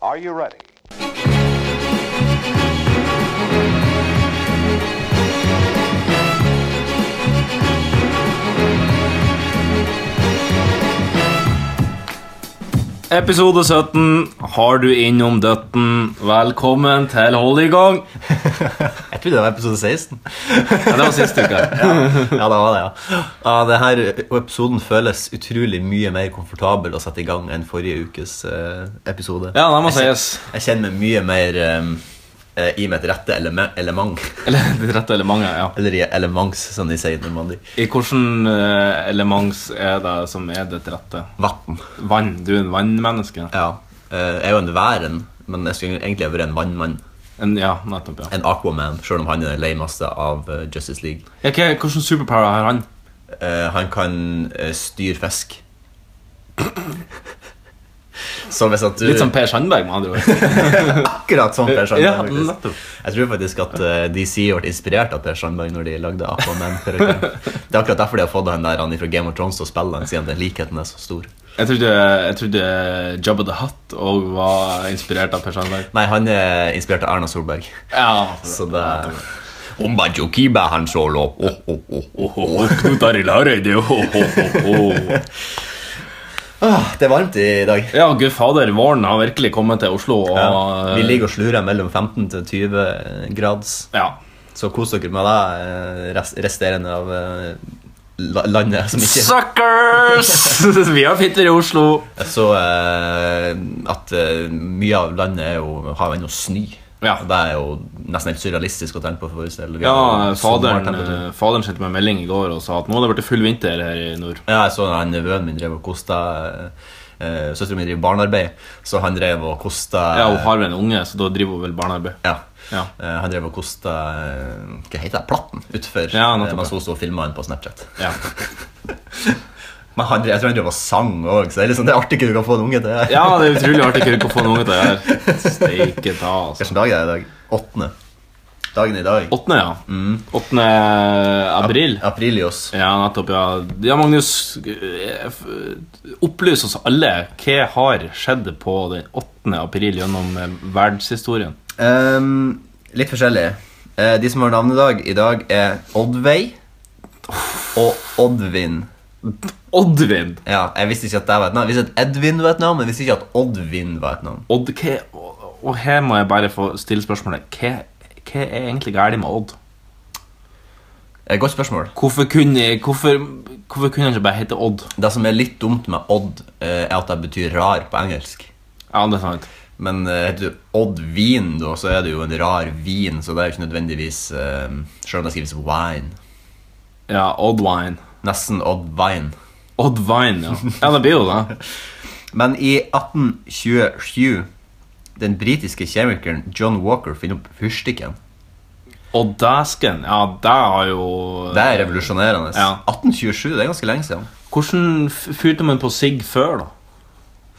Are you ready? Episode 17. Har du innom døtten? Velkommen til Hold i gang. Jeg trodde det var episode 16. Ja, det var sist uke. Ja, det var det, ja. ja det her episoden føles utrolig mye mer komfortabel å sette i gang enn forrige ukes eh, episode. Ja, det må jeg, sies. kjen- jeg kjenner meg mye mer eh, eh, i mitt rette eleme element. Eller det rette elementet, ja. Eller i elements, som de sier i Normandie. I hvilken eh, elements er det som er ditt rette? Vann. Vann. Du er en vannmenneske. Ja. Eh, jeg er jo en væren, men jeg skulle egentlig vært en vannmann. En, ja, nettopp, ja. En aquaman, sjøl om han er den lameste av eh, Justice League. ja hva, hvilken superpower har han? Eh, han kan eh, styre fisk. Så hvis at du Litt sånn som Per Sandberg, med andre ord. Akkurat som Per Ja, Sandberg. faktisk. nettopp. jeg tror faktisk at eh, DC ble inspirert av Per Sandberg når de lagde Aquaman. for eksempel. Det er akkurat derfor de har fått han der han fra Game of Thrones til å spille han, siden den likheten er så stor. Jeg trodde, jeg trodde Jabba the Hutt òg var inspirert av Per Sandberg. Nei, han er inspirert av Erna Solberg. Ja, altså. Så det Omba Jokiba han solo. Oh, oh, oh, oh. Ah, det er varmt i dag. Ja, gud fader, våren har virkelig kommet til Oslo. Og, eh, Ja. Vi ligger og slurer mellom 15 til 20 grads. Ja. Så kos dere med det eh, rest- resterende av eh, la- landet som ikke Suckers! Vi har fitter i Oslo. Jeg så eh, at eh, mye av landet er jo, har jo ennå snø. Ja. Og Det er jo nesten helt surrealistisk å tenke på. for å forestille deg. Ja, faderen, Sommertemperatur. eh, faderen sendte meg en melding i går og sa at nå har det blitt full vinter her i nord. Ja, jeg så han nevøen min drev og kosta eh, Søsteren min driver barnearbeid, så han drev og kosta Ja, Hun har vel en unge, så da driver hun vel barnearbeid. ja. Ja. Eh, han drev og kosta eh, Hva heter det? Platten utfor Ja, nettopp, eh, mens hun sto og filma han på Snapchat. Ja. Men han, drev- jeg tror han drev og sang òg, så det er liksom det er artig du kan få en unge til. ja, det er utrolig artig ikke å få en unge til det her. Steike ta, altså. Hvilken dag er det i dag? Åttende. Dagen i dag. Åttende, ja. Mm. Åttende april. Aprilios. Ja, nettopp, ja. Ja, Magnus, eh, f- opplys oss alle. Hva har skjedd på den 8. april gjennom eh, verdenshistorien? Ehm, litt forskjellig. Eh, de som har navnedag i dag, er Oddveig og Oddvin. Oddvin! Ja, jeg visste ikke at det var et navn. Jeg visste at Edvin var et navn, men jeg visste ikke at Oddvin var et navn. Odd, hva, og- og her må jeg bare få stille spørsmålet. Hva, hva er egentlig galt med Odd? Eh, godt spørsmål. Hvorfor kunne, hvorfor, hvorfor kunne han ikke bare hete Odd? Det som er litt dumt med Odd, eh, er at det betyr rar på engelsk. Ja, det er sant. Men eh, heter du Oddvin, da, så er det jo en rar vin, så det er jo ikke nødvendigvis eh, Selv om det skrives wine. Ja, Oddwine. Nesten Oddvine. Oddvine, ja. Ja, det blir jo det. Men i 1827 den britiske kjemikeren John Walker finner opp fyrstikken. Og dæsken, ja, det har jo Det er revolusjonerende. Ja. 1827, det er ganske lenge siden. Hvordan f- fyrte man på sigg før, da?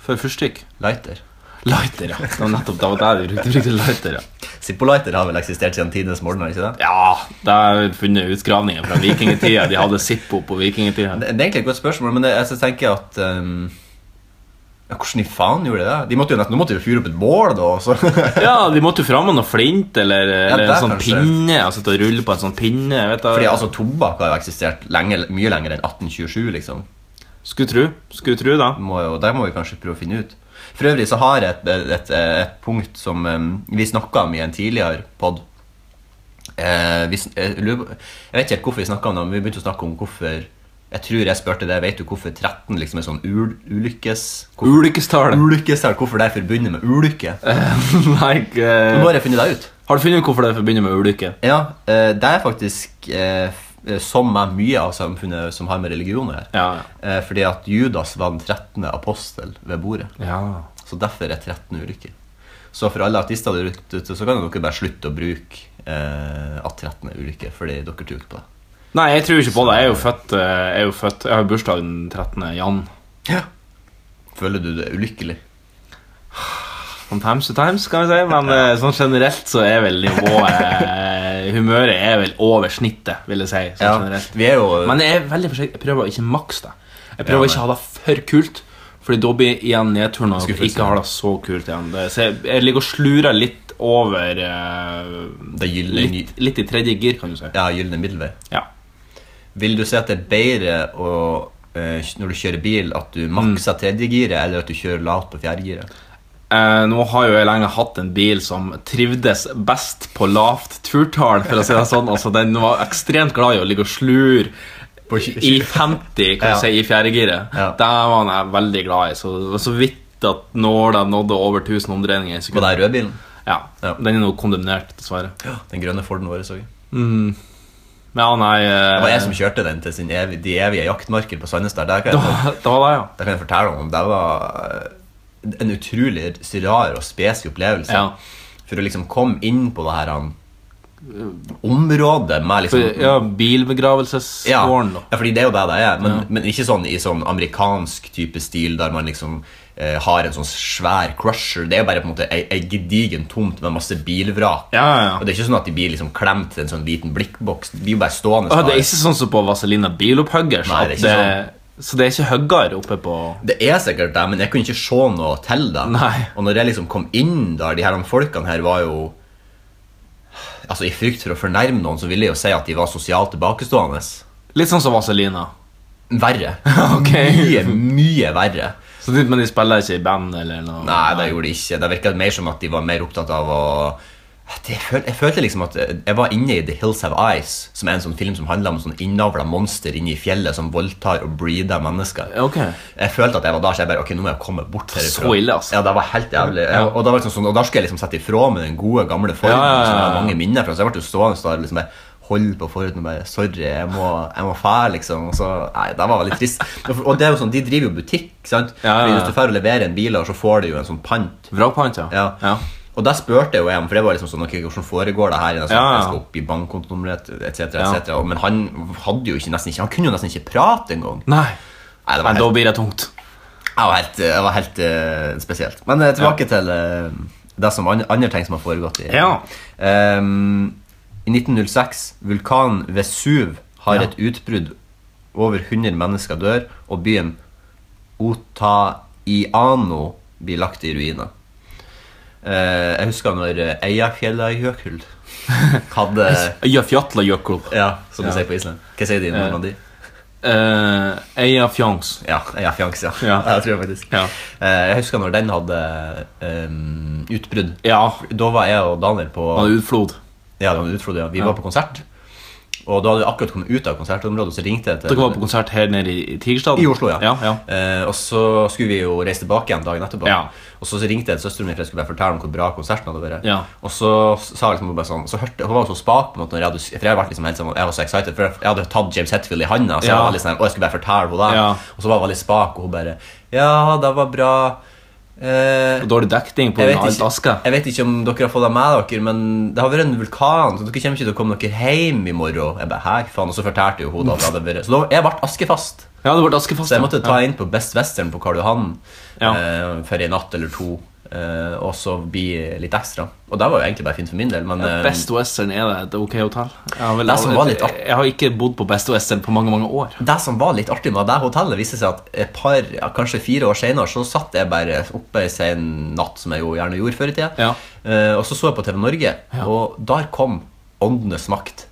Før fyrstikk? Lighter. Lighter, ja. Det var nettopp det var der vi brukte, brukte lighter, ja. Zippo-lighter har vel eksistert siden tidenes morgen? har det ikke det? Ja, det er funnet utgravninger fra vikingtida. De hadde Zippo på vikingtida. Det det er egentlig et godt spørsmål, men det- jeg så tenker jeg at ehm, ja, Hvordan i faen gjorde de det? De måtte jo nett, nå måtte de jo fyre opp et bål, da. Så. Ja, de måtte jo fram med noe flint eller, eller en det er sånn kanskje- pinne. Altså til å rulle på en sånn pinne. jeg Vet Fordi jeg. altså, Tobakk har jo eksistert lenge, mye lenger enn 1827. liksom. Skulle tru. Skulle tru, da. må jo, det må vi kanskje prøve å finne ut. For øvrig så har jeg et, et, et, et punkt som eh, vi snakka om i en tidligere pod. Eh, vi, sn- eh, lurer på- jeg vet ikke helt hvorfor vi snakka om det, men vi begynte å snakke om hvorfor Jeg tror jeg spurte deg, vet du hvorfor 13 liksom er sånn ul, ulykkes... Hvorfor, Ulykkestallet. ulykkestall, hvorfor det er forbundet med ulykke? Eh. Nei, Nå eh, har jeg funnet det ut. har du funnet ut hvorfor det forbinder med ulykke? Ja, eh, Det er faktisk, eh, f- eh, som med mye av samfunnet som har med religion å gjøre, Ja, eh, fordi at Judas var den 13. apostel ved bordet. ja. Så derfor er 13 ulykker. Så for alle artister der ute, så kan dere bare slutte å bruke eh, at 13 er ulykker, fordi dere tror ikke på det. Nei, jeg tror ikke på det. Jeg er jo født eh, Jeg, er jo født, jeg har bursdag den 13. jan. Føler du deg ulykkelig? From times to times, kan vi si. Men eh, sånn generelt så er vel nivået eh, Humøret er vel over snittet, vil jeg si. Sånn generelt. Vi er jo Men jeg er veldig forsiktig. Jeg prøver å ikke makse det. Jeg prøver Ja, å ikke ha det for kult. Fordi da blir igjen nedturen at jeg Skuffelse. ikke har det så kult igjen. Det, så jeg, jeg ligger og slurer litt over eh, Det gylne, litt, litt i tredje gir, kan du si. ja, gylne middelvei. Ja. Vil du si at det er bedre å, eh, når du kjører bil, at du Mm. makser tredjegiret, eller at du kjører lavt på fjerdegiret? Eh, nå har jo jeg lenge hatt en bil som trivdes best på lavt turtall, for å si det sånn. Altså, den var ekstremt glad i å ligge og slure På tj- i 50, kan Ja. jeg si, i fjerdegiret. Ja. Det var jeg veldig glad i. Så det var så vidt at nåla nådde over 1000 omdreininger i På sekundet. den røde bilen? Ja. Ja. Den er nå kondemnert, dessverre. Den grønne Forden vår òg. Ja, nei Det var jeg som eh, kjørte den til sin evig, de evige jaktmarker på Sandnes der. Der kan det jeg, var det, var det, ja. der kan jeg fortelle om. Det var eh, en utrolig rar og spesiell opplevelse. Ja. For å liksom komme inn på det her han, eh, området med liksom For, ja Bilbegravelsesgården, Ja. da. ja, fordi det er jo det det er. Men, men ikke sånn i sånn amerikansk type stil der man liksom eh, har en sånn svær crusher. Det er jo bare på en måte ei, ei gedigen tomt med masse bilvrak. Ja, ja, Og ja. det er ikke sånn at de blir liksom klemt til en sånn liten blikkboks. De blir jo bare stående Ah, det er der. ikke sånn som på Vazelina Bilopphuggers. Nei, det er ikke sånn. at det- Så det er ikke høggere oppe på Det er sikkert det, men jeg kunne ikke se noe til det. Nei. Og når jeg liksom kom inn der, de her folkene her var jo Altså I frykt for å fornærme noen, så ville jeg jo si at de var sosialt tilbakestående. Litt sånn som Vazelina. Verre. Ok. Mye, mye verre. Så de, men de spiller ikke i band eller noe? Nei, det gjorde de ikke. Det virket mer som at de var mer opptatt av å Det- jeg, føl, jeg følte liksom at jeg var inne i The Hills Have Eyes, som er en sånn film som handler om sånn innavla monster inne i fjellet som voldtar og breeder mennesker. Ok. Jeg følte at jeg var der, så jeg bare Ok, nå må jeg komme bort herifra. Så ille, altså. Ja, det var helt jævlig. Jeg, og, da var liksom sånn, og da skulle jeg liksom sette ifra meg den gode, gamle formen Ja, ja, ja, som jeg ja. har mange minner fra. Så jeg ble jo stående der og liksom bare holde på forhuden og bare Sorry, jeg må, jeg må fære, liksom. Og så, nei, det var veldig trist. Og det er jo sånn, de driver jo butikk, sant. Ja, ja, ja. Fordi Hvis du drar og leverer en bil, her, så får du jo en sånn pant. Vrakpant, ja. Ja. Og da spurte jeg jo om, for det var liksom sånn Ok, hvordan foregår det her? Jeg skal, Ja, ja. jeg skal opp i bankkontonummeret, etc., Ja. etc. Og- Men han hadde jo ikke, nesten ikke Han kunne jo nesten ikke prate engang. Nei, Nei, det var men da helt, blir det tungt. det var helt, det var helt eh, spesielt. Men eh, tilbake til eh, det som an- andre ting som har foregått i Ja. Ehm, I 1906, vulkanen Vesuv har Ja. et utbrudd. Over 100 mennesker dør, og byen Otaiano blir lagt i ruiner. Eh, jeg husker når eh, Eyjafjallajökull hadde Øyafjallajökull. Ja, som de Ja. sier på Island. Hva sier de i Eh, Normandie? Uh, Eyafjangs. Ja, Eyjafjangs, ja. Ja. Jeg tror jeg faktisk. Ja. Eh, jeg husker når den hadde ehm, utbrudd. Ja. Da var jeg og Daniel på Han er utflod. Ja, det var en utflod, ja. Vi var på konsert. Og da hadde vi akkurat kommet ut av konsertområdet, så ringte jeg til Dere var på konsert her nede i i Tigerstaden? I Oslo, ja. ja, ja. Eh, og så skulle vi jo reise tilbake igjen dagen etterpå. Ja. Og så ringte jeg til søsteren min for jeg skulle bare fortelle om hvor bra konserten hadde vært. Ja. Og så sa jeg liksom hun bare sånn Så hørte, Hun var jo så spak på en måte når jeg hadde For jeg, hadde vært liksom helt sånn, jeg var så excited, for jeg, jeg hadde tatt James Hetfield i handa, så jeg Ja. var veldig sånn Og jeg skulle bare fortelle henne det. Ja. Og så var hun veldig spak, og hun bare Ja, det var bra. Eh, Og Dårlig dekning på jeg vet, alt ikke, aska. jeg vet ikke om dere har fått det med dere, men det har vært en vulkan, så dere kommer ikke til å komme dere hjem i morgen. Jeg bare, hæ, faen, Og så fortalte jo hun da at det hadde vært Så da, jeg ble askefast. Ja, det ble askefast. Så jeg måtte ja. ta inn på Best Western på Karl Johan Ja. eh, for en natt eller to. eh, og så bli litt ekstra. Og det var jo egentlig bare fint for min del, men eh, Best Western er det et ok hotell? Jeg har, vel, Det som var litt artig- jeg har ikke bodd på Best Western på mange mange år. det som var litt artig med det hotellet, viste seg at et par, ja, kanskje fire år senere, så satt jeg bare oppe en sen natt, som jeg jo gjerne gjorde før i tida, Ja. Eh, og så så jeg på TV Norge, og der kom Åndenes makt.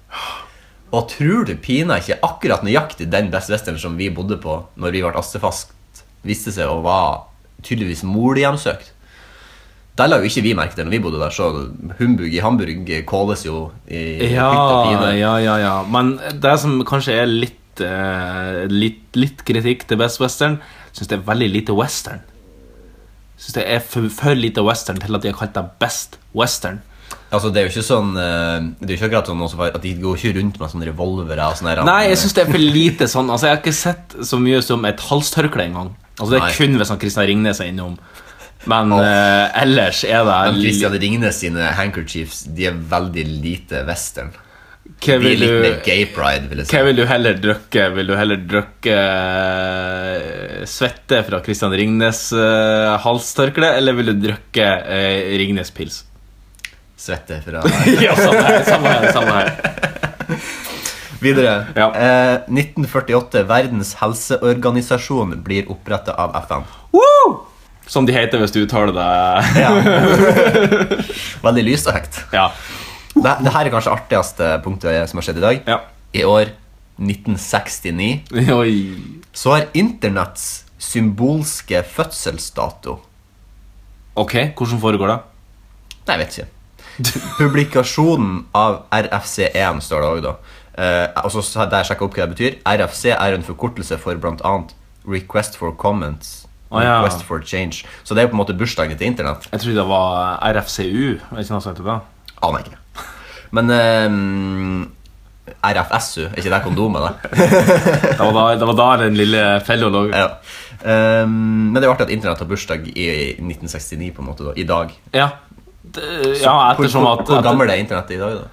Og tror du pina ikke akkurat nøyaktig den Best Western som vi bodde på når vi ble astefast, viste seg å være tydeligvis morhjemsøkt? Der la jo ikke vi merke til når vi bodde der, så humbug i Hamburg kåles jo i hytt og Ja, pine. ja, ja, ja. Men det som kanskje er litt, eh, litt, litt kritikk til Best Western, syns det er veldig lite western. Syns det er for, for lite western til at de har kalt det Best Western. Altså, det er jo ikke sånn eh, Det er jo ikke akkurat sånn noen som har- at de går ikke rundt med sånne revolvere og sånne her- eh, Nei, jeg syns det er for lite sånn. Altså, Jeg har ikke sett så mye som et halstørkle engang. Altså, det er Nei. kun hvis han Kristian Ringnes er innom. Men eh, ellers er det Men Christian Ringnes sine handkerchiefs De er veldig lite western. Hva De er vil litt du mer gay pride, vil jeg si. Hva vil du heller drukke? Vil du heller drukke eh, svette fra Christian Ringnes eh, halstørkle, eller vil du drukke eh, Ringnes pils? Svette fra ja, samme her. Samme her, samme her. Videre. Ja. Eh, 1948. Verdens helseorganisasjon blir oppretta av FN. Woo! Som de heter hvis du uttaler det Ja. Veldig lyst og hekt. Ja. Det, det her er kanskje artigste punktet som har skjedd i dag. ja. I år 1969 Oi. så har internetts symbolske fødselsdato Ok, hvordan foregår det? Nei, jeg vet ikke. Publikasjonen av RFC1 E står det òg, da. Eh, og så sa- der sjekka opp hva det betyr. RFC er en forkortelse for bl.a. Request for comments. Å, ja. Request for change. Så det er jo på en måte bursdagen til Internett. Jeg trodde det var RFCU. Er det ikke noe som heter det? Aner jeg ikke. Men eh, RFSU, er ikke det kondomet, da? Det var da, det var da den lille fella lå. Ja. Ehm, men det er jo artig at Internett har bursdag i 1969, på en måte, da. I dag. Ja. Det- ja, ettersom hvor, at hvor, hvor gammel er Internett i dag, da?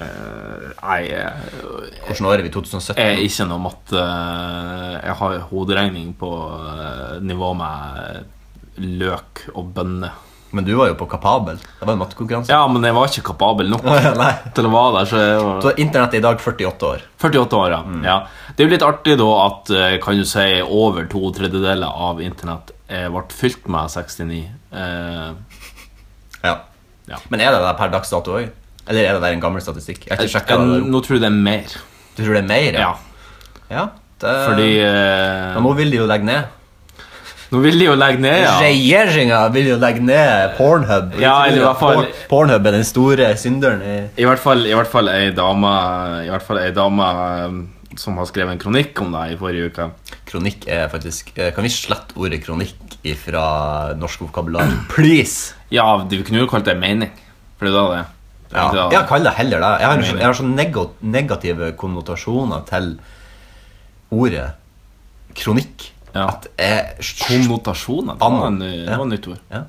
Nei, eh, jeg Hvordan år er vi? 2017? jeg er ikke noe matte eh, Jeg har hoderegning på eh, nivå med løk og bønner. Men du var jo på Kapabel. Det var en mattekonkurranse. Ja, men jeg var ikke kapabel nok Nei. til å være der. Så jeg var Så Internett er Mm. i dag 48 år. 48 år, ja. ja. Det er jo litt artig da at eh, kan du si, over to tredjedeler av internett eh, ble fylt med 69. Eh, Ja. Ja. Men er det der per dags dato òg? Eller er det der en gammel statistikk? Jeg har ikke sjekket jeg- det. nå tror jeg det er mer. Du tror det er mer? Ja, ja det... fordi eh, Ja, nå vil de jo legge ned. Nå vil de jo legge ned, ja. Regjeringa vil jo legge ned Pornhub. Ja, eller i hvert fall- Porn- Pornhub er den store synderen i I hvert fall, i hvert fall ei dame, i hvert fall ei dame eh, som har skrevet en kronikk om det i forrige uke. Kronikk er faktisk eh, Kan vi slette ordet kronikk ifra norsk vokabular? Please! Ja, du kunne jo kalt det mening. For det er da det er. Det er Ja, egentlig da det ja er. kall det heller det. Jeg har, jeg har så nego negative konnotasjoner til ordet kronikk Ja. at jeg Konnotasjoner. Det var, en, det var et nytt ord. ja.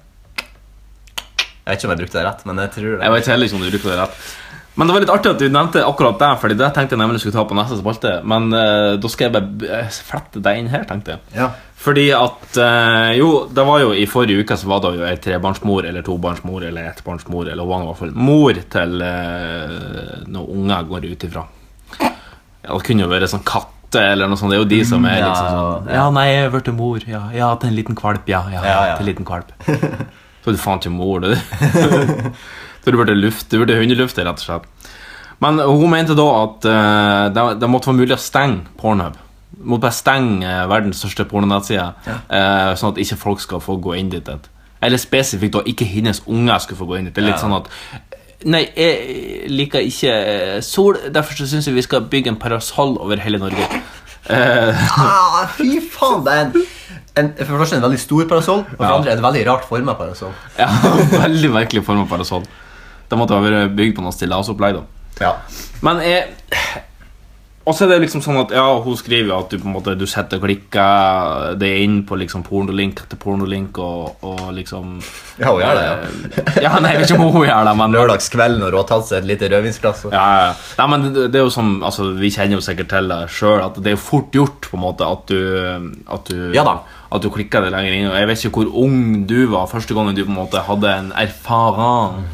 Jeg vet ikke om jeg brukte det rett, men jeg tror det. Jeg vet heller ikke om du bruker det rett. Men det var litt artig at du nevnte akkurat det, Fordi det tenkte jeg nemlig jeg skulle ta på neste spalte. Men eh, da skal jeg bare b- eh, flette deg inn her, tenkte jeg. Ja. Fordi at eh, Jo, det var jo i forrige uke så var det jo ei trebarnsmor eller tobarnsmor eller ettbarnsmor eller hva det var, i hvert fall mor til uh, noen unger går ut ifra. Ja, det kunne jo vært sånn katte eller noe sånt. Det er jo de som er Ja, liksom sånn Ja, nei, jeg er blitt mor. Ja, ja, til en liten kvalp. Ja, ja, Ja, ja. til en liten kvalp. Så er du faen ikke mor, du. Så du burde luft, du burde hundelufte, rett og slett. Men hun mente da at eh, det, det måtte være mulig å stenge Pornhub. Måtte bare stenge eh, verdens største pornonettside, eh, sånn at ikke folk skal få gå inn dit. et. Eller spesifikt da ikke hennes unger skulle få gå inn dit. Det er litt Ja. sånn at Nei, jeg liker ikke eh, sol, derfor så syns jeg vi skal bygge en parasoll over hele Norge. Eh, Ah, fy faen! Det er en, en, for det første en veldig stor parasoll, og for det Ja. andre en veldig rart forma parasoll. Ja, Veldig merkelig form av parasoll. Det måtte ha vært bygd på noe stillasopplegg, da. Ja. Men jeg Og så er det liksom sånn at Ja, hun skriver jo at du på en måte Du setter og klikker Det er inn på liksom pornolink etter pornolink Og, og liksom eh, Ja, hun gjør det, ja. ja. ja, nei, jeg vet ikke om hun gjør det Men Lørdagskvelden og råtatt seg et lite rødvinsglass. og- ja, ja, ja. Nei, men det, det er jo som Altså, vi kjenner jo sikkert til det selv At det er jo fort gjort på en måte At du, at du Ja da. At du klikker det lenger inn Og jeg vet ikke hvor ung du var Første gangen du på en måte hadde en erfaren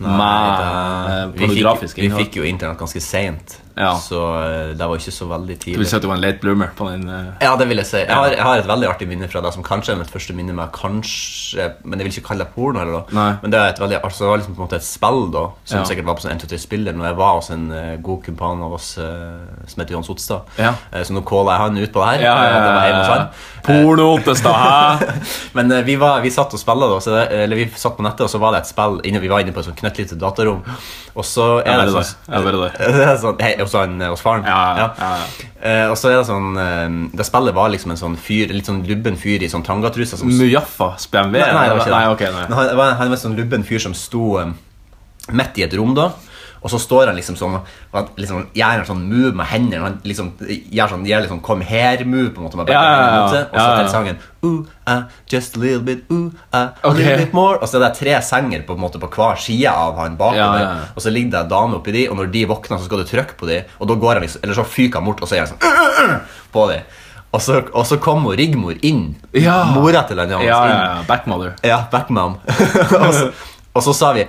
Med eh, Vi fikk- pornografisk Vi innhold. fikk jo internett ganske seint, Ja. så eh, det var ikke så veldig Du vil tidlig. si at du var en late bloomer på den eh, Ja, det vil jeg si. Jeg har, jeg har et veldig artig minne fra det som kanskje er mitt første minne med kanskje Men jeg vil ikke kalle det porno. heller da Nei. Men det, er et veldig, altså, det var liksom på en måte et spill da som Ja. sikkert var på sånn 123-spiller Når jeg var hos en eh, god kumpan av oss eh, som heter Johan Sotstad. Ja. Eh, så nå caller jeg han ut på det her. Ja, ja, eh, Det var hjemme hos ja, han. ja. Porno Ottestad, hæ? Men eh, vi, var, vi satt og spillet da, så det, eller vi satt på nettet, og så var det et spill inne, vi var inne på et sånt knøttlite datarom. Og så er Jeg det bare sånn... der. Jeg bare der. Det er sånn, hei, hos, han, hos faren Ja, ja, ja, Eh, Og så er det sånn eh, Det spillet var liksom en sånn fyr Litt sånn lubben fyr i sånn tangatrusa som Mujaffa BMW? Nei, nei, det var ikke det. Nei, ok, nei. Men Han, det var, han var en sånn lubben fyr som sto um, midt i et rom, da. Og så står han liksom sånn og han liksom, gjør en sånn move med hendene. Han liksom gjør sånn, gjør litt sånn kom her-move, på en måte. Med begge Ja, ja, ja. hendene ute, Og så Ja, ja, ja. til sangen Ooh, ah, just a little bit, ooh, ah, a Ok. little bit more. Og så er det tre senger på, en måte, på hver side av han bakover. Ja, ja, ja. Og så ligger det en dame oppi de, og når de våkner, så skal du trykke på de, og da går han liksom, eller så fyker han bort, og så gjør han sånn «Øh, øh, øh», på de. Og så, og så kommer Rigmor inn. Ja. Mora til han, ja, Ja, ja, inn. ja. Backmother. Ja, Batman. og, så, og så sa vi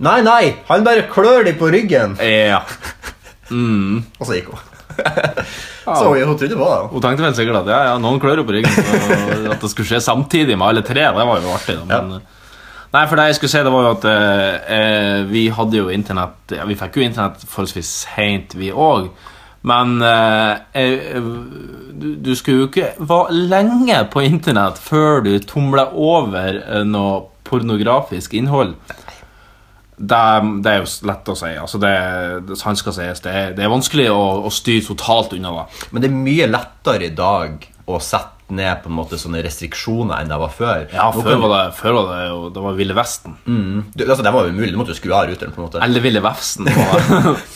Nei, nei, han bare klør de på ryggen. Ja. Og så gikk hun. Så hun, hun trodde på det. Hun tenkte vel sikkert at ja, ja, noen klør jo på ryggen, og at det skulle skje samtidig med alle tre. Det var jo artig. Da. Men, eh, Nei, for det jeg skulle si, det var jo at eh, eh, vi hadde jo internett ja, Vi fikk jo internett forholdsvis seint, vi òg. Men eh, eh, du, du skulle jo ikke være lenge på internett før du tumla over eh, noe pornografisk innhold. Det, er- det er jo s- lett å si. Altså det, det, sant skal sies. Det, er- det er vanskelig å, å styre totalt unna det. Men det er mye lettere i dag å sette ned på en måte sånne restriksjoner enn det var før. Ja, Nå før kan- var det, før var det jo Det var Ville Vesten. Mm. Du, altså, det var jo umulig. Du måtte jo skru av ruteren. på en måte. Eller Ville Vefsen. var det.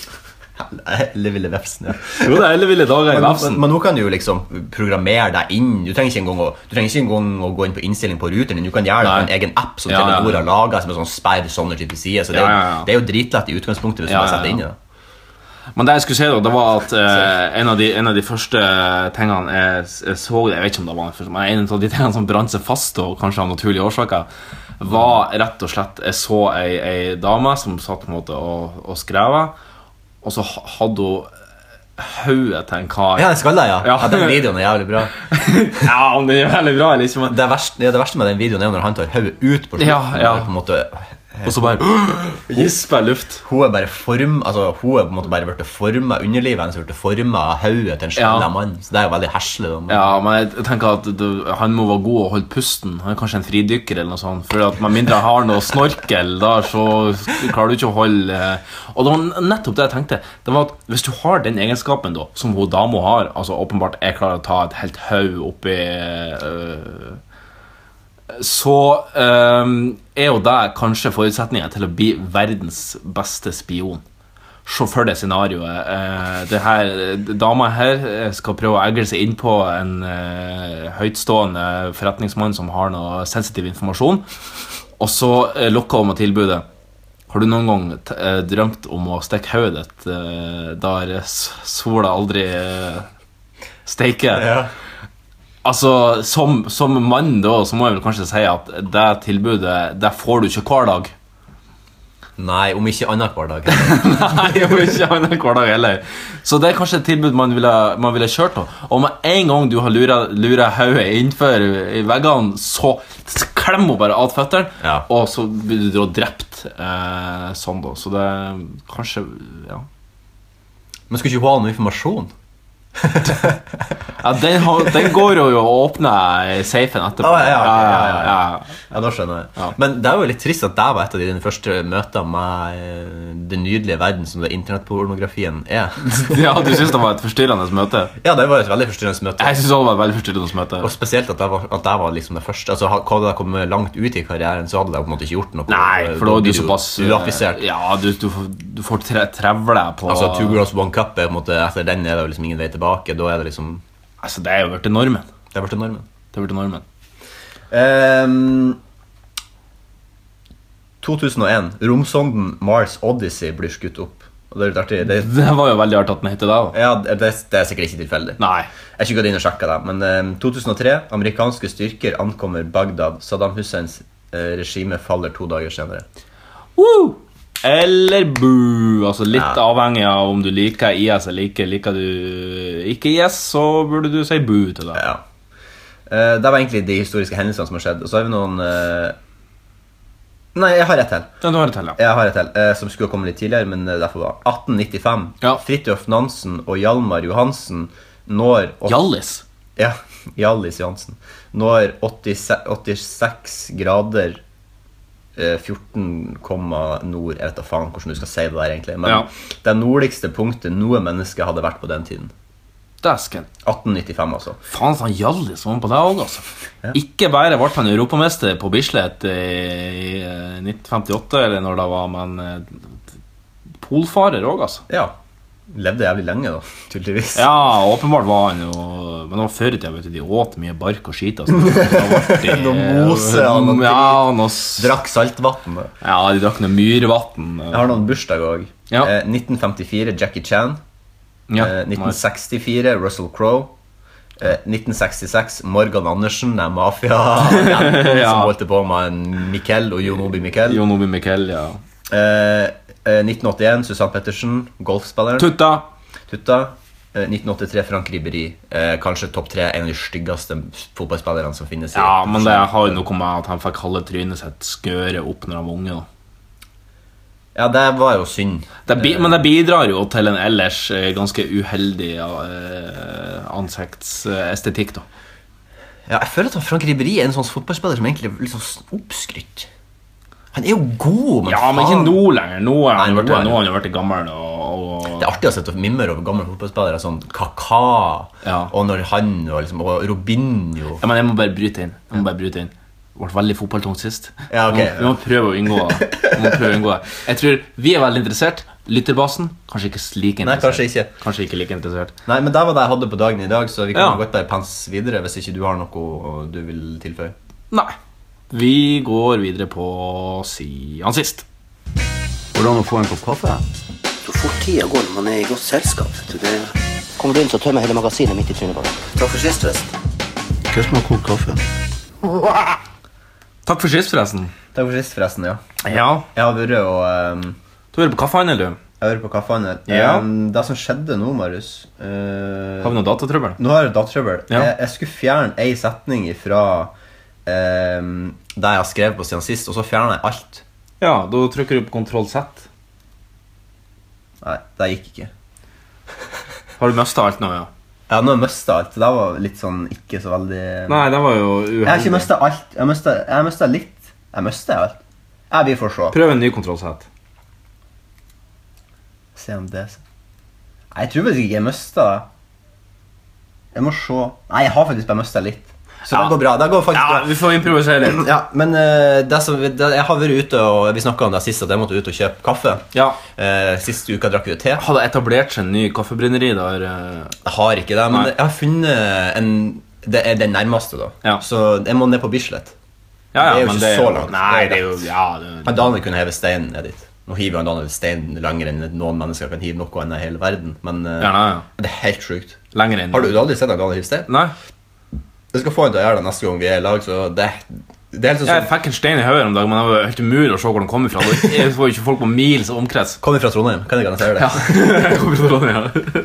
Eller ville vepsen, ja. jo, det er Eller Ville Dager i Men, Vefsen. men, men nå kan du jo liksom programmere deg inn. Du trenger ikke engang å, du trenger ikke engang å gå inn på innstilling på ruteren. din. Du kan gjøre det på en Nei. egen app som Ja, ja, ja. Telenor har laga, som er sånn sperr sånne type sider. Så det, er jo- Ja, ja, ja. det er jo dritlett i utgangspunktet hvis du Ja, bare ja, setter ja. inn i det. Men det jeg skulle si da, det var at eh, en, av de, en av de første tingene jeg, s- jeg så Jeg vet ikke om det var den første, men en av de tingene som brant seg fast, og kanskje av naturlige årsaker, var rett og slett Jeg så ei, ei dame som satt på en måte og, og skrev, og så ha- hadde hun hodet til en kar. Ja, den skalla, ja. ja. Ja. Den videoen er jævlig bra. ja, om det er veldig bra liksom. eller ikke, men Det verste, ja, det verste med den videoen er jo når han tar hodet ut på slutten. Ja, ja. når På en måte, Og så bare gisper luft. hun er bare form, altså hun er på en måte bare blitt forma underlivet hennes, blitt forma av hodet til en skalla Ja. mann. Så det er jo veldig herselig. da. Ja, men jeg tenker at du, han må være god og holde pusten. Han er kanskje en fridykker eller noe sånt. For at med mindre han har noe snorkel, da, så klarer du ikke å holde eh. Og det var nettopp det jeg tenkte. Det var at Hvis du har den egenskapen da, som hun dama har, altså åpenbart jeg klarer å ta et helt haug oppi øh, Så øhm, er jo det kanskje forutsetninga til å bli verdens beste spion. Se for deg scenarioet. Eh, det her, dama her eh, skal prøve å egle seg inn på en eh, høytstående forretningsmann som har noe sensitiv informasjon, og så eh, lokker hun med tilbudet. Har du noen gang t eh, drømt om å stikke hodet ditt eh, der s- sola aldri eh, steiker? Ja. Altså, som, som mann da, så må jeg vel kanskje si at det tilbudet, det får du ikke hver dag. Nei, om ikke annet hver dag. Nei, og ikke annen hverdag heller. Så det er kanskje et tilbud man ville, man ville kjørt på. Og med en gang du har lura, lura hodet innenfor i veggene, så klemmer hun bare av føttene, Ja. og så blir du da drept eh, sånn, da. Så det er kanskje Ja. Men skulle ikke hun ha noe informasjon? ja den, har, den går jo å åpne safen etterpå. Å, ja, ja, ok, ja, ja, ja. ja. Ja, da skjønner jeg. Ja. Men det er jo litt trist at det var et av dine første møter med eh, den nydelige verden som det internettpornografien er. Ja, Du syns det var et forstyrrende møte? Ja, det var et veldig forstyrrende møte. Jeg syns det var et veldig forstyrrende møte. Og spesielt at det var, at det var liksom det første. Altså, ha- Hadde jeg kommet langt ut i karrieren, så hadde jeg på en måte ikke gjort noe. Nei, for da er du blir såpass uaffisert. Ja, du, du, får- du får tre, trevle på Altså, Two girls, one cup er på en måte, etter den er det jo liksom ingen vei tilbake. Da er det liksom Altså, det er jo blitt normen. Det er blitt normen. Det er blitt normen. Ehm, 2001. Romsonden Mars Odyssey blir skutt opp. Og det er litt artig. Det, Det var jo veldig artig at den heter det. da. ja, det, det er sikkert ikke tilfeldig. Nei. Jeg har ikke gått inn og sjekket det, men ehm, 2003. Amerikanske styrker ankommer Bagdad. Saddam Husseins eh, regime faller to dager senere. Woo! Eller bu. Altså litt Ja. avhengig av om du liker IS eller ikke. Liker du ikke IS, så burde du si bu til det. Ja. Eh, det var egentlig de historiske hendelsene som har skjedd. Og så har vi noen eh, Nei, jeg har ett til. Den du har et til, ja. Jeg har et til, eh, som skulle ha kommet litt tidligere, men eh, derfor var 1895. Ja. Fridtjof Nansen og Hjalmar Johansen når åt- Hjallis. Ja, Hjallis Johansen. Når 86, 86 grader eh, 14, komma nord Jeg vet da faen hvordan du skal si det der, egentlig. Men Ja. det nordligste punktet noe menneske hadde vært på den tiden. Dæsken. 1895, altså. Faen, så han Hjallis var med på det òg, altså. Ikke bare ble han europamester på Bislett i eh, 1958, eller når det var, men eh, polfarer òg, altså. Ja. Levde jævlig lenge, da, tydeligvis. Ja, åpenbart var han jo Men det var før i tida, vet du. De åt mye bark og skit. Altså. Det var Noe mose og noe ja, noe s- Drakk saltvann. da. ja, de drakk noe myrvann. Jeg har noen bursdager òg. Ja. Eh, 1954 Jackie Chan. Ja. Eh, 1964 Russell Crowe. Eh, 1966 Morgan Andersen, den mafia Ja. som holdt på med en Mikkel og Jonobi Mikkel. Jon Obi Mikkel, ja. Eh, eh, 1981 Susann Pettersen, golfspilleren. Tutta! Tutta. eh, 1983 Frank Ribberi. Eh, kanskje topp tre, en av de styggeste fotballspillerne som finnes. i- Ja, men det har jo noe med at han fikk halve trynet sitt skøret opp når han var unge. da Ja, det var jo synd. Eh, Det bi men det bidrar jo til en ellers eh, ganske uheldig eh, ansiktsestetikk, da. Ja, jeg føler at han Frank Ribberi er en sånn fotballspiller som egentlig er litt sånn oppskrytt. Han er jo god, men Ja, men ikke faen. nå lenger. Nå er han Nei, nå vært, er det- nå har han vært gammel og, og Det er artig å sitte og mimre over gamle fotballspillere. Sånn Kaka Ja. og når han og, liksom, og Robinho. ja, Men jeg må bare bryte inn. Jeg må bare bryte inn. Det ble veldig fotballtungt sist. Ja, ok. vi, må, vi må prøve å unngå det. Vi må prøve å unngå det. Jeg tror vi er veldig interessert. Lytterbasen kanskje ikke like Nei, interessert. kanskje ikke. Kanskje ikke like interessert. Nei, men det var det jeg hadde på dagen i dag, så vi kan Ja. godt bare pense videre hvis ikke du har noe du vil tilføye. Nei. Vi går videre på siden sist. Hvordan å få en kopp kaffe? Så fort tida går når man er i godt selskap. vet du, Det Kommer du inn, så tømmer jeg hele magasinet midt i trynet på deg. Takk for sist, forresten. Hva som har kokt kaffe? Takk for sist, forresten. Takk for sist, forresten. ja. Ja, Jeg har vært og ehm, du hører på kaffehandel, du. Jeg hører på kaffehandel. Ja. Ehm, det som skjedde nå, Marius eh, Har vi noe datatrøbbel? Nå har jeg datatrøbbel. Ja. Jeg, jeg skulle fjerne ei setning fra ehm, det jeg har skrevet på siden sist, og så fjerna jeg alt. Ja, da trykker du på kontroll Z. Nei, det gikk ikke. Har du mista alt nå, ja? Ja, nå har jeg mista alt. Det var litt sånn ikke så veldig Nei, det var jo uheldig. Jeg har ikke mista alt. Jeg har mistet- Jeg har mista litt. Jeg mista alt. Jeg vil få se. Prøv en ny kontroll Z. Se om det Nei, jeg tror faktisk ikke jeg mista det. Jeg må se. Nei, jeg har faktisk bare mista litt. Så Ja. det går bra. Det går faktisk Ja, bra. vi får improvisere litt. Ja, men eh, det som, det, jeg har vært ute og Vi snakka om det sist, at jeg måtte ut og kjøpe kaffe. Ja. Eh, sist uka drakk vi jo te. Hadde etablert seg en ny kaffebrenneri der eh, Jeg har ikke det, men Nei. jeg har funnet en Det er den nærmeste, da. Ja. Så jeg må ned på Bislett. Ja, ja, Det er jo men ikke så langt. Nei, det er jo Ja, det Han Daniel kunne heve steinen ned dit. Nå hiver han Daniel steinen lenger enn noen mennesker kan hive noe annet i hele verden, men eh, ja, nei, ja. det er helt sjukt. Lenger inn. Har du, du har aldri sett han Daniel hive stein? Nei. Jeg skal få han til å gjøre det neste gang vi er i lag, så det, det er helt sånn Jeg som fikk en stein i hodet om dagen, men det var helt umulig å se hvor den kom ifra. Det var jo ikke folk på mils omkrets. Kommer fra Trondheim, kan jeg garantere det. Ja. Jeg kom fra Trondheim, ja.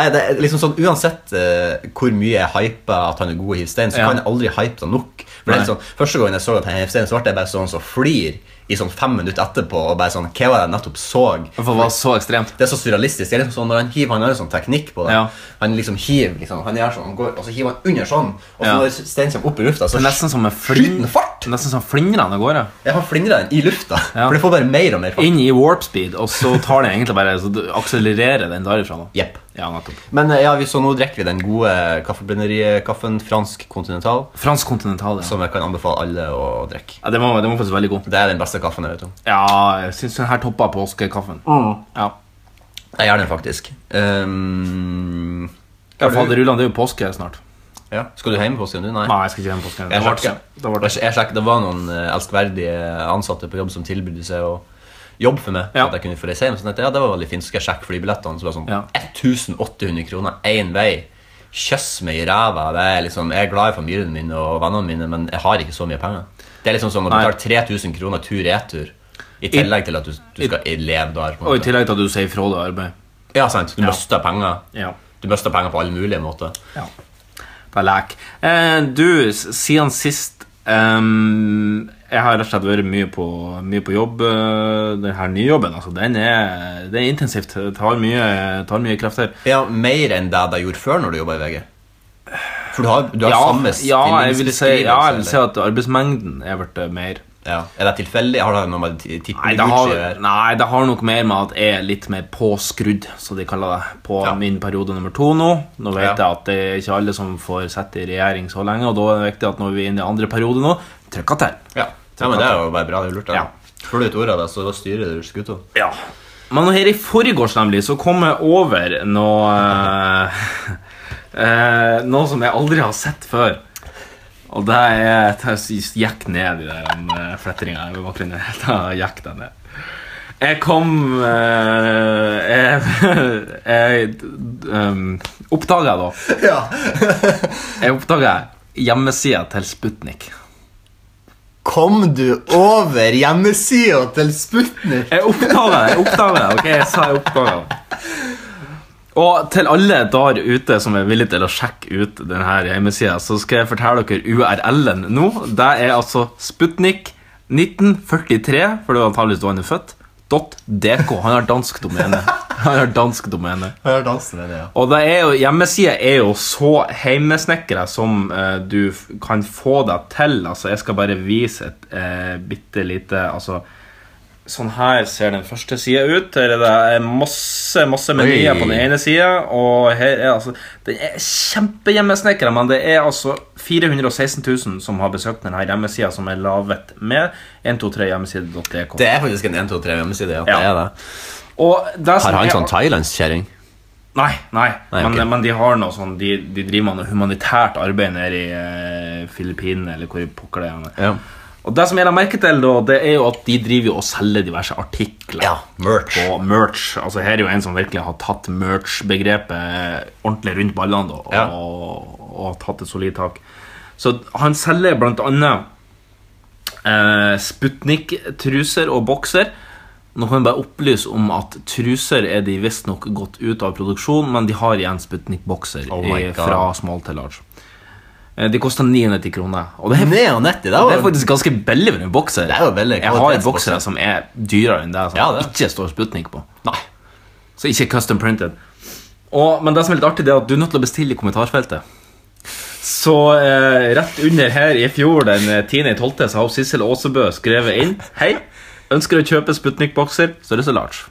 Nei, det er liksom sånn, Uansett eh, hvor mye jeg hyper at han er god i hive stein, så Ja. kan jeg aldri hype det nok. For det er litt sånn, Første gangen jeg så at han hiv stein, så ble jeg bare sånn som flir i sånn fem minutter etterpå. og bare sånn, hva var det jeg nettopp så? For det var så ekstremt. Det er så surrealistisk. Det er liksom sånn, når Han hiver, han har en sånn teknikk på det. Ja. Han liksom hiver, liksom, han gjør sånn, han går, og så hiver han under sånn. Og så Ja. når steinen kommer opp i lufta, så Det er nesten sånn. som en skyter flin... den fart. Nesten som flinrene av gårde. Ja, han flingrer den i lufta. Ja. For det får bare mer og mer fart. Inn i warp speed, og så tar den egentlig bare Så du akselererer den derifra. da. Jepp. Ja, nettopp. Men eh, ja, vi, så nå drikker vi den gode eh, kaffebrenneriekaffen, fransk kontinental, Fransk kontinental, ja. som jeg kan anbefale alle å drikke. ja det, var, det var faktisk veldig god. Det er den beste kaffen jeg vet om. Ja, jeg syns den her toppa påskekaffen. Ja. Jeg gjør den faktisk. Ehm, Ja, Har du- Faderullan, det er jo påske snart. ja. Skal du hjem på påsken, du? Nei. Nei, jeg skal ikke hjem på påsken. Det Jeg var sjekka. det var det. Jeg jeg sjekka. Det var noen eh, elskverdige ansatte på jobb som tilbød seg å jobbe for meg. Ja. Så at jeg kunne få reise hjem. Så tenkte jeg, ja, det var veldig fint. Så skal jeg sjekke flybillettene. Så var det sånn Ja. 1800 kroner én vei. Kjøss meg i ræva. Det er liksom, jeg er glad i familien min og vennene mine, men jeg har ikke så mye penger. Det er liksom som å Nei. betale 3000 kroner tur-retur. I tillegg til at du, du skal leve der. På en Og i måte. tillegg til at du sier fra deg arbeid. Ja, sant. Du mister penger. Ja. Du mister penger på alle mulige måter. Det er lek. Eh, du, s- siden sist ehm, Jeg har rett og slett vært mye på, mye på jobb. eh, Den her nye jobben, altså, den er, det er intensivt. Det tar mye, tar mye krefter. Ja, mer enn det de gjorde før når du jobba i VG? For du har, du har samme ja, jeg vil si, stillingsbeskrivelse, ja, jeg vil si eller? at arbeidsmengden er blitt eh, mer. ja. Er det tilfeldig? Har det noe med ti- Nei det, har, tippeligautgiver å gjøre? nei, det har nok mer med at jeg er litt mer påskrudd, som de kaller det, på Ja. min periode nummer to nå. Nå vet Ja. jeg at det er ikke alle som får sitte i regjering så lenge, og da er det viktig at når vi er inne i andre periode nå, trykker til. Ja. ja, men det er jo bare bra. Det er jo lurt. Ja. Ja. Får du et ord av det, så da styrer du skuta. Ja. Men her i forgårs nemlig så kom jeg over noe eh, eh, Noe som jeg aldri har sett før. Og det er det er- gikk ned i den eh, flettinga i bakgrunnen. Da gikk den ned. Jeg kom eh, Jeg, jeg um, oppdaga da Ja. Jeg oppdaga hjemmesida til Sputnik. Kom du over hjemmesida til Sputnik? Jeg oppdaga det, jeg oppdaga det. ok, jeg sa jeg oppdaga det. Og til alle der ute som er villige til å sjekke ut denne hjemmesida, så skal jeg fortelle dere URL-en nå. Det er altså Sputnik 1943, for det var antakeligvis da han er født, .dk. Han har dansk domene. Han har dansk domene. Hør dansen den, ja. Og det er jo, hjemmesida er jo så heimesnekra som eh, du f- kan få deg til. Altså, jeg skal bare vise et uh, bitte lite altså, Sånn her ser den første sida ut. Her er det eh, masse masse menyer Oi. på den ene sida. Og her er altså Den er kjempehjemmesnekra, men det er altså 416 000 som har besøkt denne hjemmesida, som er laget med 123hjemmeside.dk. Det er faktisk en 1, 2, 3 hjemmeside. Ja. Ja. Det er det. Og det som Har han er- sånn thailandskjerring? Nei, nei. Nei, men, ok. men de har noe sånn De, de driver med noe humanitært arbeid nede i eh, Filippinene, eller hvor i pokker det er. Ja. Og det som jeg la merke til, da, det er jo at de driver jo og selger diverse artikler. Ja, merch. Og merch. Altså Her er jo en som virkelig har tatt merch-begrepet ordentlig rundt ballene da, og, Ja. og, og tatt et solid tak. Så han selger blant annet eh, Sputnik-truser og bokser. Nå kan jeg bare opplyse om at truser er de visstnok gått ut av produksjon, men de har igjen Sputnik-bokser Oh my i- God. fra small til large. Eh, De koster 990 kroner. Og det er, Ned og nett i dag. det er faktisk ganske billig for en bokser. Det er jo billig. Jeg har Kvalitetsbokser. boksere som er dyrere enn det, som Ja, det er. ikke står Sputnik på. Nei. Så ikke custom printed. Og, men det som er litt artig, det er at du er nødt til å bestille i kommentarfeltet. Så eh, rett under her i fjor, den eh, 10.12., så har Sissel Aasebø skrevet inn Hei, ønsker å kjøpe Sputnik-bokser, så er det så large.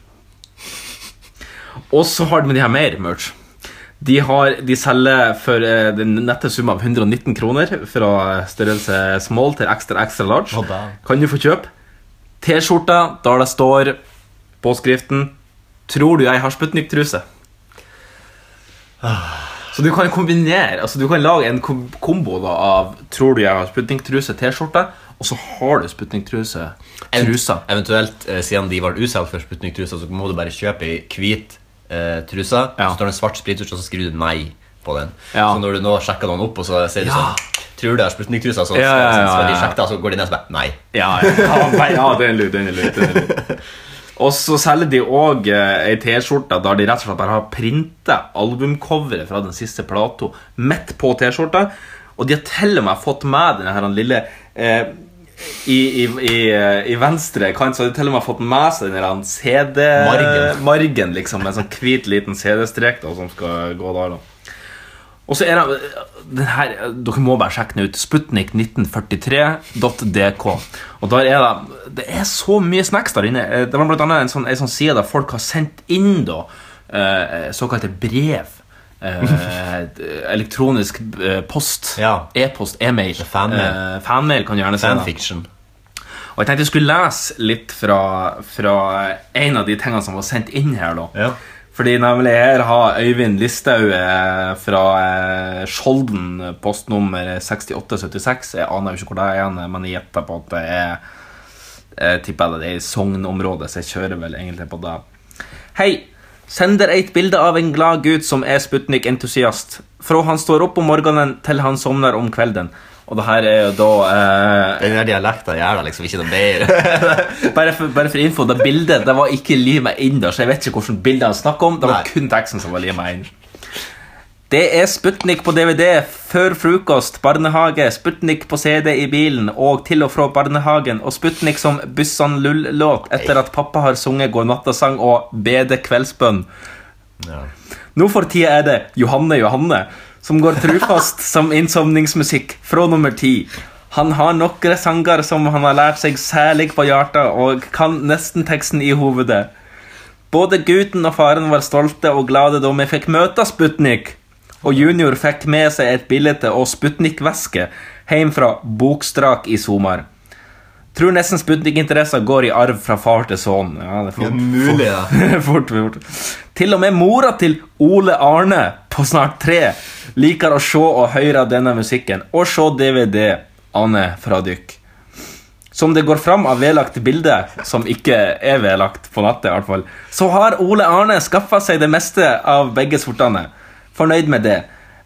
Og så har de, men de har mer merch. De, har, de selger for eh, den nette sum av 119 kroner fra eh, størrelse small til ekstra ekstra large. Hva da? Kan du få kjøpe T-skjorta der det står påskriften 'Tror du jeg har Sputnik-truse'? Så du kan kombinere altså Du kan lage en kom kombo da av 'Tror du jeg har Sputnik-truse', T-skjorte, og så har du Sputnik-truse. Trusa. Eventuelt, eh, siden de ble usolgt for Sputnik-trusa, så må du bare kjøpe ei hvit eh, truse. Ja. Så står det en svart sprittusj, og så skriver du nei på den. Ja. Så når du nå sjekker noen opp, og så sier de Ja. sånn Tror du det er Sputnik-trusa? Så, Ja, ja, så, ja, så, så, de ja. sjekker, og så går de ned og så bare Nei. Ja, ja. ja, nei, ja det er en lyd, det er en lyd, det er en lyd. Og så selger de òg ei T-skjorte der de rett og slett bare har printa albumcoveret fra den siste plata midt på T-skjorta. Og de har til og med fått med denne her lille eh, i, i, i, eh, I venstre kant så har de til og med fått med seg den Margen. CD-margen, liksom. Med en sånn hvit liten CD-strek da som skal gå der. da og så er det den her, Dere må bare sjekke den ut. Sputnik1943.dk. Og der er det Det er så mye snacks der inne. Eh, Det var blant annet en sånn, en sånn side der folk har sendt inn da eh, såkalte brev. Eh, elektronisk eh, post. Ja. E-post, e-mail. Fanmail. Eh, fanmail kan du gjerne si. da. Fanfiction. Og jeg tenkte jeg skulle lese litt fra, fra en av de tingene som var sendt inn her. da. Ja. Fordi nemlig her har Øyvind Listhaug eh, fra eh, Skjolden, eh, postnummer 6876. Jeg aner jo ikke hvor det er, igjen, men jeg gjetter på at det er jeg tipper det er i Sogn-området, så jeg kjører vel egentlig på det. Hei! Sender et bilde av en glad gutt som er Sputnik-entusiast. Fra han står opp om morgenen til han sovner om kvelden. Og det her er jo da eh, Den der dialekten gjør da liksom ikke noe bedre. bare for, bare for info, det bildet det var ikke limet inn der, så jeg vet ikke hvilket bilde han snakker om. Det var Nei. kun teksten som var limet inn. Det er Sputnik på DVD før frokost, barnehage, Sputnik på CD i bilen og til og fra barnehagen, og Sputnik som Bussan Lull-låt etter at pappa har sunget Godnattasang og Bede kveldsbønn. ja. Nå for tida er det Johanne Johanne som går trufast som innsovningsmusikk fra nummer ti. Han har noen sanger som han har lært seg særlig på hjertet, og kan nesten teksten i hovedet. Både gutten og faren var stolte og glade da vi fikk møte Sputnik. Og junior fikk med seg et bilde og Sputnik-veske hjem fra Bokstrak i sommer. Tror nesten Sputnik-interesser går i arv fra far til sønn. Ja, det er flott. Mulig, da. fort, fort. Til og med mora til Ole Arne på snart tre liker å se og høre denne musikken, og se DVD Anne fra dykk. Som det går fram av vedlagte bilder, som ikke er vedlagt på nettet, i hvert fall, så har Ole Arne skaffa seg det meste av begge sortene. Fornøyd med det.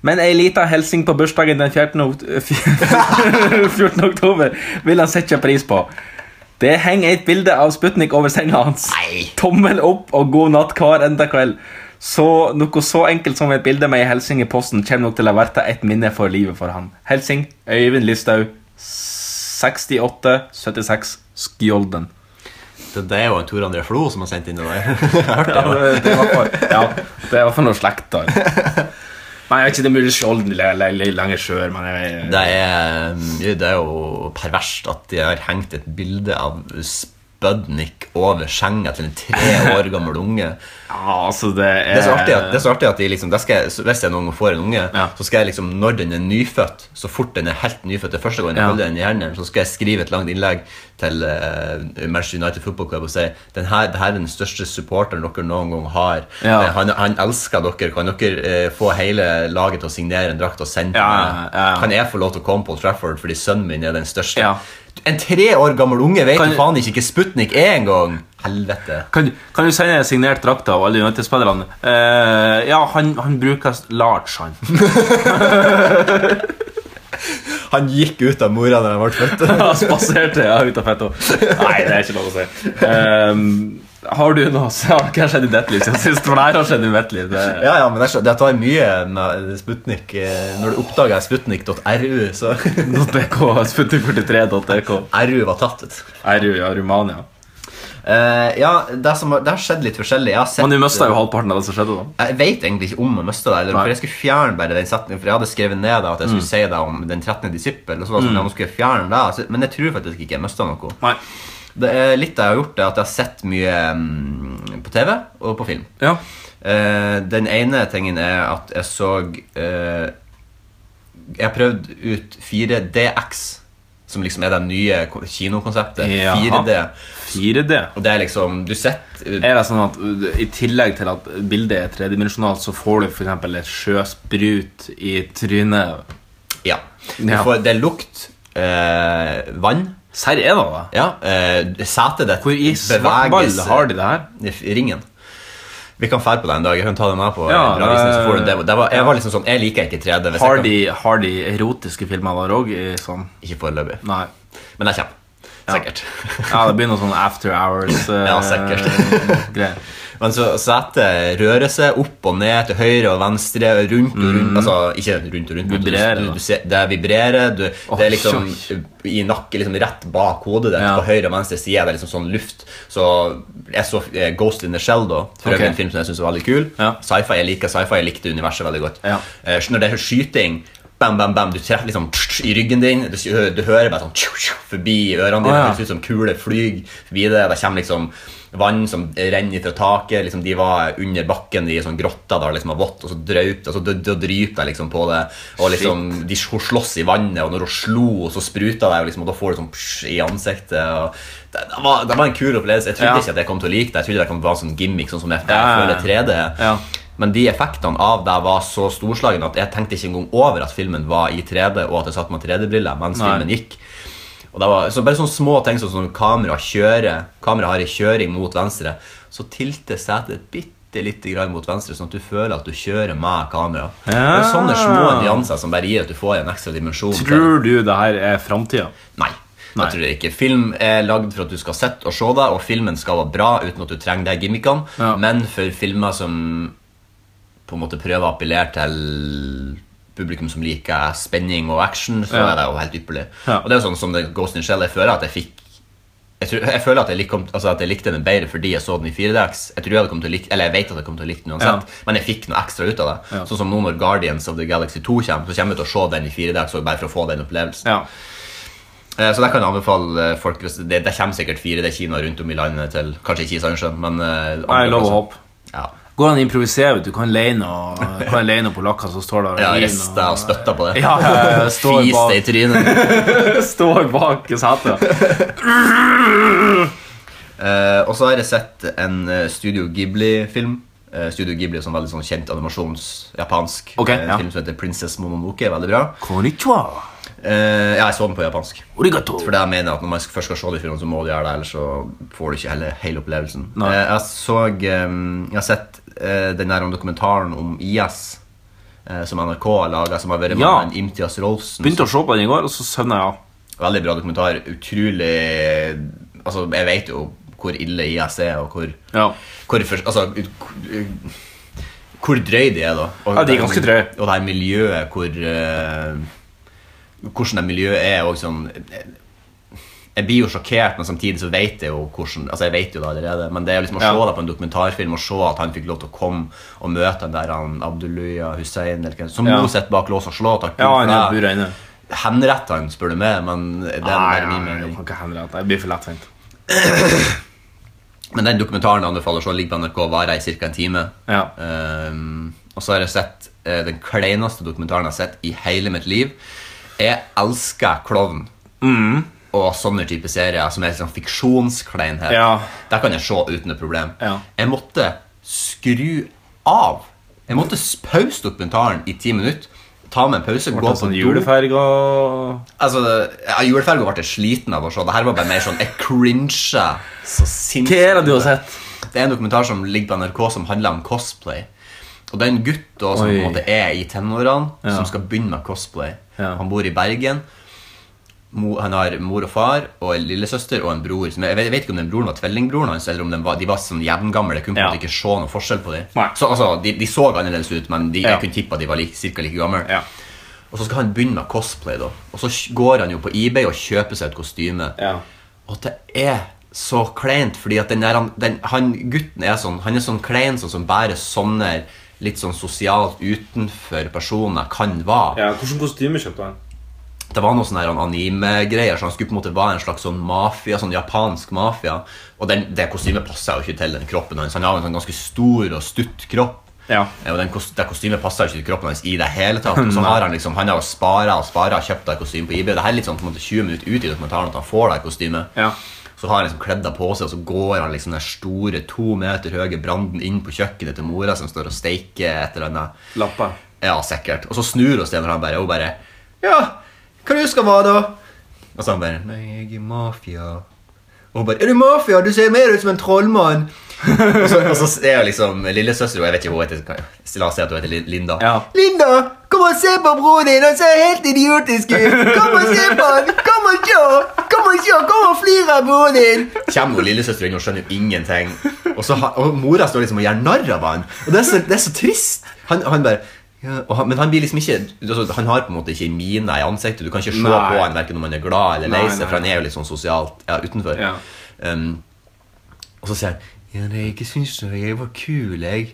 Men ei lita hilsing på bursdagen den 14. ok- 14. oktober vil han sette pris på. Det henger et bilde av Sputnik over senga hans. Nei. Tommel opp og god natt hver enda kveld. Så noe så enkelt som et bilde med ei hilsen i posten kommer nok til å verte et minne for livet for han. Helsing Øyvind Listhaug, 68 76 Skjolden. Det, det er jo en Tor André Flo som har sendt inn det der. Jeg hørte Ja, det. det, det var for, ja, det var for noe slekt, da. Nei, jeg vet ikke, det er mulig Skjolden eller Langesjøer, men jeg, Det er, det er jo perverst at de har hengt et bilde av Spudnik over senga til en tre år gammel unge. ja, altså, det er Det er så artig at, det er så artig at de liksom, det skal, jeg- så hvis jeg noen gang får en unge, Ja. så skal jeg liksom, når den er nyfødt, så fort den er helt nyfødt, det er første gang jeg Ja. holder den i hendene, så skal jeg skrive et langt innlegg til eh, Manchester United Football Club og si den her, det her er den største supporteren dere noen gang har. Ja. Eh, Han, han elsker dere. Kan dere eh, få hele laget til å signere en drakt og sende til Ja, meg? ja, ja. Kan jeg få lov til å komme på Old Trafford fordi sønnen min er den største? Ja. En tre år gammel unge vet Kan- jo faen ikke hva Sputnik er engang! Helvete. Kan, du- kan du sende signert drakta og alle United-spillerne? Eh, ja, han, han bruker large, han. Han gikk ut av mora da han ble født. Han Spaserte ja, ut av fetto. Nei, det er ikke lov å si. Ehm, har du noe så har det ikke skjedd i ditt liv siden sist? For det her har skjedd i mitt liv. Det, Ja, ja, men det, er så- det tar mye med Sputnik. eh, Når du oppdager sputnik.ru, så .dk, sputnik43.dk. RU var tatt ut. RU, ja, Romania. Eh, ja, det, som, har- det har skjedd litt forskjellig. Jeg, har sett, Men du mista jo halvparten av det som skjedde, da. jeg vet egentlig ikke om jeg mista det. Eller, Nei. Mm. for jeg skulle fjerne bare den setningen For jeg hadde skrevet ned da, at jeg skulle si det om den 13. disippel. Og så var det sånn, ja, nå skulle jeg fjerne det så, Men jeg tror faktisk ikke jeg mista noe. Nei. Det er litt jeg har gjort, er at jeg har sett mye mm, på TV og på film. Ja. Eh, den ene tingen er at jeg så eh, Jeg prøvde ut 4DX, som liksom er det nye ko- kinokonseptet. Jaha. 4D. 4D. Og det er liksom Du sitter Er det sånn at uh, i tillegg til at bildet er tredimensjonalt, så får du for eksempel et sjøsprut i trynet? Ja. Du Ja. får, det er lukt, eh, vann Serr er det, da? Ja. Eh, setet ditt Hvor i svartball har de det her? Ringen. Vi kan fære på det en dag. Jeg kan ta det med på Ja, en bra visning, så får du det- det. Det var, jeg var liksom sånn Jeg liker ikke 3D. hvis jeg Har kan- de, har de erotiske filmer der òg? Sånn? Ikke foreløpig. Nei. Men det kommer. Ja. Sikkert. Ja, det blir noe sånn after hours eh, Ja, sikkert. greier. Men så setet rører seg opp og ned, til høyre og venstre, rundt og rundt. Altså, ikke rundt og rundt. men Mm. Vibrerer, da. Du, du, du ser, det vibrerer. Du, det er liksom i nakken, liksom rett bak hodet ditt. Ja. På høyre og venstre side er det liksom sånn luft. Så jeg så eh, Ghost in the Shell, da. For Ok. øvrig en film som jeg synes var veldig kul. Ja. Sci-fi, jeg liker sci-fi. Jeg likte universet veldig godt. Ja. Eh, så når det er skyting Bam, bam, bam, Du treffer liksom i ryggen din. Du, du hører bare sånn forbi ørene Å, dine. ja. Det høres ut som kuler flyr forbi det. Det kommer liksom vann som renner fra taket. Liksom, de var under bakken i sånn grotta der det liksom var vått, og så drøp det, og så dø- dø- dryper det liksom på det. Og liksom, de, Hun slåss i vannet, og når hun slo, og så spruta det, og, liksom, og da får du sånn psh, i ansiktet. Og det, det, var, det var en kul opplevelse. Jeg trodde Ja. ikke at jeg kom til å like det. Jeg trodde det kom til å være en sånn gimmick, sånn som jeg, jeg Ja, ja, ja. føler 3D. Ja. Men de effektene av det var så storslagne at jeg tenkte ikke engang over at filmen var i 3D, og at jeg satt med 3D-briller mens Nei. filmen gikk. Og det var så bare sånne små ting som sånn kamera kjører Kamera har en kjøring mot venstre, så tilter setet et bitte lite grann mot venstre, sånn at du føler at du kjører med kamera. Det er sånne små nyanser som bare gir at du får en ekstra dimensjon. til- Tror du det her er framtida? Nei. Nei. Jeg tror jeg ikke. Film er lagd for at du skal sitte og se det, og filmen skal være bra uten at du trenger de gimmickene, Ja. men for filmer som på en måte prøver å appellere til publikum som liker spenning og action, så Ja. er det jo helt ypperlig. Ja. Og det er jo sånn som det Ghost in the Shell. Jeg føler at jeg fikk jeg, tror, jeg føler at jeg, lik, altså at jeg likte den bedre fordi jeg så den i 4DX. Jeg tror jeg hadde kommet til å like, eller jeg vet at jeg kom til å like den uansett, men jeg fikk noe ekstra ut av det. Ja. Sånn som nå når Guardians of the Galaxy 2 kommer, så kommer jeg til å se den i 4DX også, bare for å få den opplevelsen. Ja. Eh, Så det kan jeg anbefale eh, folk hvis- det, det kommer sikkert fire det er kinoer rundt om i landet til Kanskje ikke i Sandnessjøen, men eh, Nei, andre lov å plasser. håpe. Ja. Går an å improvisere. vet Du kan leie noe- kan leie noen polakker som står der ja, gir rister og støtter på det. eh, Ja, ja, ja, står Fis bak- det i trynet. står bak i setet. Eh, og så har jeg sett en eh, Studio Ghibli-film. Eh, Studio Ghibli er sånn veldig sånn kjent animasjons-japansk Ok, eh, ja. film som heter Princess Mononoke. Veldig bra. Konnichiwa. Eh, ja, jeg så den på japansk. Origato. For det jeg mener at Når man skal- først skal se de filmene, så må du gjøre det, ellers så får du ikke hele, hele opplevelsen. Nei. Eh, jeg så eh, Jeg har sett eh, den der om dokumentaren om IS, eh, som NRK har laga, som har vært med Ja. med en Imtias Rolfsen. Begynte å se på den i går, og så søvna jeg av. Veldig bra dokumentar. Utrolig Altså, jeg vet jo hvor ille IS er, og hvor Ja. hvor, for, altså, ut- Hvor drøy de er, da. Og Ja, de er ganske drøy. Og det her miljøet hvor eh, Hvordan det miljøet er og sånn Jeg blir jo sjokkert, men samtidig så vet jeg jo hvordan Altså, jeg vet jo det allerede, men det er jo liksom å Ja. se det på en dokumentarfilm og se at han fikk lov til å komme og møte den der han Abdullah Hussein eller hva, som Ja. nå sitter bak lås og slå. takk Ja, Gud han for er det. bura inne. Henrett han, spør du meg, men det er bare min Nei, jeg mening. kan ikke henrette. Jeg blir for lettvint. Men den dokumentaren jeg anbefaler så ligger på NRK og varer i ca. en time. Ja. Ehm, og så har jeg sett eh, den kleineste dokumentaren jeg har sett i hele mitt liv. Jeg elsker klovn Mm. og sånne type serier som er sånn fiksjonskleinhet. Ja. Der kan jeg se uten et problem. Ja. Jeg måtte skru av. Jeg måtte s- pause dokumentaren i ti minutter, ta meg en pause, gå Gå på sånn do. juleferg og Altså, ja, Juleferga ble jeg sliten av å se. Det her var bare mer sånn Jeg cringer så sinnssykt. Hva er det du har sett? Det er en dokumentar som ligger på NRK som handler om cosplay. Og det er en gutt da, som på Oi. en måte er i tenårene, Ja. som skal begynne med cosplay. Ja. Han bor i Bergen. Mo, han har mor og far og en lillesøster og en bror. Som jeg, jeg vet ikke om den broren var tvillingbroren hans, eller om den var, de var sånn jevngamle. Jeg kunne på en Ja. måte ikke se noen forskjell på dem. Nei. Så, altså, de, de så annerledes ut, men de, Ja. jeg kunne tippe at de var like, cirka like gamle. Ja. Og så skal han begynne med cosplay, da. Og så kj- går han jo på eBay og kjøper seg et kostyme. Ja. Og det er så kleint, fordi at den der, han- den, han gutten er sånn Han er sånn klein sånn som bare sånne litt sånn sosialt utenfor personer kan være. ja Hvilket kostyme kjøpte han? Det var noe sånn her anime-greier, så han skulle på en måte være en slags sånn mafia, sånn japansk mafia. Og den, det kostymet passer jo ikke til den kroppen hans. Han har jo en sånn ganske stor og stutt kropp. Ja. Eh, Og den, kos- det kostymet passer jo ikke til kroppen hans i det hele tatt. Og så har han liksom, han har jo sparet og sparet og kjøpt det kostymet på eBay. Det her er litt sånn på en måte 20 minutter ut i dokumentaren at han får det kostymet. Ja. Så har han liksom kledd det på seg, og så går han liksom den store to meter høye branden inn på kjøkkenet til mora som står og steiker et eller annet. Lappa. Ja, sikkert. Og så snur hun seg når han bare, og hun bare Ja, hva du skal være, da? Og så han bare Nei, jeg er mafia. Og hun bare Er du mafia? Du ser mer ut som en trollmann. og, så, og så er jo liksom lillesøster og Jeg vet ikke hva hun heter. kan- La oss si at hun heter Lin- Linda. Ja. Linda! Kom og se på broren din! Han ser helt idiotisk ut! Kom og se på han! Kom og se! Kom og se! Kom og flir av broren din! Kjem jo lillesøster inn og skjønner jo ingenting. Og, så, har- og mora står liksom og gjør narr av han. Og det er så, det er så trist. Han, han bare ja, og han, men han blir liksom ikke altså, Han har på en måte ikke en mine i ansiktet. Du kan ikke se Nei. på han hverken om han er glad eller lei Nei, seg, nei. for han er jo litt sånn sosialt ja, utenfor. Ja. Um, og så sier han Ja, nei, jeg syns jo jeg var kul, jeg.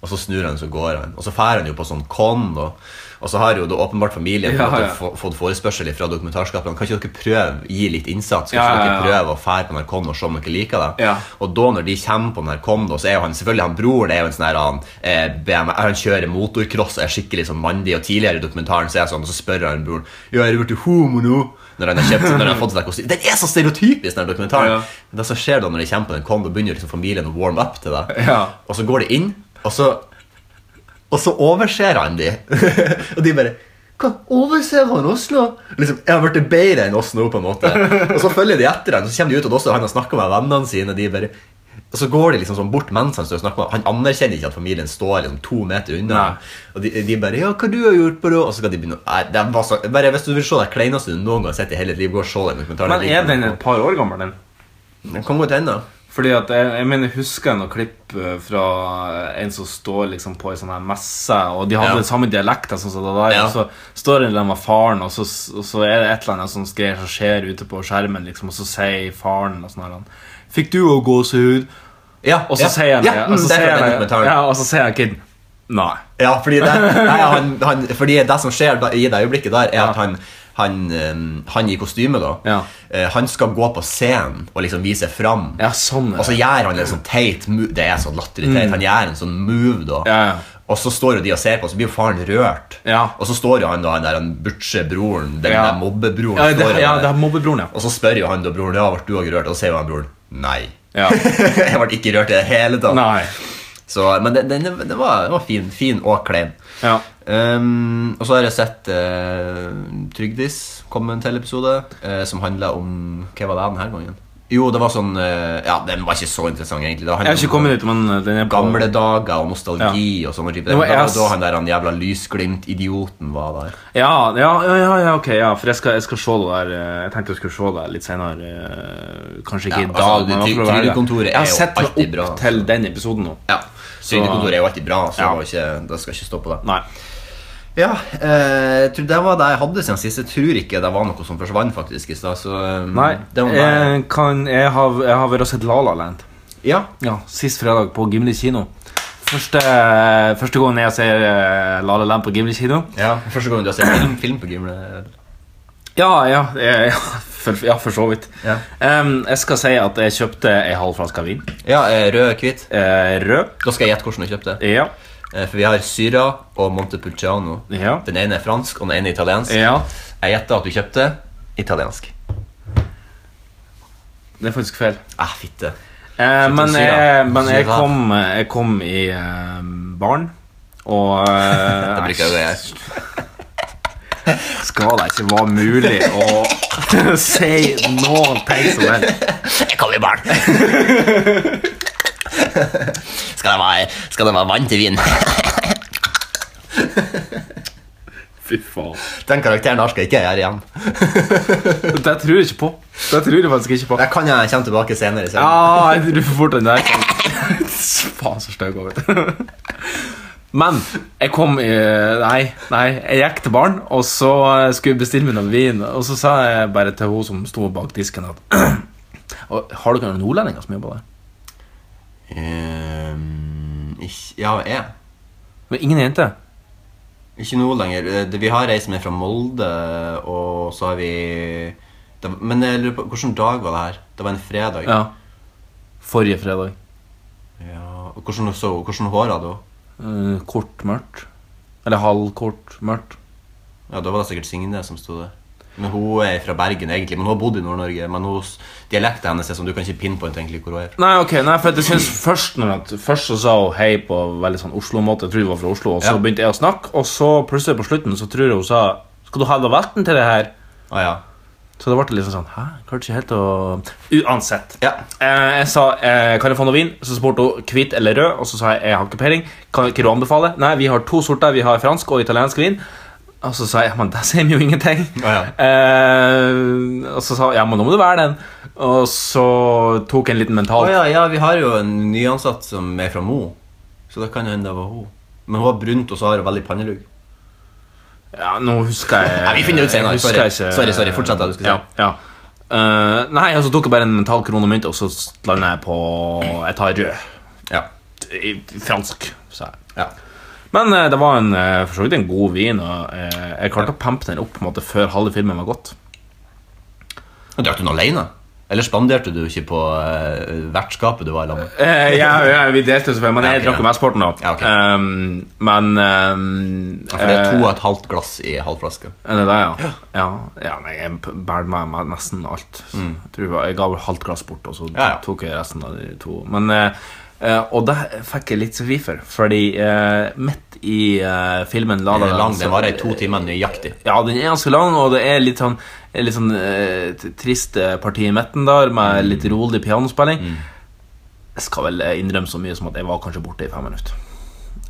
Og så snur han, så går han. Og så fær han jo på sånn con. Og, og så har jo da åpenbart familien på en Ja, måte ja. få- fått forespørsel fra dokumentarskaperne. Kan ikke dere prøve gi litt innsats? Kan Ja, ikke ja, ja. dere prøve å fære på den her con og se om dere liker det? Ja. Og da når de kommer på den her con, da, så er jo han selvfølgelig han broren er jo en sånn her han, eh, BMW, han kjører motorcross og er skikkelig sånn mandig. Og tidligere i dokumentaren så er jeg sånn, og så spør han broren Ja, er du blitt homo nå? Når han har kjøpt, når han har fått seg kostyme. Den er så stereotypisk, den her dokumentaren. Ja. Men Det som skjer da når de kommer på den con, da begynner liksom familien å warme up til deg. Ja. Og så går de inn, og så og så overser han de. og de bare Hva overser han oss nå? Liksom, Jeg har blitt bedre enn oss nå, på en måte. Og så følger de etter han, så kommer de ut, og også han har snakket med vennene sine. De bare, og så går de liksom sånn bort mens han står og snakker med Han anerkjenner ikke at familien står liksom to meter unna. Nei. Og de, de bare 'Ja, hva du har gjort på det?' Og så skal de begynne å- Nei, det var så, bare, Hvis du vil se det kleineste du noen gang har sett i hele ditt liv, gå og se den dokumentaren. Men er den et par år gammel, den? Den kan godt hende. Fordi at jeg, jeg mener, husker jeg noen klipp eh, fra en som står liksom på ei sånn her messe, og de hadde Ja. den samme dialekten, sånn som det der, Ja. og så står en eller annen med faren, og så, og så er det et eller annet sånt greier som skjer ute på skjermen, liksom, og så sier faren og sånn her, han, Fikk du òg gåsehud? Ja, Og så ja, sier han det, ja, mm, og så det er sier fra den han det, dokumentaren. ja, og så sier han kiden Nei. Ja, fordi det, nei, han, han, fordi det som skjer da, i det øyeblikket der, er Ja. at han, han, eh, han i kostyme, da, Ja. eh, han skal gå på scenen og liksom vise fram. Ja, sånn er Og så det. gjør han en sånn teit move. Det er så latterlig teit. Han gjør en sånn move, da. Ja, ja. Og så står jo de og ser på, og så blir jo faren rørt. Ja. Og så står jo han da, han der han butche-broren, den Ja. der mobbebroren, Ja, det, står jo ja, der. det er mobbebroren, ja. Og så spør jo han da broren, ja, ble du òg rørt? Og så sier jo han broren, nei. Ja. Jeg ble ikke rørt i det hele tatt. Nei. Så, men den, den, den, var, den var fin. Fin og klein. Ja. Ehm, og så har jeg sett eh, Trygdis komme med en til episode eh, som handla om Hva var det denne gangen? Jo, det var sånn eh, Ja, den var ikke så interessant, egentlig. Det handlet Jeg har ikke om kommet dit, men eh, den er på Gamle dager og nostalgi og sånne typer. Det var Det var jeg- da han der han jævla lysglimt-idioten var der. Ja, ja, ja, ja, ja, ok, ja, for jeg skal, jeg skal se det der eh, Jeg tenkte jeg skulle se det litt senere eh, Kanskje ikke Ja, i altså, dag, det men i ty- hvert fall over helga. trygdekontoret er Jeg har jo sett meg alltid opp bra, altså. til den episoden nå Ja. Trygdekontoret er jo alltid bra, så Ja. det var ikke, det skal ikke stå på det. Nei. Ja, eh, jeg tror det var det jeg hadde siden sist. Jeg tror ikke det var noe som forsvant faktisk i stad. Så eh, Nei. Eh, det var bare- Jeg, kan, jeg, har, jeg har vært og sett La La Land. Ja, Ja, Sist fredag på Gimli kino. Første, første gangen jeg ser eh, La La Land på Gimli kino. ja. Første gangen du har sett film, film på Gimle. Ja, ja, jeg, ja, for, ja, for så vidt. Ja. Em, jeg skal si at jeg kjøpte ei halv flaske vin. Ja, eh, rød og hvit. Eh, rød. Da skal jeg gjette hvordan du kjøpte det. Ja. Eh, For vi har Syra og Montepulciano. Ja. Den ene er fransk, og den ene er italiensk. ja. Jeg gjetter at du kjøpte italiensk. Det er faktisk feil. Ah, fitte. Eh, men Syra. jeg, men jeg, Syra. kom, jeg kom i eh, barn, og eh, Det bruker jeg å gjøre. Skal det ikke være mulig å si noen ting som helst? Jeg kaller det barn. skal, det være, skal det være vann til vin? Fy faen. Den karakteren her skal ikke jeg gjøre igjen. Det tror jeg ikke på. Det tror jeg faktisk ikke på. Det kan jeg komme tilbake senere. senere. Ja, jeg tror for fort den der kom. Faen, så støgg over. Men jeg kom i Nei, nei, jeg gikk til baren, og så eh, skulle jeg bestille meg noe vin. Og så sa jeg bare til hun som sto bak disken, at «Og Har dere noen nordlendinger som jobber der? Ehm, ikk- ja, jeg. Men ingen jenter. Ikke nå lenger. Eh, det- Vi har ei som er fra Molde, og så har vi det, Men jeg lurer på, hvilken dag var det her? Det var en fredag. Ja. Forrige fredag. Ja, og hvordan, så, hun? hvordan hår hadde hun? Eh, Kort mørkt. Eller halvkort mørkt. Ja, Da var det sikkert Signe som sto der. Men Hun er fra Bergen, egentlig, men hun har bodd i Nord-Norge. Men hun, dialekten hennes er sånn, du kan ikke pinpointe egentlig hvor hun er fra. Nei, ok, nei, for at jeg synes først når at, Først så sa hun hei på veldig sånn Oslo-måte Jeg tror hun var fra Oslo, og så Ja. begynte jeg å snakke Og så plutselig på slutten så tror jeg hun sa Skal du ha noe vatten til det her? Ah, ja. Så det ble liksom sånn, hæ? Klarte ikke helt å Uansett Ja. eh, Jeg sa, eh, kan jeg få noe vin? Så spurte hun hvitt eller rød Og så sa jeg, jeg har ikke peiling Kan ikke du anbefale? Nei, vi har to sorter, vi har fransk og italiensk vin og så sa jeg, men det sier vi jo ingenting Ja, eh, Og så sa hun, ja, men nå må du være den Og så tok jeg en liten mental Å ja, ja, vi har jo en nyansatt som er fra Mo, så det kan jo hende det var hun. Men hun har brunt, og så har hun veldig pannelugg. Ja, nå husker jeg Nei, vi finner ut senere. jeg husker Sorry. ikke- Sorry, sorry. Fortsett da, du skulle si. Ja, ja. Eh, nei, og så tok jeg bare en mental krone og mynt, og så landa jeg på Jeg tar rød. Ja. I fransk, sa jeg. ja. Men eh, det var en, eh, for så vidt en god vin, og eh, jeg klarte å pampe den opp på en måte før halve filmen var gått. Men Drakk du den alene? Eller spanderte du ikke på eh, vertskapet du var i lag med? Eh, ja, ja, vi delte selvfølgelig, men Ja, jeg ok, drakk jo ja. mesteparten, da. Ja, ok. Ehm, men ehm, Ja, For det er eh, to og et halvt glass i halv flaske. Er det det, ja? Ja, ja nei, jeg bærte meg med nesten alt. Jeg, tror det var, jeg ga vel halvt glass bort, og så Mm. Ja, ja. tok jeg resten av de to. Men, eh, eh, og det fikk jeg litt svi for, fordi eh, midt i eh, filmen La Den La er lang, Land, den så- varer i to timer nøyaktig. Ja, den er ganske lang, og det er litt sånn, litt sånn eh, t- trist eh, parti i midten der, med Mm. litt rolig pianospilling. Jeg skal vel eh, innrømme så mye som at jeg var kanskje borte i fem minutter.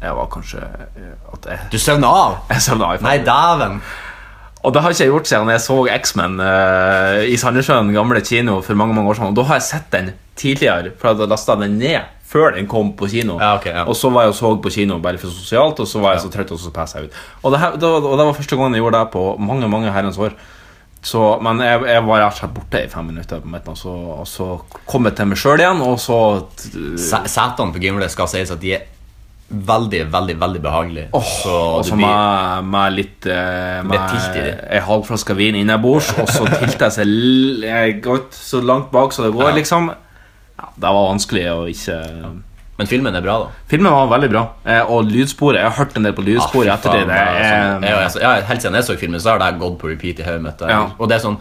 Jeg var kanskje eh, at jeg, Du søvna av! jeg sovna i fem Nei, dæven! og det har ikke jeg gjort siden jeg så X-Men eh, i Sandnessjøen gamle kino for mange mange år siden. Og da har jeg sett den tidligere, for jeg hadde lasta den ned før den kom på kino. Ja, ok, ja. Og så var jeg og så på kino bare for sosialt, og så var jeg så trøtt, og så passa jeg ut. Og det, her, det, var, og det var første gangen jeg gjorde det på mange mange herrens år. Så, men jeg, jeg var rett og slett borte i fem minutter, på midten, og, så, og så kom jeg til meg sjøl igjen, og så Se- Setene på Gimle skal sies at de er veldig, veldig veldig behagelige. så Og du så blir med, med litt eh, blir tilt i Med det. en halv flaske vin innabords, og så tilta jeg seg l- jeg gått så langt bak som det går, Ja. liksom. Ja, det var vanskelig å ikke Men filmen er bra, da. Filmen var veldig bra, eh, og lydsporet Jeg har hørt en del på lydsporet i Ah, fy faen, ettertid. det er sånn- det ja, er- altså, ja, helt siden jeg så filmen, så har det gått på repeat i hodet mitt. Ja. Og det er sånn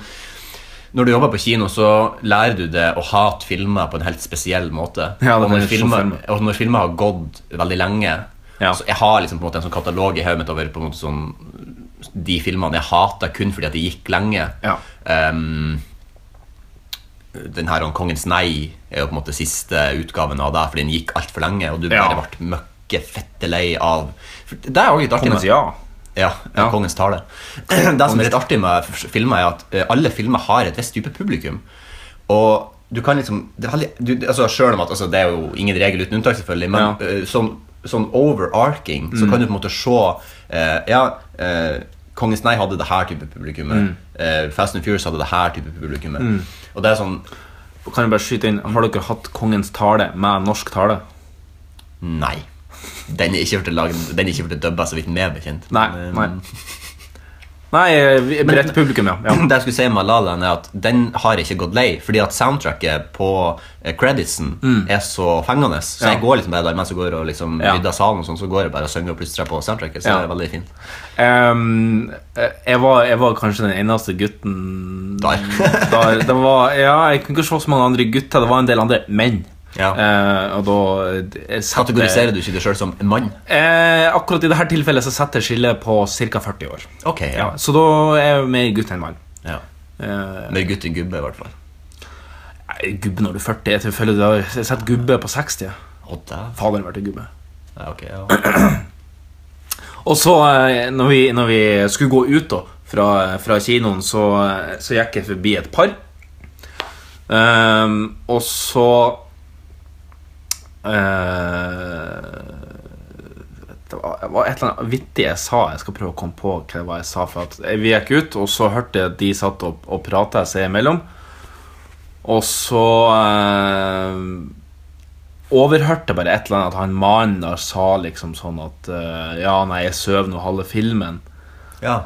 Når du jobber på kino, så lærer du det å hate filmer på en helt spesiell måte. Ja, det er og, når sånn filmer, filmer. og når filmer har gått veldig lenge Ja. så Jeg har liksom på en måte en sånn katalog i hodet mitt over på en måte sånn de filmene jeg hater kun fordi at de gikk lenge. Ja. Ehm, den her om Kongens nei er jo på en måte siste utgaven av det, for den gikk altfor lenge, og du Ja. bare ble møkke fette lei av for Det er jo litt artig Kongens med ja. ja, Ja. Kongens tale. Det som er litt artig med f- filmer, er at eh, alle filmer har et visst type publikum. Og du kan liksom det er veldig, du, altså Selv om at altså, det er jo ingen regel uten unntak, selvfølgelig, men Ja. Mm. eh, sånn sånn overarching, så kan du på en måte se eh, Ja, eh, Kongens Nei hadde det her type Mm. publikummet. Eh, Fast and Furious hadde det her type publikummet. Og det er sånn Kan jeg bare skyte inn, Har dere hatt Kongens tale med norsk tale? Nei. Den er ikke blitt lagd- den er ikke blitt dubba, så vidt meg bekjent. Nei. Men, eh, Nei, nei eh, bredt publikum, ja. ja. Det jeg skulle si med La La Land er at den har ikke gått lei, fordi at soundtracket på eh, creditsen er så fengende. Så Mm. Ja. jeg går liksom bare der mens jeg går og liksom Ja. rydder salen, og sånn, så går jeg bare og synger og plystrer på soundtracket. Så Ja. det er veldig fint. Ehm, eh, jeg, var, jeg var kanskje den eneste gutten Der. der. Det var, ja, jeg kunne ikke se så mange andre gutter. Det var en del andre menn. Ja. Eh, og da eh, setter- Kategoriserer du ikke deg sjøl som en mann? Eh, akkurat i dette tilfellet så setter jeg skillet på ca. 40 år. Ok, ja. Ja, så da er jeg mer gutt enn mann. ja. Eh, Mer gutt enn gubbe, i hvert fall. nei, gubbe når du er 40 Jeg føler det har- Jeg setter gubbe på 60. Å, dæven. Faderen ble gubbe. Ja, ok, ja. Og så, eh, når vi, når vi skulle gå ut da, fra, fra kinoen, så, eh, så gikk jeg forbi et par. Ehm, og så eh, Det var det var et eller annet vittig jeg sa. Jeg skal prøve å komme på hva det var jeg sa. For at vi gikk ut, og så hørte jeg at de satt og, og prata seg imellom. Og så eh, overhørte bare et eller annet at han mannen der sa liksom sånn at eh, Ja, nei, jeg sover nå halve filmen. ja.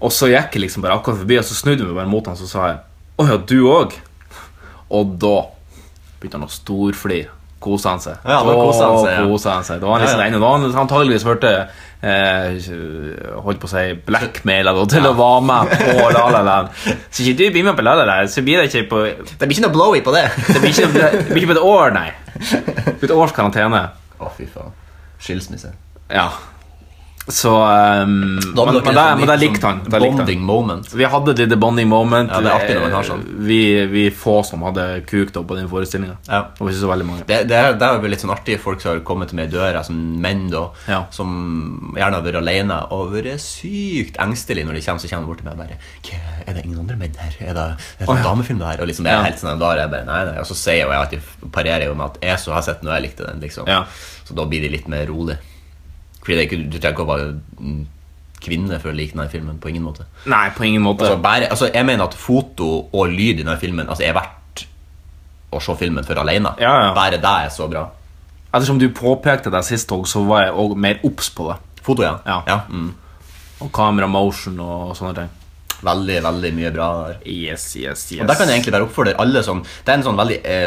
Og så gikk jeg liksom bare akkurat forbi, og så snudde jeg meg bare mot han, så sa jeg Å ja, du òg? Og da begynte han å storflire. Kosa han seg. Ja, da koset han Å, seg, ja. koset han seg. Da var han liksom Ja, ja. ene. Da var han antageligvis blitt eh, Holdt på å si blackmaila til å være med på La La Land. Så ikke du blir med på La La Land, så blir det ikke på Det blir ikke noe blowy på det. Det blir ikke, det blir ikke på et år, nei. Det blir et års karantene. Å, fy faen. Skilsmisse. Ja. Så ehm, Da Men, hadde men, dere der, sånn men der litt likte sånn han. Der likte han. Bonding moment. Vi hadde det the bonding moment. Eh, Ja, det er artig når man har sånn. Vi, vi få som hadde kuk da på den forestillinga. Ja. Det var ikke så veldig mange. Det, det, er, det er jo litt sånn artig folk som har kommet til meg i døra, som menn da, Ja. som gjerne har vært alene og vært sykt engstelig når de kommer, så kommer de bort til meg og bare «Hva, Er det ingen andre menn her? Er det, er det en damefilm det her? Og liksom, jeg Ja. er helt sånn, da er jeg bare nei, nei. Og så sier jeg jo jeg alltid, parerer jeg jo med at jeg så har sett den, og jeg likte den, liksom. Ja. Så da blir de litt mer rolig. Fordi det er ikke, du trenger ikke å være mm, kvinne for å like denne filmen, på ingen måte. Nei, på ingen måte. Altså, bare, altså, jeg mener at foto og lyd i denne filmen altså, er verdt å se filmen for alene. Ja, ja. Bare det er så bra. Ettersom du påpekte det sist òg, så var jeg òg mer obs på det. Foto, ja. Ja. mm. Og kamera motion og sånne ting. Veldig, veldig mye bra der. Yes, yes, yes. Og der kan jeg egentlig bare oppfordre alle som Det er en sånn veldig eh,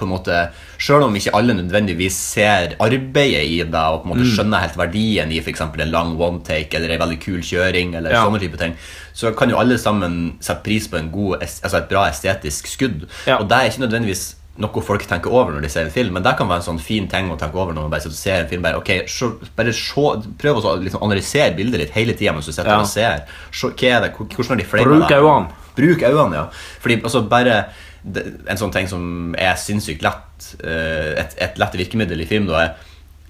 på en måte, Selv om ikke alle nødvendigvis ser arbeidet i det og på en Mm. måte skjønner helt verdien i for eksempel en lang one take eller en veldig kul kjøring, eller Ja. sånne type ting, så kan jo alle sammen sette pris på en god, es- altså et bra estetisk skudd. Ja. Og det er ikke nødvendigvis noe folk tenker over når de ser en film, men det kan være en sånn fin ting å tenke over når man bare sitter og ser en film. Bare, ok, se, bare se, Prøv å liksom analysere bildet litt hele tida mens du sitter Ja. og ser. Se, hva er det, hvordan har de fleimet Bruk det? øynene. Bruk øynene, ja. Fordi altså, bare det- en sånn ting som er sinnssykt lett, eh, et, et lett virkemiddel i film, da er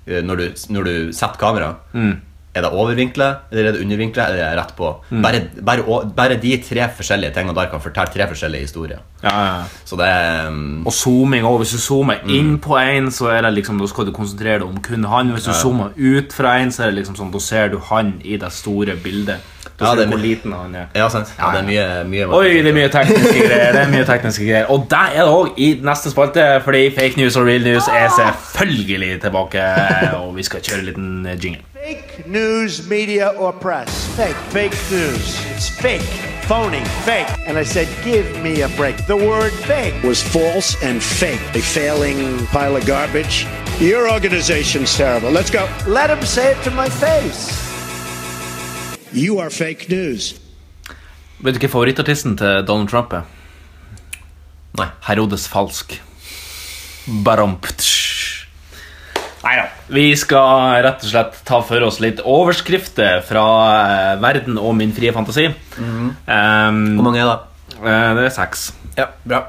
eh, når du, når du setter kamera Mm. Er det overvinklet, eller er det undervinklet, eller er det rett på? Mm. Bare, bare, å- bare de tre forskjellige tingene der kan fortelle tre forskjellige historier. Ja, ja, ja. Så det er mm, Og zooming òg. Hvis du zoomer inn på én, så er det liksom, da skal du konsentrere deg om kun han. Hvis du zoomer ut fra én, så er det liksom sånn, da ser du han i det store bildet. Da Ja, ser det du er hvor mi- liten han er. Ja, sant? Ja, det er mye, mye Oi, det er mye tekniske greier. det er mye tekniske greier Og der er det òg i neste spalte, fordi fake news og real news er selvfølgelig tilbake. Og vi skal kjøre en liten jingle. Fake news, media, or press. Fake. Fake news. It's fake. Phony. Fake. And I said, give me a break. The word fake was false and fake. A failing pile of garbage. Your organization's terrible. Let's go. Let him say it to my face. You are fake news. Vet du hva favorittartisten til Donald Trump er? Nei. Herodes Falsk. Barompt. Nei da. Vi skal rett og slett ta for oss litt overskrifter fra eh, verden og min frie fantasi. Ehm, Hvor mange er det? eh, det er seks, Ja, bra.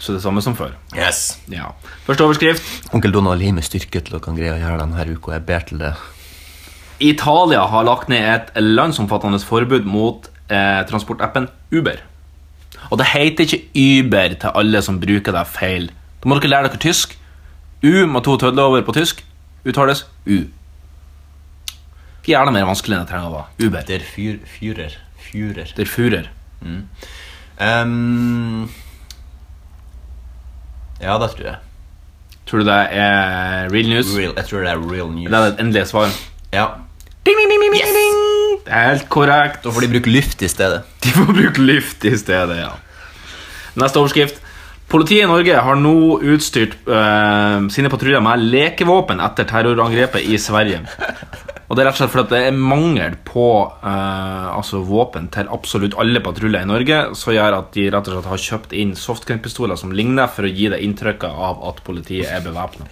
så det er samme som før. Yes. Ja. Første overskrift. Onkel Donald gir meg styrke til å kan greie å gjøre denne uka. Jeg ber til det. Italia har lagt ned et landsomfattende forbud mot eh, transportappen Uber. Og det heter ikke Uber til alle som bruker det feil. Da må dere lære dere tysk. U med to tødler over på tysk. uttales U. Gjerne mer vanskelig enn det trenger å være. Uber. Der fyr, fyrer. Fyrer. Der Führer. Ehm, ja, det tror jeg. Tror du det er real news? Real, jeg tror det er real news. Det er det endelige svaret. Ja. Ding, ding, ding, ding, ding, ding. Det er helt korrekt. Da får de bruke luft i stedet. De får bruke luft i stedet, ja. Neste overskrift. Politiet i Norge har nå utstyrt eh, sine patruljer med lekevåpen etter terrorangrepet i Sverige. Og Det er rett og slett fordi at det er mangel på eh, altså våpen til absolutt alle patruljer i Norge, som gjør at de rett og slett har kjøpt inn softgun-pistoler som ligner, for å gi det inntrykket av at politiet er bevæpna.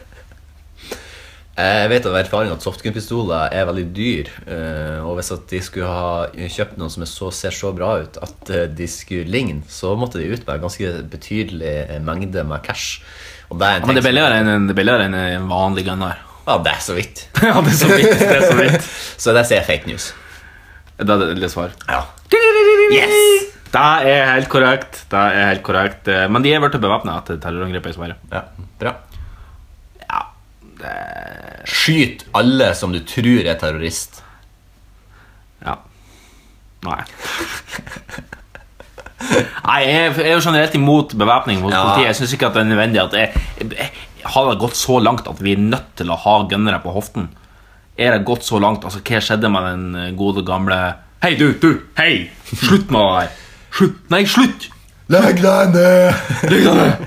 Jeg vet av erfaring at softgun-pistoler er veldig dyr. eh, Og hvis at de skulle ha kjøpt noen som er så, ser så bra ut at eh, de skulle ligne, så måtte de ut med en ganske betydelig eh, mengde med cash. Og det er en Men det er ting som- billigere enn en, det er billigere enn en vanlig gunner. Ja, det er så vidt. ja, det er så vidt. Det er så vidt. Så det sier fake news. Det er det endelige svar. Ja. Yes! Det er helt korrekt. Det er helt korrekt. Eh, Men de er blitt bevæpna etter terrorangrepet i Sverige. ja. Bra. Skyt alle som du tror er terrorist. Ja. Nei. Nei, jeg jeg er jo generelt imot bevæpning mot Ja. politiet. Jeg synes ikke at det er nødvendig at jeg, jeg, Har det gått så langt at vi er nødt til å ha gunnere på hoften? Er det gått så langt? Altså, Hva skjedde med den eh, gode gamle Hei, du! du, Hei! Slutt med det der! Slutt! Nei, slutt! Legg deg ned! ja,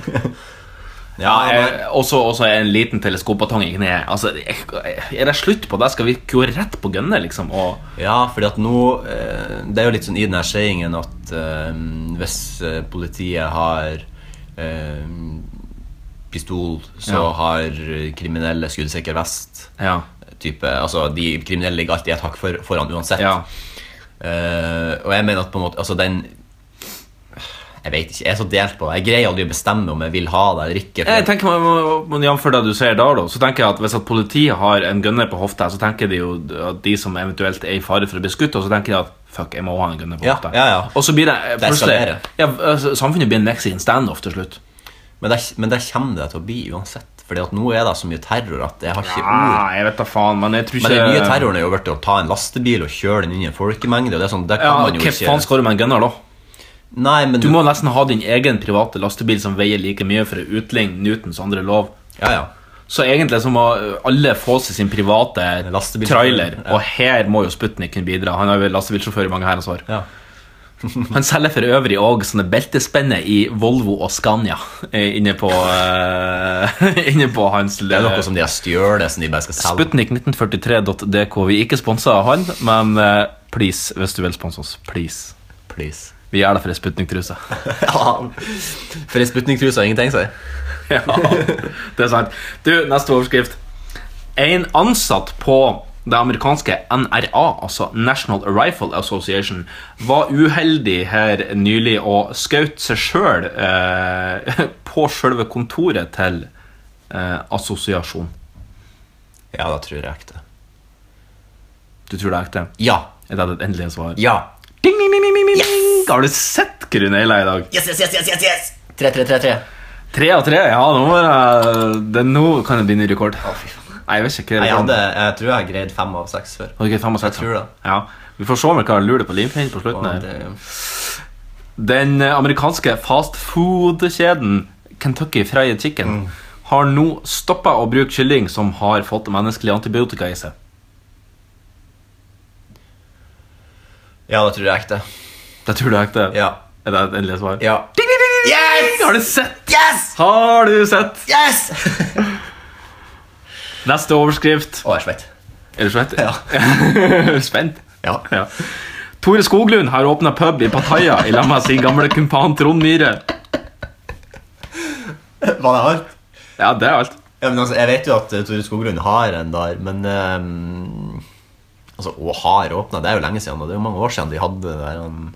Ja, jeg, eh, også, også en liten teleskopbatong i kneet. Altså, eh, er det slutt på det? Skal vi gå rett på gunner, liksom? Og ja, fordi at nå eh, Det er jo litt sånn i den her sayingen at eh, hvis eh, politiet har eh, pistol, så Ja. har kriminelle skuddsikker vest. ja. Type, altså, de kriminelle ligger alltid et hakk for, foran uansett. ja. Eh, og jeg mener at på en måte Altså den Jeg vet ikke, jeg er så delt på det. Jeg greier aldri å bestemme om jeg vil ha det eller ikke. for- Jeg tenker man må- må Jf. det du sier der, da, så tenker jeg at hvis at politiet har en gunner på hofta, så tenker de jo at de som eventuelt er i fare for å bli skutt, og så tenker de at fuck, jeg må ha en gunner på Ja, hofta. ja, ja. Og så blir det eh, Det plutselig eskalerer. ja, altså, Samfunnet blir en Mexican standoff til slutt. men, det, men det kommer det til å bli uansett. Fordi at nå er det så mye terror at jeg har ikke ord. Ah, jeg vet da faen, men jeg tror ikke Men den nye terroren er jo blitt å ta en lastebil og kjøre den inn i en folkemengde. Og det er sånn, det kan ja, man jo Hva ikke faen skal du med en gunner, da? Nei, men Du må nesten ha din egen private lastebil som veier like mye for å utligne Newtons andre lov. Ja, ja. Så egentlig så må ø, alle få seg sin private Lastebil- trailer, Ja. og her må jo Sputnik kunne bidra. Han er jo lastebilsjåfør i mange herrens år. ja. Han selger for øvrig òg sånne beltespenner i Volvo og Scania eh, inne på, eh, inne på hans eh, Det er noe som de har stjålet, som de bare skal selge. Sputnik1943.dk. Vi er ikke sponsa av han, men eh, please, hvis du vil sponse oss, please. Please. Vi gjør det for ei Sputnik-truse. Ja. For ei Sputnik-truse har ingenting å si. Ja, det er sant. Du, neste overskrift. En ansatt på det amerikanske NRA, altså National Rifle Association, var uheldig her nylig og skjøt seg sjøl eh, på sjølve kontoret til eh, assosiasjon. Ja, da tror jeg ekte. Du tror det er ekte? Ja. Er det ditt endelige svar? Ja. Ding, ding, ding, ding, ding, ding. Har du sett Grun Eila i dag? Yes, yes, yes, yes, yes, yes. 3, 3, 3, 3. Tre av tre? Ja, nå, må jeg- det, nå kan det bli ny rekord. Nei, jeg vet ikke. hva Jeg, rekorden- hadde, jeg tror jeg har greid fem av seks før. Ok, fem og seks, Jeg tror ja. det. Ja. Vi får se om vi kan lure det på limpinnen på slutten. Og her. det, Den eh, amerikanske fast food-kjeden Kentucky Fried Chicken Mm. har nå stoppa å bruke kylling som har fått menneskelig antibiotika i seg. ja, det tror jeg er ekte. Det tror du er ekte? Ja. Er det et endelig svar? ja. Ding, ding, ding, ding, ding! Yes! Har du sett? Yes! Har du sett? Yes! Neste overskrift. Å, jeg er svett. Er du spent? Ja. spent? Ja. Ja. Tore Skoglund har åpna pub i Pattaya i lag med sin gamle kumpan Trond Myhre. Var det hardt? Ja, det er alt. Ja, men altså, jeg vet jo at eh, Tore Skoglund har en der, men ehm, Altså, og har åpna. Det er jo lenge siden. Og det er jo mange år siden de hadde det der. um,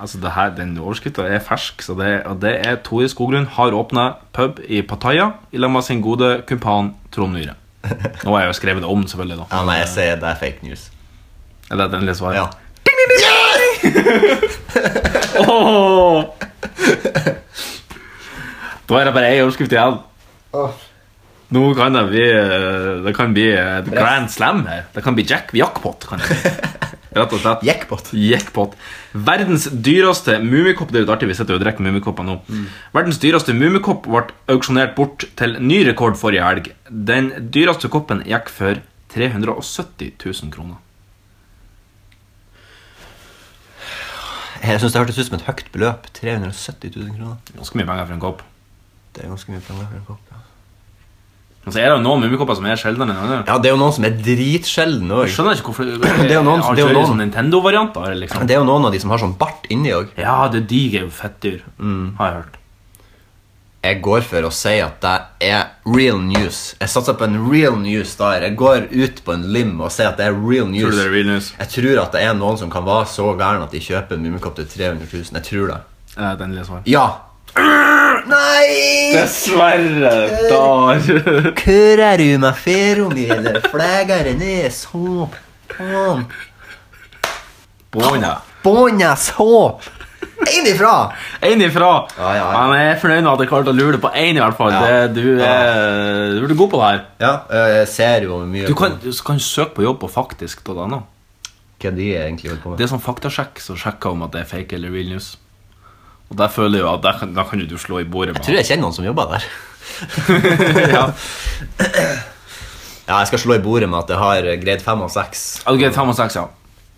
Altså, det her, Den overskriften er fersk, så det, og det er Tore Skoglund har åpna pub i Pattaya i lag med sin gode kumpan Trond Myhre. Nå har jeg jo skrevet det om, selvfølgelig. da Ja, nei, jeg sier det er fake news. Er det et endelig svar? Ja. Åh! Da er det bare én overskrift igjen. Nå kan det bli eh, Det kan bli et grand slam her. Det kan bli jack, jackpot. Kan det bli. Rett og slett. Jackpot. Jackpot. Verdens dyreste mummikopp Det er jo litt artig, vi sitter jo og drikker mummikopper nå. Mm. Verdens dyreste mummikopp ble auksjonert bort til ny rekord forrige helg. Den dyreste koppen gikk for 370 000 kroner. Jeg synes det hørtes ut som et høyt beløp. 370 000 kroner. Ganske mye penger for en kopp. Det er ganske mye penger for en kopp. Ja, Men så er det jo noen mummikopper som er sjeldnere enn andre. ja det er jo noen som er dritsjelden Jeg òg. skjønner ikke hvorfor er jo noen- det er jo Arrangerer noen- sånn Nintendo-varianter. liksom Det er jo noen av de som har sånn bart inni òg. Ja, det diger jo fettdyr, Mm. har jeg hørt. Jeg går for å si at det er real news. Jeg satser på en real news der. Jeg går ut på en lim og sier at det er real news. Tror du det er real news? Jeg tror at det er noen som kan være så gæren at de kjøper en mummikopp til 300 000. Jeg tror det. Eh, Det endelige svar. Ja! Nei! Dessverre, Dar. Kureruma feromile flegare ne så pan Bona. Bånda så Inn ifra! Én ifra. Ja, ja, ja. Men jeg er fornøyd med at jeg klarte å lure på én, i hvert fall. Ja. Det, du, er, du er god på det her. Ja, eh, jeg ser jo mye Du kan, du kan søke på jobb på faktisk.no. på hva de egentlig holder på med. Det er sånn faktasjekk som sjekker om at det er fake eller real news. Og der føler jeg jo at der, kan- da kan jo du slå i bordet med Jeg tror jeg kjenner noen som jobber der. ja. Ja, jeg skal slå i bordet med at jeg har greid fem og seks. Ok, fem og seks, ja.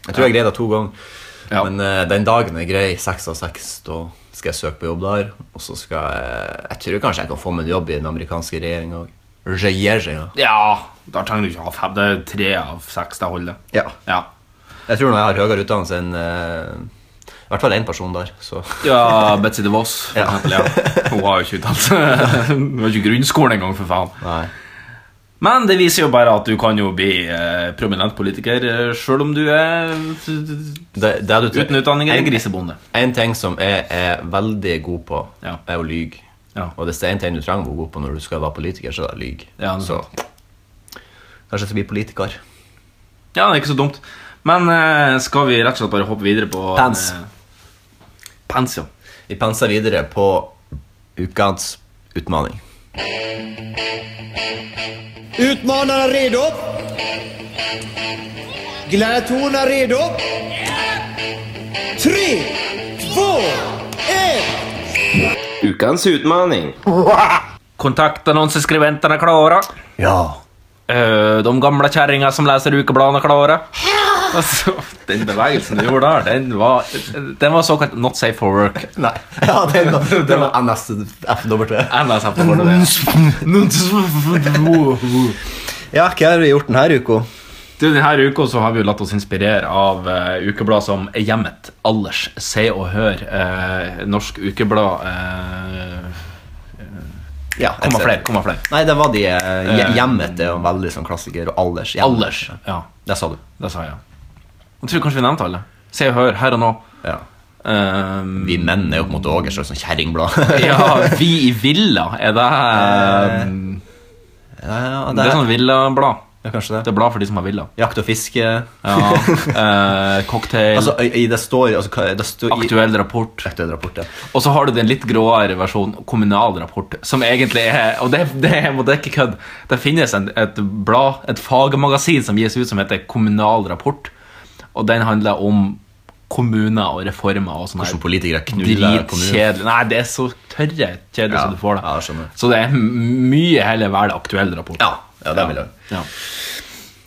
Jeg tror jeg greide det to ganger. Ja. Men eh, den dagen jeg greier seks av seks, da skal jeg søke på jobb der. Og så skal jeg Jeg tror kanskje jeg kan få meg en jobb i den amerikanske regjeringa òg. Jeg Ja, Da trenger du ikke ha fem. Det er tre av seks. Det holder. Ja. ja. tror når jeg har høyere utdannelse enn eh, I hvert fall én person der, så Ja, Betzy de Voss, for Ja. eksempel. Ja. Hun har jo ikke utdannelse. Hun har ikke grunnskolen engang, for faen. Nei. Men det viser jo bare at du kan jo bli eh, prominent politiker eh, sjøl om du er eh, uten Det, det du tre- utdanning eller Altså, En- grisebonde. En ting som jeg er veldig god på, Ja. er å lyge. Ja. Og hvis det er en ting du trenger å være god på når du skal være politiker, så er det lyge. Ja, det er så kanskje jeg skal bli politiker. Ja, det er ikke så dumt. Men eh, skal vi rett og slett bare hoppe videre på Pants. eh, Pants, ja. Vi penser videre på ukas utfordring. Utmanarna redo? Gladiatorerna redo? Tre, två, ett! Ukens utmaning. Kontaktannonseskribentene klare. Ja. Eh, de gamle kjerringa som leser ukebladene klare. Altså, den bevegelsen du gjorde der, den var, den var såkalt not safe for work. Nei. Ja, det var, det var NSFW. Enda safe for work. Ja, hva har vi gjort denne uka? Du, Denne uka så har vi jo latt oss inspirere av eh, ukeblad som Hjemmet, Allers, Se og Hør. eh, norsk ukeblad. Uh, Ja, kommer jeg ser. flere, kommer flere. Nei, det var de eh, hje- Hjemmet er jo en veldig sånn klassiker. Og alders. Hjemmet. Allers, ja. Det sa du. Det sa jeg. Jeg tror kanskje vi nevnte alle. Se og Hør, her og nå. Ja. Eh, Vi menn er jo på en måte òg et slags sånn kjerringblad. ja, Vi i Villa, er det eh, Ja, Det er sånn villablad. ja, kanskje Det er blad for de som har villa. Jakt og fiske. Ja, eh, cocktail, Altså, i, i det står, altså, hva- det står i, aktuell rapport. Aktuell rapport, ja. Og så har du den litt gråere versjonen, kommunal rapport, som egentlig er Og det, det, er- og det er ikke kødd. Det finnes en, et blad, et fagmagasin som gis ut som heter Kommunal rapport, og den handler om kommuner og reformer og sånn Hvordan her. politikere knuller kommuner. Dritkjedelig. Nei, det er så tørre kjedelig som du får det. ja, jeg skjønner. så det er m- mye heller være det aktuell rapport. Ja, ja, det vil jeg. Ja.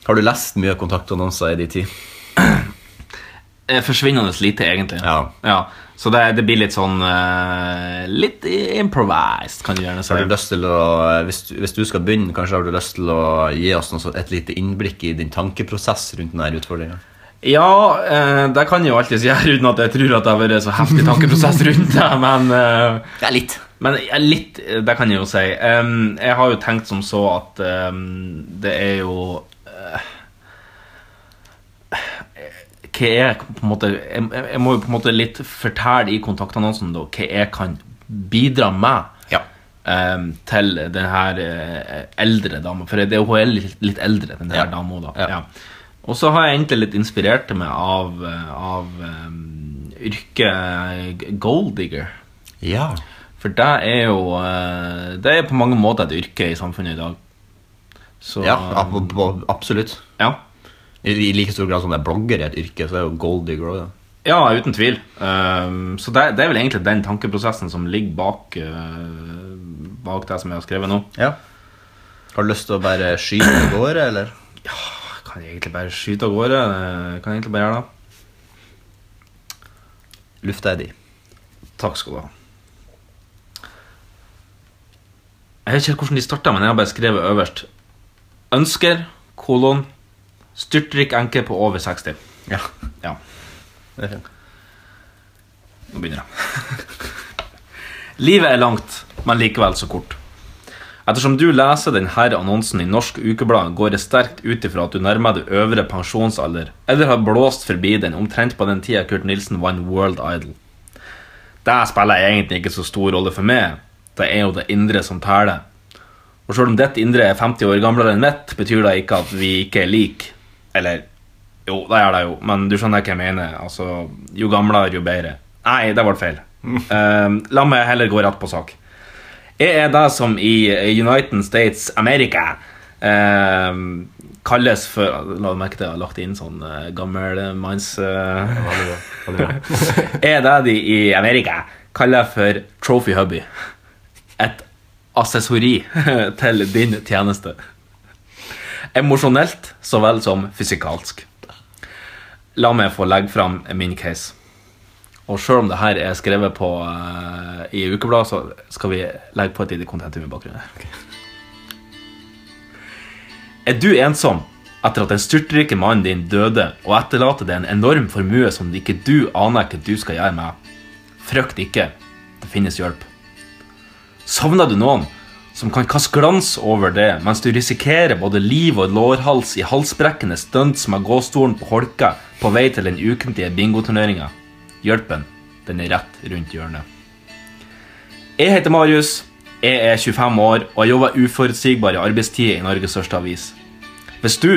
Har du lest mye kontaktannonser i din tid? Eh, Forsvinnende lite, egentlig. Ja. Så det, det blir litt sånn eh, Litt improvised, kan du gjerne si. Har du lyst til å, eh, hvis, du, hvis du skal begynne, kanskje har du lyst til å gi oss noe, så- et lite innblikk i din tankeprosess rundt denne utfordringa? Ja, eh, det kan jeg jo alltids gjøre uten at jeg tror at det har vært så heftig tankeprosess rundt det, men eh, Ja, litt. Men jeg er litt eh, Det kan jeg jo si. Em, jeg har jo tenkt som så at em, det er jo eh, Hva jeg på en måte jeg, jeg jeg må jo på en måte litt fortelle i kontaktannonsen da, hva jeg kan bidra med Ja. em, Ehm, til den her eh, eldre dama. For det er jo hun er litt, litt eldre, den her Ja. dama. da. Ja. Ja. Og så har jeg egentlig litt inspirert meg av, eh, av em, yrket eh, gold digger. Ja. For det er jo eh, Det er på mange måter et yrke i samfunnet i dag. Så, Ja, ab- ab- absolutt. ja. eh, I, I like stor grad som det er blogger i et yrke, så er jo gold digger også det. Ja, uten tvil. Ehm, så det, det er vel egentlig den tankeprosessen som ligger bak, eh, bak det som jeg har skrevet nå. Ja. Har du lyst til å bare skyte av gårde, eller? Kan jeg egentlig bare skyte av gårde? Eh, Kan jeg egentlig bare gjøre det? Lufta er di. Takk skal du ha. Jeg vet ikke helt hvordan de starta, men jeg har bare skrevet øverst. Ønsker, kolon, styrtrik enke på over 60. Ja. Ja, Det er fint. nå begynner jeg. Livet er langt, men likevel så kort. Ettersom du leser denne annonsen i Norsk Ukeblad, går det sterkt ut ifra at du nærmer deg øvre pensjonsalder, eller har blåst forbi den omtrent på den tida Kurt Nilsen vant World Idol. Det spiller egentlig ikke så stor rolle for meg. Det er jo det indre som teller. Og selv om ditt indre er 50 år gamlere enn mitt, betyr det ikke at vi ikke er like. Eller Jo, det gjør det jo, men du skjønner hva jeg mener. Altså, jo gamlere, jo bedre. Nei, det ble feil. Eh, la meg heller gå rett på sak. Jeg er det som i United States America eh, kalles for La meg merke til jeg har lagt inn sånn eh, gammel eh, manns... eh, er det de i Amerika kaller for trophy hubby. Et assessori til din tjeneste. Emosjonelt så vel som fysikalsk. La meg få legge fram min case. Og selv om det her er skrevet på eh, i ukeblad, så skal vi legge på et lite kontentum i bakgrunnen. her. Er du ensom etter at den styrtrike mannen din døde og etterlater deg en enorm formue som ikke du aner hva du skal gjøre med? Frykt ikke. Det finnes hjelp. Savner du noen som kan kaste glans over det mens du risikerer både liv og lårhals i halsbrekkende stunts med gåstolen på holka på vei til den ukentlige bingoturneringa? Hjelpen, den er rett rundt hjørnet. Jeg heter Marius, jeg er 25 år og jeg jobber uforutsigbare arbeidstider i Norges største avis. Hvis du,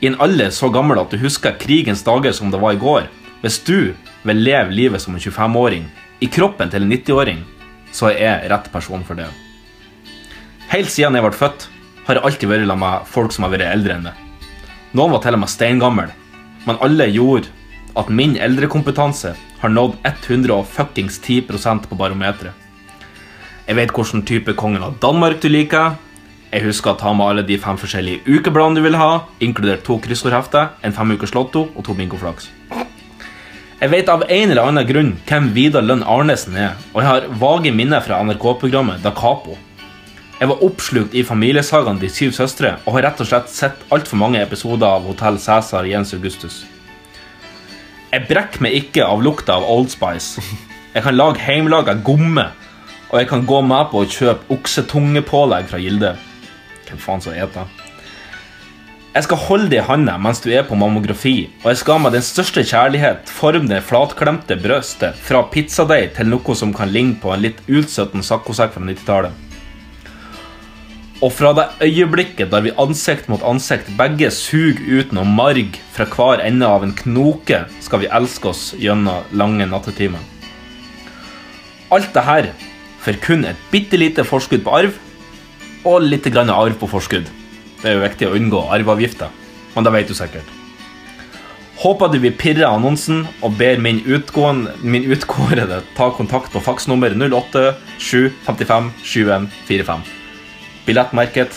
i en alder så gammel at du husker krigens dager som det var i går, hvis du vil leve livet som en 25-åring i kroppen til en 90-åring, så er jeg rett person for det. Helt siden jeg ble født, har jeg alltid vært sammen med folk som har vært eldre enn meg. Noen var til og med steingammel, men alle gjorde at min eldrekompetanse har nådd 110 på barometeret. Jeg vet hvilken type kongen av Danmark du liker. Jeg husker å ta med alle de fem forskjellige ukebladene du vil ha, inkludert to kryssordhefter, en fem ukers lotto og to bingoflaks. Jeg vet av en eller annen grunn hvem Vidar Lønn Arnesen er, og jeg har vage minner fra NRK-programmet Da Capo. Jeg var oppslukt i familiesagaen De syv søstre og har rett og slett sett altfor mange episoder av Hotell Cæsar Jens Augustus. Jeg brekker meg ikke av lukta av Old Spice. Jeg kan lage hjemmelaga gomme, og jeg kan gå med på å kjøpe oksetungepålegg fra Gilde. Hvem faen som spiser det? Jeg skal holde det i handa mens du er på mammografi, og jeg skal med den største kjærlighet forme det flatklemte brøstet fra pizzadeig til noe som kan ligne på en litt utsøtten saccosekk fra 90-tallet. Og fra det øyeblikket der vi ansikt mot ansikt begge suger ut noe marg fra hver ende av en knoke, skal vi elske oss gjennom lange nattetimer. Alt det her for kun et bitte lite forskudd på arv, og litt grann arv på forskudd. Det er jo viktig å unngå arveavgifter, men det vet du sikkert. Håper du vil pirre av annonsen og ber min, utgående, min utkårede ta kontakt på faksnummer 08 755 7145. Billettmerket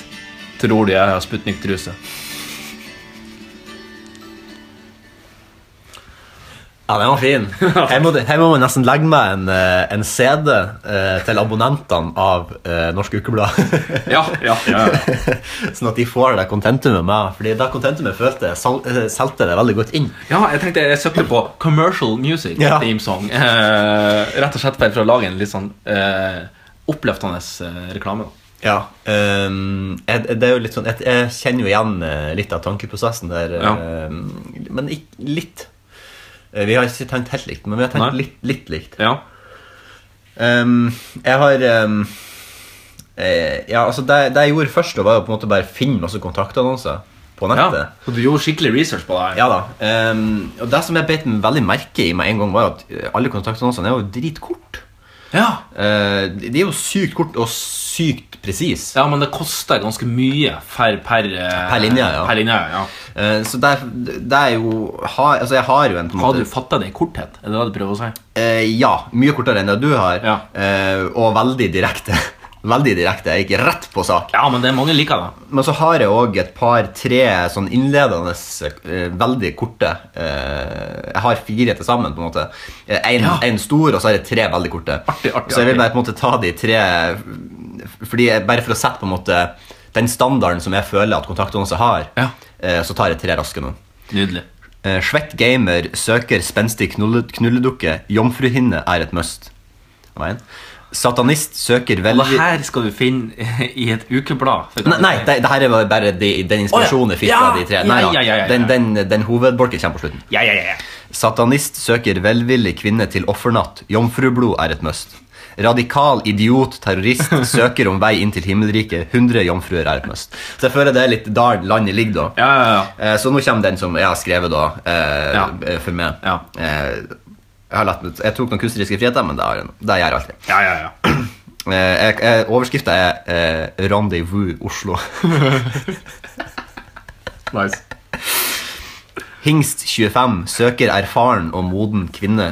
Tror du jeg har Sputnik-truse? Ja, den var fin. Her må, det- her må man nesten legge med en, eh, en CD eh, til abonnentene av eh, Norsk Ukeblad. Ja, ja, ja, ja. sånn at de får det kontentumet med. Fordi da kontentumet følte jeg, sal- eh, solgte det veldig godt inn. ja jeg tenkte jeg søkte på commercial music Ja. theme song. Eh, rett og slett bare for å lage en litt sånn eh, oppløftende eh, reklame. da. Ja, ehm, jeg, det er jo litt sånn Jeg, jeg kjenner jo igjen eh, litt av tankeprosessen der, Ja. ehm, men ikke litt. Eh, Vi har ikke tenkt helt likt, men vi har tenkt Nei. litt, litt likt. Ja. Ehm, jeg har ehm, eh, Ja, altså, det, det jeg gjorde først, da, var jo på en måte bare finne masse kontaktannonser på nettet. ja. Så du gjorde skikkelig research på det her? Ja da. ehm, og det som jeg beit meg veldig merke i med en gang, var at eh, alle kontaktannonsene er jo dritkort. Ja. Eh, de er jo sykt kort og sykt presis. Ja, men det koster ganske mye per, per, eh, Per linje, ja. Per linje, ja. Eh, så der, der er jo har, Altså, jeg har jo en på en Har du måte fatta det i korthet? Er det det du prøver å si? Eh, Ja, mye kortere enn det du har, Ja. eh, og veldig direkte. Veldig direkte. Jeg gikk rett på sak. Ja, men det er mange liker det. Men så har jeg òg et par-tre sånn innledende, eh, veldig korte. Eh, jeg har fire til sammen, på en måte. Eh, En, Ja. en stor, og så har jeg tre veldig korte. Artig, artig, så jeg vil artig. bare på en måte ta de tre f- fordi jeg, Bare for å sette på en måte den standarden som jeg føler at kontaktannonser har, Ja. eh, så tar jeg tre raske nå. Nydelig. Eh, Svett gamer søker spenstig knulle, knulledukke. Jomfruhinne er et must. Det var en. Satanist søker Og det veldig her skal du finne i et ukeblad. for Nei, eksempel. nei det, det her var bare de, den inspirasjonen jeg fikk Ja, fra de tre. Nei, ja, ja, ja, ja. Den, den, den hovedbolken kommer på slutten. Ja, ja, ja. ja. Satanist søker velvillig kvinne til offernatt. Jomfrublod er et must. Radikal idiot terrorist søker om vei inn til himmelriket. 100 jomfruer er et must. Så jeg føler det er litt der landet ligger, da. Ja, ja, ja. Eh, Så nå kommer den som jeg har skrevet da, eh, Ja. eh, for meg. Ja. Eh, jeg, har latt, meg- jeg tok noen kunstneriske friheter, men det, har jeg, det gjør jeg alltid. ja, ja, ja. Eh, jeg- jeg- Overskriften er eh, 'Rendezvous Oslo'. Nice. Hingst 25 søker erfaren og moden kvinne.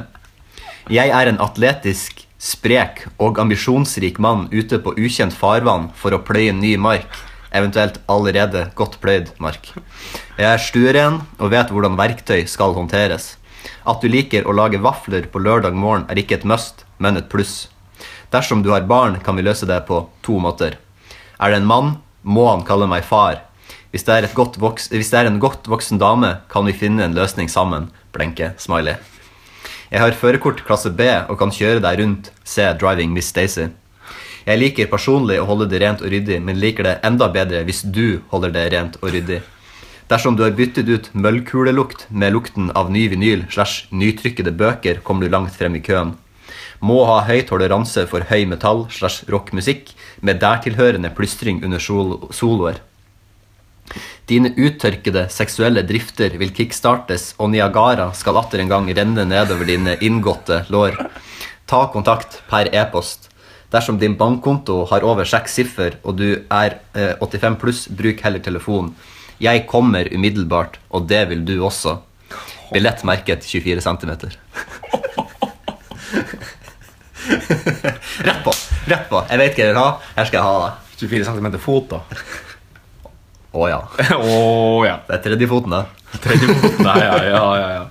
Jeg er en atletisk, sprek og ambisjonsrik mann ute på ukjent farvann for å pløye ny mark, eventuelt allerede godt pløyd mark. Jeg er stueren og vet hvordan verktøy skal håndteres. At du liker å lage vafler på lørdag morgen er ikke et must, men et pluss. Dersom du har barn, kan vi løse det på to måter. Er det en mann, må han kalle meg far. Hvis det er, et godt voks hvis det er en godt voksen dame, kan vi finne en løsning sammen. Blenke. Smiley. Jeg har førerkort klasse B og kan kjøre deg rundt. Se Driving Miss Daisy. Jeg liker personlig å holde det rent og ryddig, men liker det enda bedre hvis du holder det rent og ryddig. Dersom du har byttet ut møllkulelukt med lukten av ny vinyl slash nytrykkede bøker, kommer du langt frem i køen. Må ha høy toleranse for høy metall slash rockmusikk med dertilhørende plystring under sol soloer. Dine uttørkede seksuelle drifter vil kickstartes, og Niagara skal atter en gang renne nedover dine inngåtte lår. Ta kontakt per e-post. Dersom din bankkonto har over seks siffer, og du er eh, 85 pluss, bruk heller telefon. Jeg kommer umiddelbart, og det vil du også. Billett merket 24 cm. rett på. Rett på. Jeg vet hva jeg vil ha. Her skal jeg ha det. 24 cm fot, da. Å ja. Å ja. Det er tredje foten, da. Tredje fot. Nei, ja, ja, ja. ja.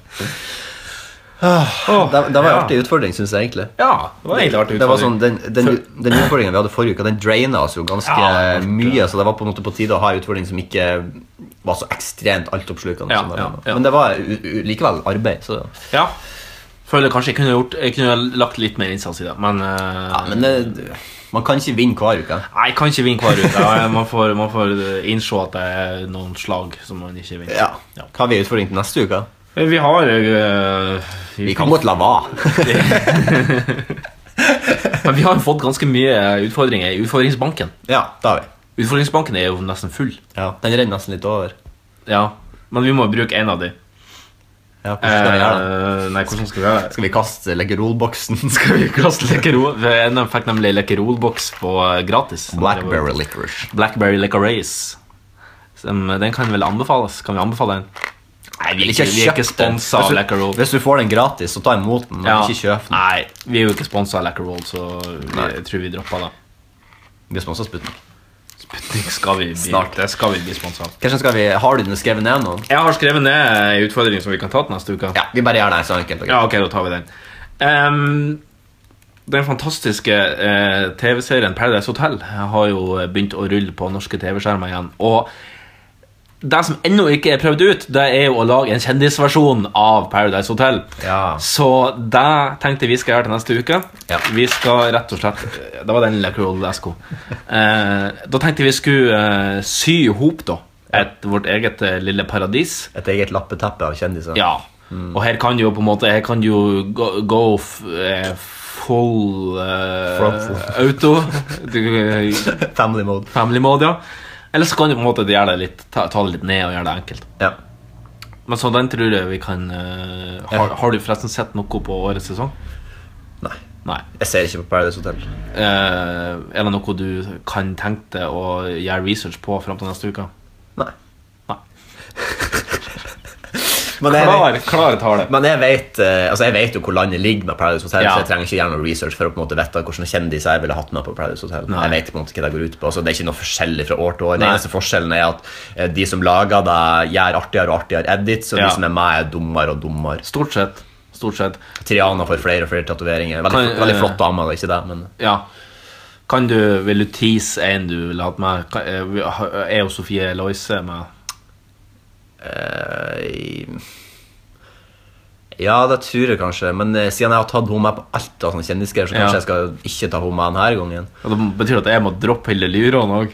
Det, det var en Ja. artig utfordring, syns jeg egentlig. Ja, det var egentlig artig. Det var utfordring. sånn, den, den, den utfordringen vi hadde forrige uke, den draina oss jo ganske Ja, det var klart, mye. Så det var på en måte på tide å ha en utfordring som ikke var så ekstremt altoppslukende. Ja, som det ja, var. ja. Men det var u- u- likevel arbeid. Så. Ja. Føler kanskje jeg kunne gjort Jeg kunne lagt litt mer innsats i det, men, eh, Ja, men det, man kan ikke vinne hver uke. Nei, jeg kan ikke vinne hver uke. Ja, Man får, man får eh, innse at det er noen slag som man ikke vinner. Ja. Hva har vi i utfordring til neste uke? Vi har eh, vi, Vi kan godt la være. Men vi har jo fått ganske mye eh, utfordringer i Utfordringsbanken. Ja, det har vi. Utfordringsbanken er jo nesten full. Ja, den renner nesten litt over. Ja, Men vi må bruke en av de. Ja, hvordan skal vi gjøre det? Eh, Nei, hvordan skal vi gjøre det? Skal vi kaste Leggerol-boksen? Skal vi Kaste Lekkerol De eh, fikk nemlig Lekkerol-boks på eh, gratis. Blackberry licorice. Blackberry Licorice. Som, eh, Den kan vel anbefales? Kan vi anbefale den? Nei, vi er ikke, vi er ikke kjøpt den. Altså, sponsa av Hvis du- Lekkerol. Hvis du får den gratis, så ta imot den. Men Ja. ikke kjøp den. Nei, vi er jo ikke sponsa av Lacquerol, så vi, Nei. jeg tror vi dropper det. Vi er sponset av Sputnik. Det skal vi bli, Snart. Det skal vi bli sponsa av. Kanskje skal vi, Har du den skrevet ned nå? Jeg har skrevet ned en utfordring som vi kan ta til neste uke. Ja, vi bare gjør det så enkelt. og greit. Ja, ok, da tar vi den. Ehm, den fantastiske eh, TV-serien Paradise Hotel har jo begynt å rulle på norske TV-skjermer igjen. Og det som ennå ikke er prøvd ut, det er jo å lage en kjendisversjon av Paradise Hotel. Ja. Så det tenkte vi skal gjøre til neste uke. Ja. Vi skal rett og slett Det var den lille Esko. Eh, da tenkte vi skulle eh, sy i hop, da. Et, vårt eget eh, lille paradis. Et eget lappeteppe av kjendiser. Ja. Og her kan du jo på en måte Her kan du jo gå, gå f, eh, full eh, Frontal. auto. Du, eh, Family mode. family mode, ja. Eller så kan du på en måte gjøre det litt, ta, ta det litt ned og gjøre det enkelt. Ja. Men så den tror jeg vi kan eh, har, Ja. har du forresten sett noe på årets sesong? Nei. Nei. Jeg ser ikke på Paradise Hotel. Eh, er det noe du kan tenke deg å gjøre research på fram til neste uke? Nei. Nei. Men jeg, Klar, klar tale. men jeg vet eh, Altså jeg vet jo hvor landet ligger med Paradise Hotel, Ja. så jeg trenger ikke gjøre noe research for å på en måte vite hvilke kjendiser jeg ville hatt med på Paradise Hotel. Nei. Jeg vet på en måte hva det går ut på, så Det er ikke noe forskjellig fra år til år. Den Nei. eneste forskjellen er at eh, de som lager det, gjør artigere og artigere edits, og Ja. de som er med, er dummere og dummere. Stort sett. Stort sett. Triana får flere og flere tatoveringer. Veldig, Kan- veldig eh, flott dame, det er ikke det, men Ja. Kan du, vil du tease en du ville hatt med? Kan- eh, Er jo Sofie Eloise med? eh, Ja, det tror jeg kanskje, men eh, siden jeg har tatt henne med på alt av sånne kjendisgreier, så Ja. kanskje jeg skal ikke ta henne med denne gangen. Ja, Det betyr at jeg må droppe Hilde Lyron òg.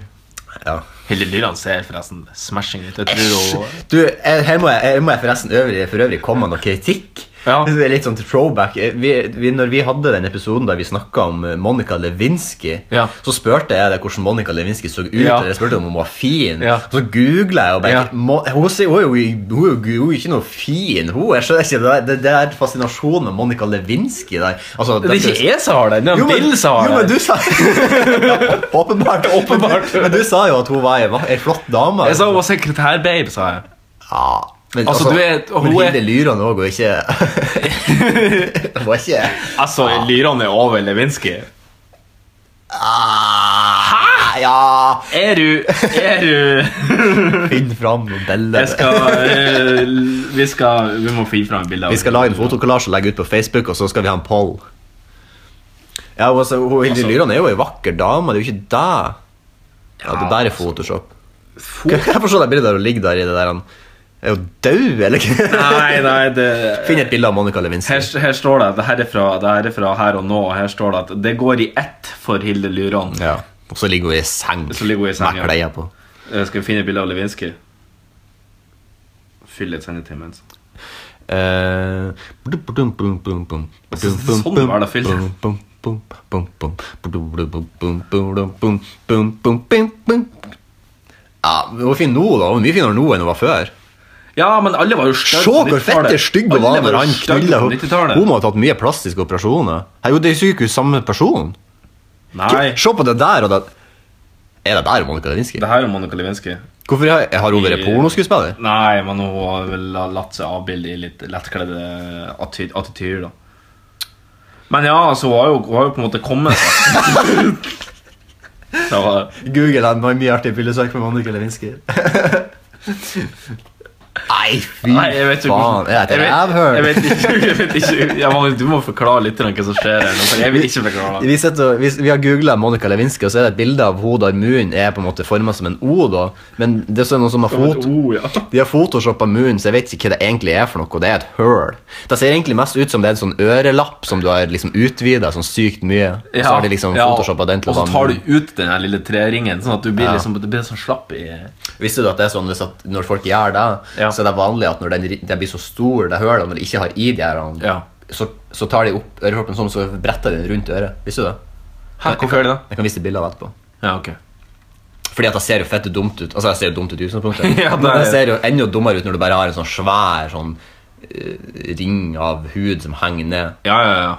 Ja. Hilde Lyron ser forresten smashing ut. Jeg tror hun Du, eh, her må jeg, her må jeg forresten øvrig, for øvrig komme med noe kritikk. Ja. Det er litt sånn throwback. Eh, Vi, vi, når vi hadde den episoden der vi snakka om eh, Monica Lewinsky, Ja. så spurte jeg deg hvordan Monica Lewinsky så ut. Ja. og Jeg spurte om hun var fin. Ja. Så googla jeg, og bare, Ja. Mo, hun, sier- hun, er jo, i- hun, er jo- hun er jo ikke noe fin. Hun, jeg skjønner ikke, det, er- det, det er fascinasjonen med Monica Lewinsky der. Altså, Det er ikke jeg som har den, det jo, er men, Bill som jo, har men den. du sa Åpenbart. Åpenbart. Men, du sa jo at hun var ei va- ei flott dame. Jeg sa hun var sekretærbabe, sa jeg. Ja. Men, Altså, du er- og men hun er- Hilde Lyran òg, og ikke Hun var ikke Altså, Lyron er over Lewinsky. Hæ? Ah, Ja Er du Er du Finn fram noen bilder. Jeg skal eh, Vi skal Vi må finne fram et bilde av Vi skal lage en fotokollasj og legge ut på Facebook, og så skal vi ha en poll. Ja, hun- altså, hun, Hilde Lyran er jo ei vakker dame, det er jo ikke det. Ja, det der er altså- Photoshop. Kan kan jeg forstå det bildet der hun ligger der i det der han Er hun død, eller hva? Nei, nei, det Finn et bilde av Monica Lewinsky. her, her står det det her, er fra, det her er fra her og nå, og her står det at det går i ett for Hilde Lyron. Ja. Og så ligger hun i seng Så ligger hun i seng, ja. med klær på. Eh, Skal vi finne et bilde av Lewinsky? Fyll litt sendetid mens. Eh, Sånn var det fylt. Ja, hun var fin nå, da. Hun var Mye finere nå enn hun var før. Ja, men alle var jo Se stygge. hvor fett det stygg hun var når han knulla på henne. Hun 90-tallet. må ha tatt mye plastiske operasjoner. Herregud, det er jo ikke samme person. Nei, Se på det der og det Er det der Monica Lewinsky? det her er Monica Lewinsky. Hvorfor har har hun vært I- pornoskuespiller? Nei, men hun har vel latt seg avbilde i litt lettkledde atty- attityder, da. Men ja, altså, hun har jo, hun har jo på en måte kommet seg. Det var- Google han, har mye artig bildesøk med Monica Lewinsky. Nei, fy Nei, jeg vet ikke faen. Jeg er et jeg vet, rævhøl. jeg vet ikke, jeg vet ikke jeg må, Du må forklare litt om hva som skjer her nå, for jeg vil ikke forklare det. Vi, sitter og- vi, vi har googla Monica Lewinsky, og så er det et bilde av hodet der munnen er på en måte forma som en O. da Men det er sånn noen som har fot Oh, ja. De har photoshoppa munnen, så jeg vet ikke hva det egentlig er for noe. og Det er et høl. Det ser egentlig mest ut som det er en sånn ørelapp som du har liksom utvida sånn sykt mye. Og så har de liksom ja, photoshoppet den til å Og så være tar munn. du ut den her lille treringen, sånn at du blir, liksom, du blir sånn slapp i Visste du at det er sånn hvis at når folk gjør det, Ja. så er det vanlig at når den, ri- den blir så stor, det hølet, og når de ikke har i de her, um, Ja. så, så tar de opp øreproppen sånn, så bretter de den rundt øret. Visste du det? Hæ, hvorfor gjør de det? Jeg kan vise deg bilder av det etterpå. Ja, ok. Fordi at det ser jo fette dumt ut. Altså, det ser jo dumt ut i utgangspunktet. Ja, det er- Men det ser jo enda dummere ut når du bare har en sånn svær sånn eh, ring av hud som henger ned. Ja, ja, ja.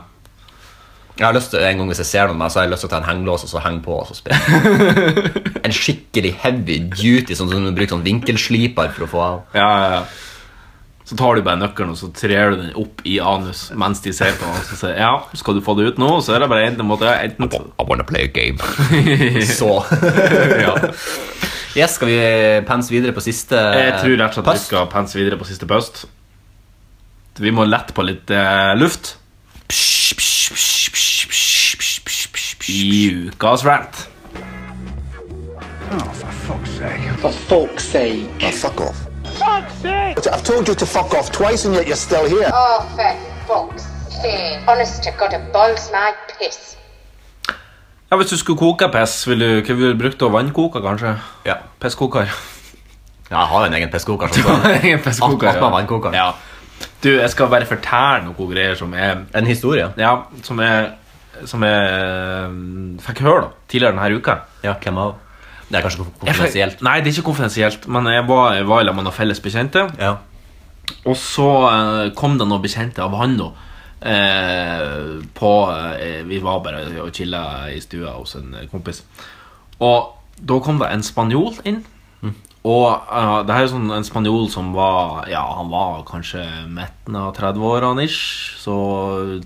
Jeg har lyst til, En gang hvis jeg ser noen av meg, så har jeg lyst til å ta en hengelås og så henge på. og så spille. En skikkelig heavy duty, sånn som du bruker sånn vinkelsliper for å få av. Ja, ja, ja. Så tar du bare nøkkelen og så trer du den opp i anus mens de ser på. Og så sier ja, skal du få det ut nå, så er det bare enten måte enten I wanna play a game. så. ja. Yes, skal vi eh, pense videre på siste Jeg tror rett og slett vi post? skal pense videre på siste pust. Vi må lette på litt eh, luft. I ukas rant. For fuck's sake. Now fuck off. Fuck's sake! I've told you to fuck off twice and yet you're still here. Oh, for fuck's sake. Honest to God, it boils my piss. Ja, Hvis du skulle koke piss, ville du, hva ville du brukt da? Vannkoker, kanskje? Ja. Pisskoker. Ja, jeg har jo en egen pisskoker. Sånn. Egen pisskoker, Attmed ja. vannkokeren. Ja. Du, jeg skal bare fortelle noen greier som er En historie. Ja, som jeg, som jeg um, fikk høre da, tidligere denne uka. Ja, hvem av? Det er kanskje Jeg fikk- konfidensielt. Nei, det er ikke konfidensielt, men jeg var, jeg var sammen med noen felles bekjente. Ja. Og så eh, kom det noen bekjente av han da, Eh, på eh, Vi var bare og chilla i stua hos en kompis. Og da kom det en spanjol inn. Og eh, det her er sånn en spanjol som var Ja, han var kanskje midten av 30-årene ish. Så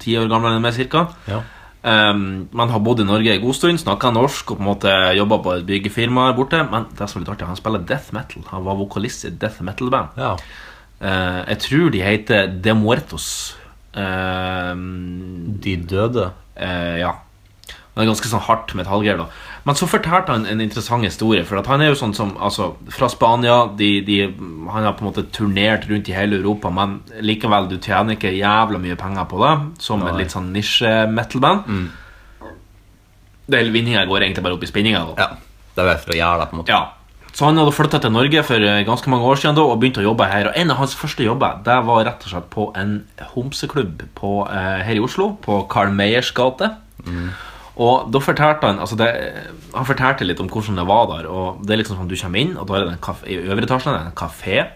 ti år gamlere enn meg, cirka. Ja. Um, man har bodd i Norge en god stund, snakka norsk og på en måte jobba på et byggefirma her borte. Men det som er litt artig, han spiller death metal. Han var vokalist i et death metal-band. Eh, jeg tror de heter De Muertos. de døde? eh, ja. Det er ganske sånn hardt metallgreier. da Men så fortalte han en interessant historie. For at han er jo sånn som Altså, fra Spania de, de, Han har på en måte turnert rundt i hele Europa, men likevel, du tjener ikke jævla mye penger på det, som et litt sånn nisje-metal-band. Det hele vinninga går egentlig bare opp i spinninga. da. Det er bare for å gjøre det, på en måte. Ja. Så han hadde flytta til Norge for eh, ganske mange år siden da, og begynte å jobbe her. Og en av hans første jobber det var rett og slett på en homseklubb på, eh, her i Oslo, på Carl Meyers gate. Og da fortalte han altså det, Han fortalte litt om hvordan det var der. Og det er liksom sånn Du kommer inn, og da er det en kafé, i øvre etasjen er det en kafé.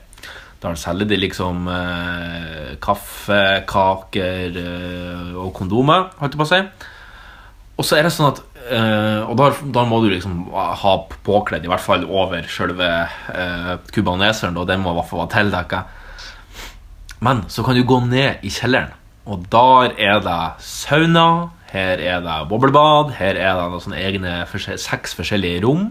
Der selger de liksom eh, kaffe, kaker eh, og kondomer, holdt jeg på å si. Og så er det sånn at eh, Og da, da må du liksom ha påkledd, i hvert fall over sjølve uh, cubaneseren, og den må i hvert fall være tildekka. Men så kan du gå ned i kjelleren, og der er det sauna, her er det boblebad, her er det noen sånne egne forskjell- seks forskjellige rom.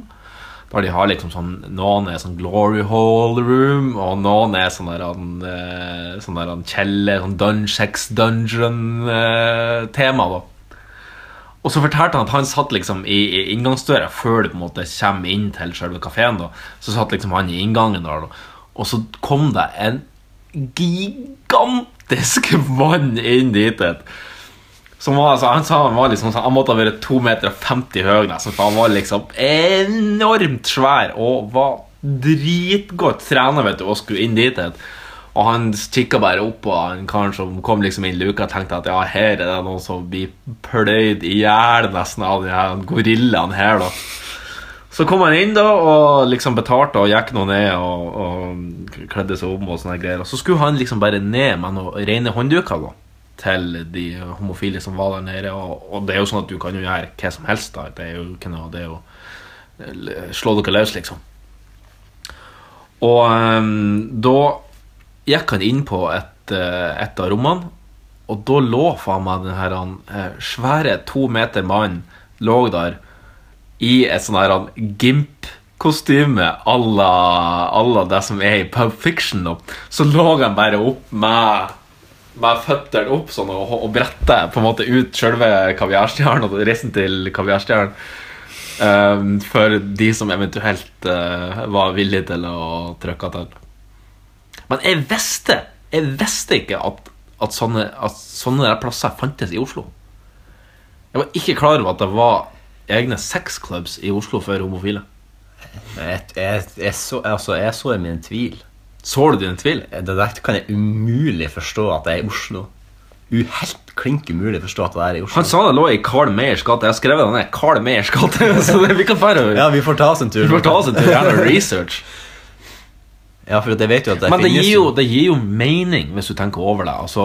Der de har liksom sånn Noen er sånn glory hall room, og noen er sånn der han, eh, Sånn der han kjeller, sånn dun sex dungeon-tema, da. Og så fortalte han at han satt liksom i, i inngangsdøra før du på en måte kommer inn til selve kafeen. da. Så satt liksom han i inngangen der, da. og så kom det en gigantisk mann inn dit. et. Som var, altså, han sa han var liksom sånn, han måtte ha vært 2,50 meter høy, nesten, for han var liksom enormt svær og var dritgodt trena vet du, og skulle inn dit. et. Og han kikka bare opp på han karen som kom liksom inn i luka og tenkte at ja, her er det noen som blir pløyd i hjel nesten av de her gorillaen her, da. Så kom han inn da og liksom betalte og gikk nå ned og, og kledde seg om og sånne greier. Og så skulle han liksom bare ned med noen rene håndduker da, til de homofile som var der nede. Og, og det er jo sånn at du kan jo gjøre hva som helst da. Det er jo ikke noe, det er jo slå dere løs liksom. Og ehm, da gikk han inn på et, eh, et av rommene, og da lå faen meg den her han, eh, svære to meter mann lå der i et sånn her han, gimp-kostyme à la à la det som er i Pub Fiction. nå. Så lå han bare opp med med føttene opp sånn, og, og brettet på en måte ut selve kaviarstjernen og resten til kaviarstjernen. Ehm, for de som eventuelt eh, var villige til å trykke til. Men jeg visste Jeg visste ikke at, at sånne, at sånne der plasser fantes i Oslo. Jeg var ikke klar over at det var egne sexclubs i Oslo for homofile. Jeg, jeg, jeg, så, altså, jeg så i min tvil. Så du din tvil? Det der kan jeg umulig forstå at det er i Oslo. U- Helt klink umulig forstå at det er i Oslo. Han sa det lå i Carl Meyers gate. Jeg har skrevet det ned. Carl Meyers gate. Så det, vi kan bare Ja, vi får ta oss en tur. vi får ta oss en tur. Gjerne research. Ja, for jeg vet jo at det Men det finnes gir, jo, det gir jo mening, hvis du tenker over det. Altså,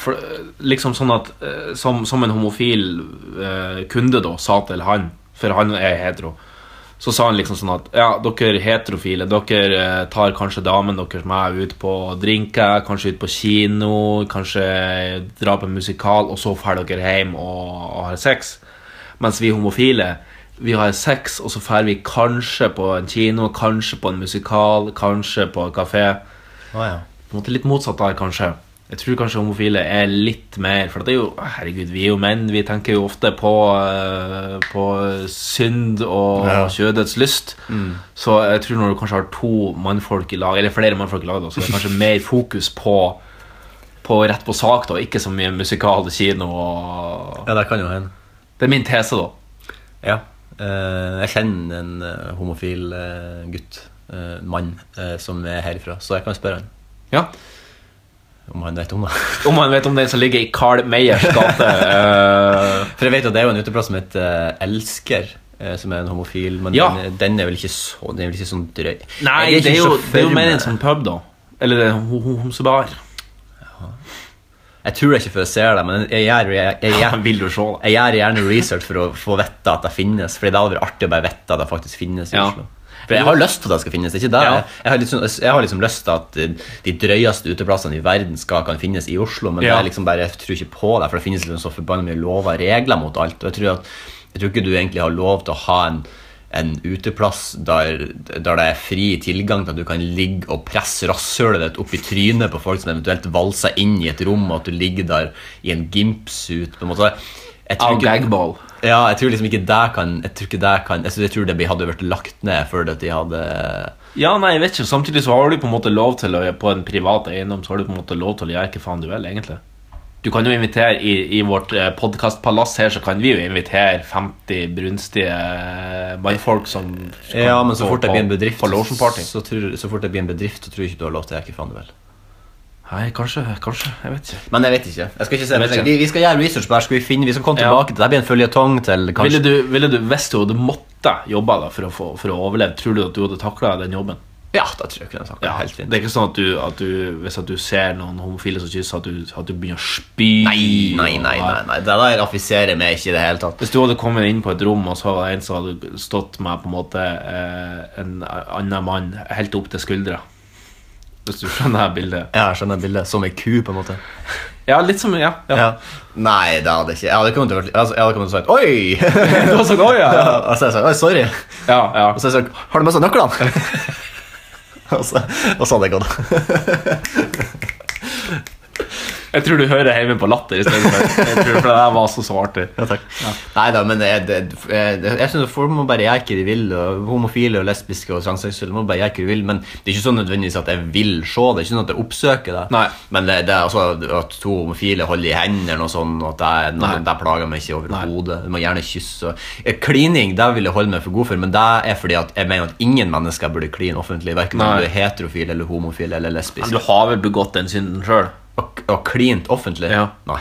for, liksom sånn at eh, Som, som en homofil eh, kunde da sa til han, for han er hetero, så sa han liksom sånn at Ja, dere heterofile, dere eh, tar kanskje damen deres med ut på drinker, kanskje ut på kino, kanskje dra på musikal, og så drar dere hjem og, og har sex. Mens vi homofile vi har sex, og så drar vi kanskje på en kino, kanskje på en musikal, kanskje på en kafé. Å, ja. På en måte litt motsatt der, kanskje. Jeg tror kanskje homofile er litt mer For det er jo, herregud, vi er jo menn. Vi tenker jo ofte på, eh, på synd og Ja. kjødets lyst. Så jeg tror når du kanskje har to mannfolk i lag, eller flere mannfolk i lag, da, så er det kanskje mer fokus på, på rett på sak, da. Ikke så mye musikal og kino og Ja, det kan jo hende. Det er min tese, da. Ja. Eh, jeg kjenner en eh, homofil eh, gutt, eh, mann, eh, som er herifra, så jeg kan spørre han Ja. om han vet om det. Om man vet om den som ligger i Carl Meyers gate. eh, For jeg vet jo at det er jo en uteplass som heter eh, Elsker, eh, som er en homofil, men Ja. den, den er vel ikke så Den er vel ikke sånn drøy? Jeg nei, ikke det er, jo, sånn så det er jo for mer en meg- sånn pub, da. Eller det er en ho- ho- homsebar. Jeg tror det ikke før jeg ser det, men jeg gjør, jeg, jeg, jeg, Vil du se det? jeg gjør gjerne research for å få vite at det finnes. Fordi det hadde vært artig å bare vite at det faktisk finnes i Ja. Oslo. For jeg har lyst til at det skal finnes. det er ikke det. Ja. Jeg, jeg, har liksom, jeg har liksom lyst til at eh, de drøyeste uteplassene i verden skal kan finnes i Oslo, men Ja. jeg, liksom bare, jeg tror ikke på det, for det finnes liksom så forbanna mye lover og regler mot alt. Og jeg tror, at, jeg tror ikke du egentlig har lov til å ha en en uteplass der, der det er fri tilgang til at du kan ligge og presse rasshølet ditt opp i trynet på folk som eventuelt valser inn i et rom, og at du ligger der i en gimpsuit. på en måte. Jeg tror Av ikke- gagball. ja, jeg tror liksom ikke det kan Jeg tror, ikke det kan, jeg tror- jeg tror det hadde vært lagt ned før at de hadde Ja, nei, jeg vet ikke. Samtidig så har du på en måte lov til å På en privat eiendom så har du på en måte lov til å gjøre hva faen du vil, egentlig. Du kan jo invitere I, i vårt eh, podcastpalass her så kan vi jo invitere 50 brunstige eh, mannfolk som skal Ja, men så gå fort det på- blir en bedrift, På lotion party. Så, tror, så fort det blir en bedrift, så tror jeg ikke du har lov til å gjøre hva faen du vil. Nei, kanskje. Kanskje. Jeg vet ikke. Men jeg vet ikke. Jeg skal ikke se Jeg vet ikke. Vi, vi skal gjøre research på det her, skal vi finne Vi skal komme Ja. tilbake til det. Det blir en føljetong til Ville kanskje du, ville du Hvis du hadde måtte jobbe da for å, få, for å overleve, tror du at du hadde takla den jobben? Ja, da tror jeg ikke den saken er Ja, helt det fint. er ikke sånn at du, at du Hvis at du ser noen homofile som kysser, at du, at du begynner å spy? Nei, nei, og- nei, nei, nei. Det der affiserer meg ikke i det hele tatt. Hvis du hadde kommet inn på et rom og så var det en som hadde stått med på en måte eh, en annen mann helt opp til skuldra Hvis du skjønner det bildet. Ja, Jeg skjønner bildet. Som ei ku, på en måte. Ja, litt som Ja. ja. Ja. Nei, det hadde ikke Jeg hadde kommet til å vært- altså, jeg hadde kommet til å sagt Oi! Det var sånn, «Oi, ja. Og så hadde jeg sagt Oi, sorry. ja, ja. Og så har jeg sagt Har du med seg nøklene? og, så, og så hadde jeg gått. Jeg tror du hører hjemme på latter i stedet for Jeg tror for det der var så så artig. Ja, takk. Neida, men jeg, det, jeg, jeg synes folk må bare gjøre hva de vil. Og homofile og lesbiske og transseksuelle må bare gjøre hva de vil. Men det er ikke sånn nødvendigvis at jeg vil se det. Det er ikke sånn at jeg oppsøker det. Nei. Men det, det er altså at to homofile holder i hendene og sånn, og at det, er- Nei. det plager meg ikke overhodet. Du må gjerne kysse. Og, Eh, klining det vil jeg holde meg for god for, men det er fordi at jeg mener at ingen mennesker burde kline offentlig. Hverken om Nei. du er heterofil eller homofil eller lesbisk. Men du har vel begått den synden sjøl? Og, og klint offentlig? Ja. Nei.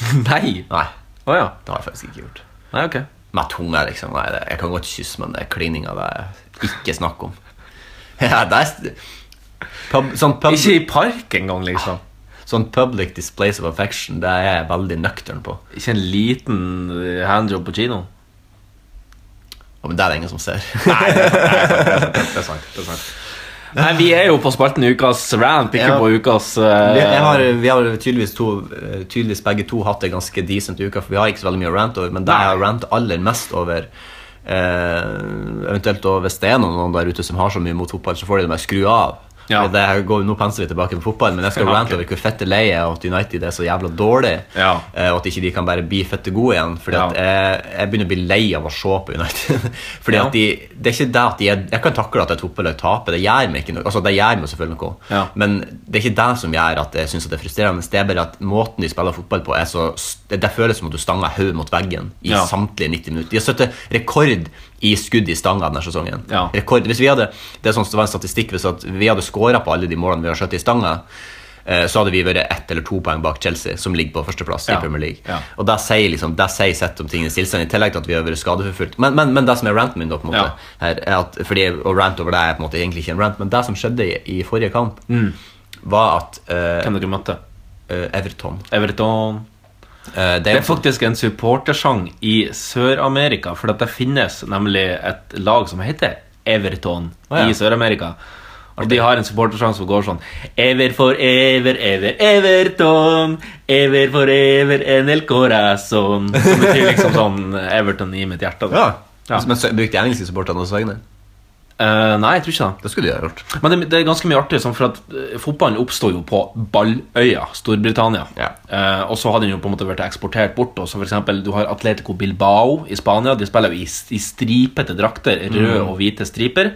Nei. Nei. Å ja. Det har jeg faktisk ikke gjort. Nei, ok. Med tunga, liksom. Nei, det, jeg kan godt kysse, men det er klininga det er ikke snakk om. Ja, det er st- pub, sånn, pub, Ikke i park engang, liksom. sånn public displays of affection, det er jeg veldig nøktern på. Ikke en liten eh, handjob på kinoen. Og men det er det ingen som ser. Det er sant. det er sant Nei, Vi er jo på spalten ukas rant, ikke Ja. på ukas Vi, eh, jeg har, vi har tydeligvis, to, eh, tydeligvis begge to hatt en ganske decent uke, for vi har ikke så veldig mye å rante over, men det jeg har rant aller mest over eh, Eventuelt og hvis det er noen, noen der ute som har så mye mot fotball, så får de det bare skru av. Ja. Og Det her går, nå penser vi tilbake på fotball, men jeg skal Ja, ok. rante over hvor fette lei jeg er, og at United er så jævla dårlig, Ja. eh, og at ikke de kan bare bli fette gode igjen. Fordi Ja. at jeg, jeg begynner å bli lei av å se på United. Fordi Ja. at de, det er ikke det at de er, Jeg kan takle at et fotballag taper, det gjør meg ikke noe. Altså, det gjør meg selvfølgelig noe. Ja. Men det er ikke det som gjør at jeg synes at det er frustrerende. Det er bare at måten de spiller fotball på, er så Det det føles som at du stanger hodet mot veggen i Ja. samtlige 90 minutter. De har satt rekord i skudd i stanga denne sesongen. Ja. Rekord, hvis vi hadde, det er sånn som det var en statistikk Hvis at vi hadde skåra på alle de målene vi har satt i stanga, eh, så hadde vi vært ett eller to poeng bak Chelsea, som ligger på førsteplass Ja. i Premier League. Ja. Og det sier liksom, det sier sett om tingenes tilstand, i tillegg til at vi har vært skadeforfulgt. Men, men, men det som er ranten min, da, på en måte, Ja. her, er at, fordi å rant over det er på en måte egentlig ikke en rant, men det som skjedde i, i forrige kamp, Mm. var at eh, Hvem dere møtte? eh, Everton Everton. eh, Det er faktisk en supportersang i Sør-Amerika, for at det finnes nemlig et lag som heter Everton Å, ja. i Sør-Amerika. Og de har en supportersang som går sånn Ever for ever, ever, Everton. Ever for ever, en el corazon. Som betyr liksom sånn Everton i mitt hjerte. da. ja. Ja. Men så, brukte jeg engelske supporterne hos Vegner? Eh, nei, jeg tror ikke det. Det skulle de ha gjort. Men det, det er ganske mye artig, sånn, for at eh, fotballen oppstod jo på Balløya, Storbritannia. Ja. Eh, og så har den jo på en måte vært eksportert bort. Og så for eksempel, du har Atletico Bilbao i Spania. De spiller jo i, i stripete drakter, røde Mm. og hvite striper.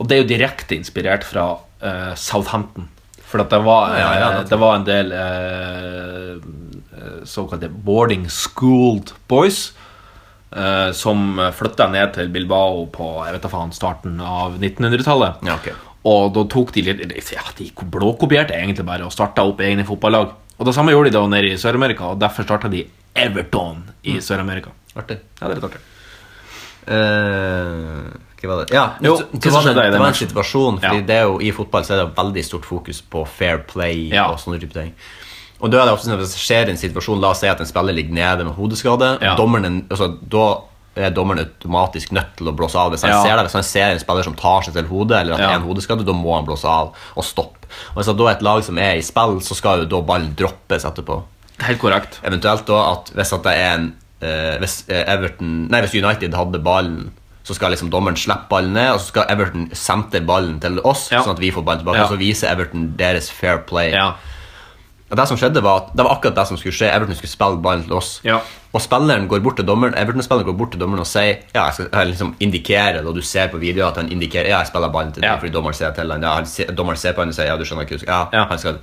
Og det er jo direkte inspirert fra eh, Southampton. For at det var, eh, Ja, ja, ja, det var en del eh, eh, såkalte boarding schooled boys. eh, som flytta ned til Bilbao på jeg vet da faen, starten av 1900-tallet. Ja, ok. Og da tok de litt Ja, de blåkopierte egentlig bare og starta opp egne fotballag. Og det samme gjorde de da nede i Sør-Amerika, og derfor starta de Everton i Sør-Amerika. Artig. Mm. Ja, det er litt artig. Eh, hva var det? Ja, Jo, så- hva så var skjedde det, i den det var en matchen? situasjon, fordi Ja. det er jo, i fotball så er det veldig stort fokus på fair play Ja. og sånne type ting. Og da er det ofte sånn at Hvis det skjer en situasjon, la oss si at en spiller ligger nede med hodeskade, Ja. dommeren, altså, da er dommeren automatisk nødt til å blåse av. Hvis han, Ja. ser det, hvis han ser en spiller som tar seg til hodet, eller at det Ja. er en hodeskade, da må han blåse av og stoppe. Og Hvis det da er et lag som er i spill, så skal jo da ballen droppes etterpå. Helt korrekt. Eventuelt da at hvis at det er en eh, hvis, eh, Everton, nei, hvis United hadde ballen, så skal liksom dommeren slippe ballen ned, og så skal Everton sende ballen til oss, Ja. sånn at vi får ballen tilbake, Ja. og så viser Everton deres fair play. Ja. Og Det som skjedde var at det var akkurat det som skulle skje. Everton skulle spille ballen til oss. Ja. Og spilleren går bort til dommeren Everton-spilleren går bort til dommeren og sier Ja, jeg skal jeg liksom indikerer det, og du ser på videoen at han indikerer Ja, jeg spiller ballen til deg, Ja. fordi dommeren ser til han. Ja, han ser, dommeren ser på han og sier Ja, du skjønner ikke. Ja, Ja. han skal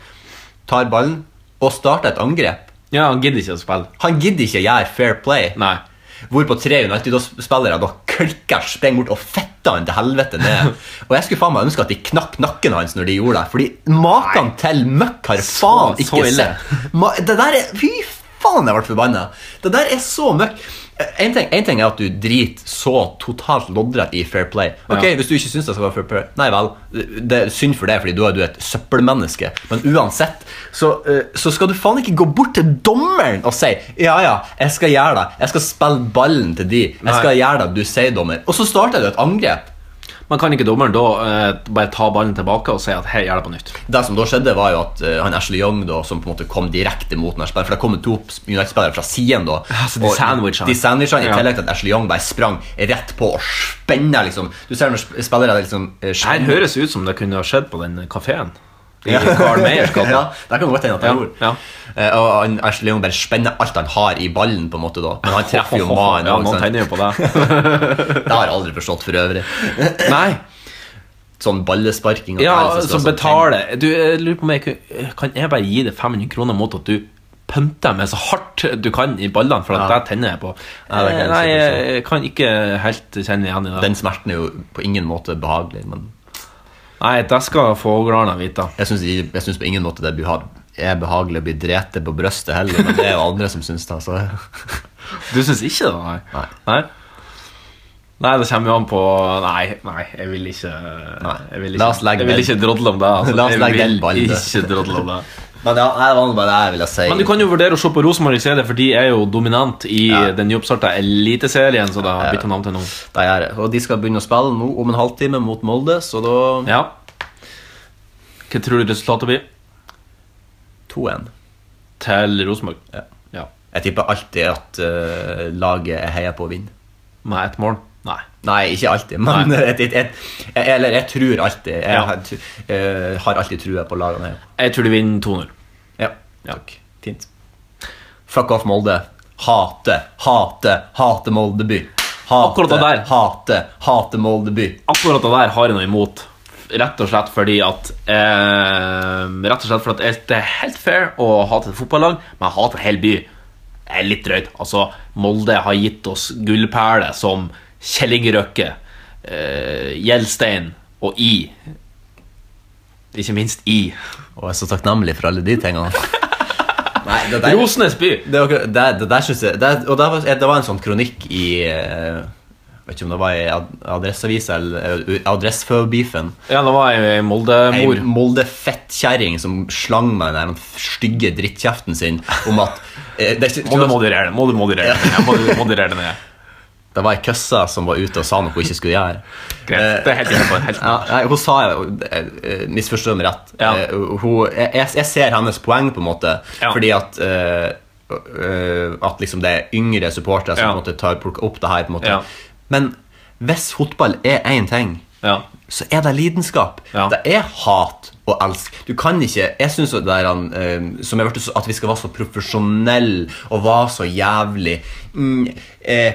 Tar ballen og starter et angrep. Ja, han gidder ikke å spille. Han gidder ikke gjøre fair play. Nei. Hvorpå tre United-spillere da klikker, springer bort og fetter han til helvete ned. Og jeg skulle faen meg ønske at de knakk nakken hans når de gjorde det. Fordi maken til møkk har Så- så faen ikke ille. sett. Ma- Det der er Fy faen, jeg ble forbanna. Det der er så møkk. En ting, en ting er at du driter så totalt loddrett i fair play. Ok, Ja. Hvis du ikke syns det skal være fair play, nei vel. Det er synd for deg, fordi da er du et søppelmenneske. Men uansett så, eh, så skal du faen ikke gå bort til dommeren og si Ja, ja, jeg skal gjøre det. Jeg skal spille ballen til de. Jeg skal Nei. gjøre det du sier, dommer. Og så starter du et angrep. Man kan ikke dommeren da eh, bare ta ballen tilbake og si at hei, gjør det på nytt. Det som da skjedde, var jo at eh, han Ashley Young da, som på en måte kom direkte mot den her spilleren, for det kom jo to United-spillere fra siden da. så de og sandwichet han. De sandwichet han, i Ja. tillegg til at Ashley Young bare sprang rett på og spenner, liksom. Du ser når sp- spillere liksom eh, Det her spenner- høres ut som det kunne ha skjedd på den kafeen. I Ja. Carl Meyers gate. ja, det kan godt hende at han Ja, gjorde. ja. Eh, Og han, Ashley Young bare spenner alt han har i ballen, på en måte da. Men han treffer jo magen. Ja, også, man sant? tenner jo på det. Det har jeg aldri forstått for øvrig. Nei. Sånn ballesparking. at det Ja, her som skal være sånn betaler Du, jeg lurer på om jeg kan- Kan jeg bare gi deg 500 kroner mot at du pønter meg så hardt du kan i ballene, for at Ja. det tenner jeg på? Eh, Ja, det kan jeg Nei, sikkert jeg kan ikke helt kjenne igjen i det. tenning. Den smerten er jo på ingen måte behagelig, men Nei, det skal fåglene vite. jeg syns, jeg synes på ingen måte det beha- er behagelig å bli drete på brøstet heller, men det er jo andre som syns det. altså. Så. Du syns ikke det? Nei. Nei. Nei? Nei, det kommer jo an på Nei, nei, jeg vil ikke Nei. Jeg vil La oss ikke, legge jeg vil den- ikke drodle om det. Altså. La oss legge jeg vil den ballen død. ikke drodle om det. Men ja, nei, det var nå bare det jeg ville si. Men du kan jo vurdere å se på Rosenborg i stedet, for de er jo dominant i Ja. den nyoppstarta Eliteserien, så da har bytta navn til noe. Det gjør jeg. Og de skal begynne å spille nå om en halvtime mot Molde, så da Ja. Hva tror du resultatet blir 2-1. til Rosenborg? Ja. Ja. Jeg tipper alltid at eh, laget jeg heier på, vinner. Med ett mål? Nei. Nei, ikke alltid, men Nei. et, et, et, Eller jeg tror alltid. Jeg Ja. har tru- eh, har alltid trua på lagene jeg heier på. Jeg tror de vinner 2-0. Ja. Ja. Takk. Fint. Fuck off, Molde. Hate, hate, hate Moldeby. Hate, Akkurat det der. Hate, hate Moldeby. Akkurat det der har jeg noe imot. Rett og slett fordi at eh, Rett og slett fordi at det er helt fair å hate et fotballag, men jeg hater en hel by. Det er litt drøyt. Altså, Molde har gitt oss gullperler som Kjell Inge Røkke, eh, Gjelstein og I. Ikke minst I. Og jeg er så takknemlig for alle de tingene. Nei, det der, Rosenes by! det, var- det, det der synes jeg det, Og det var, det var en sånn kronikk i eh, Vet ikke om det var i Ad- Adresseavisa eller eh, Adressfø-beefen. Ja, det var ei Ei Molde-mor. Molde-fettkjerring som slang meg den der stygge drittkjeften sin om at eh, det, er ikke- Må du moderere det. Må du moderere det. Jeg må du moderere det ned. det var ei køssa som var ute og sa noe hun ikke skulle gjøre. Greit. Det er helt innenfor. Helt Eh, Ja, nei, hun sa jo eh, Misforstå meg rett. Ja. Eh, Hun, jeg, jeg- jeg ser hennes poeng, på en måte, Ja. fordi at eh, eh, At liksom det er yngre supportere som Ja. på en måte tar, plukker opp det her. på en måte Ja. Men hvis fotball er én ting Ja. så er det lidenskap. Ja. Det er hat og elsk. Du kan ikke Jeg syns det der han, eh, som jeg hørte, så- at vi skal være så profesjonelle og være så jævlig mm, eh,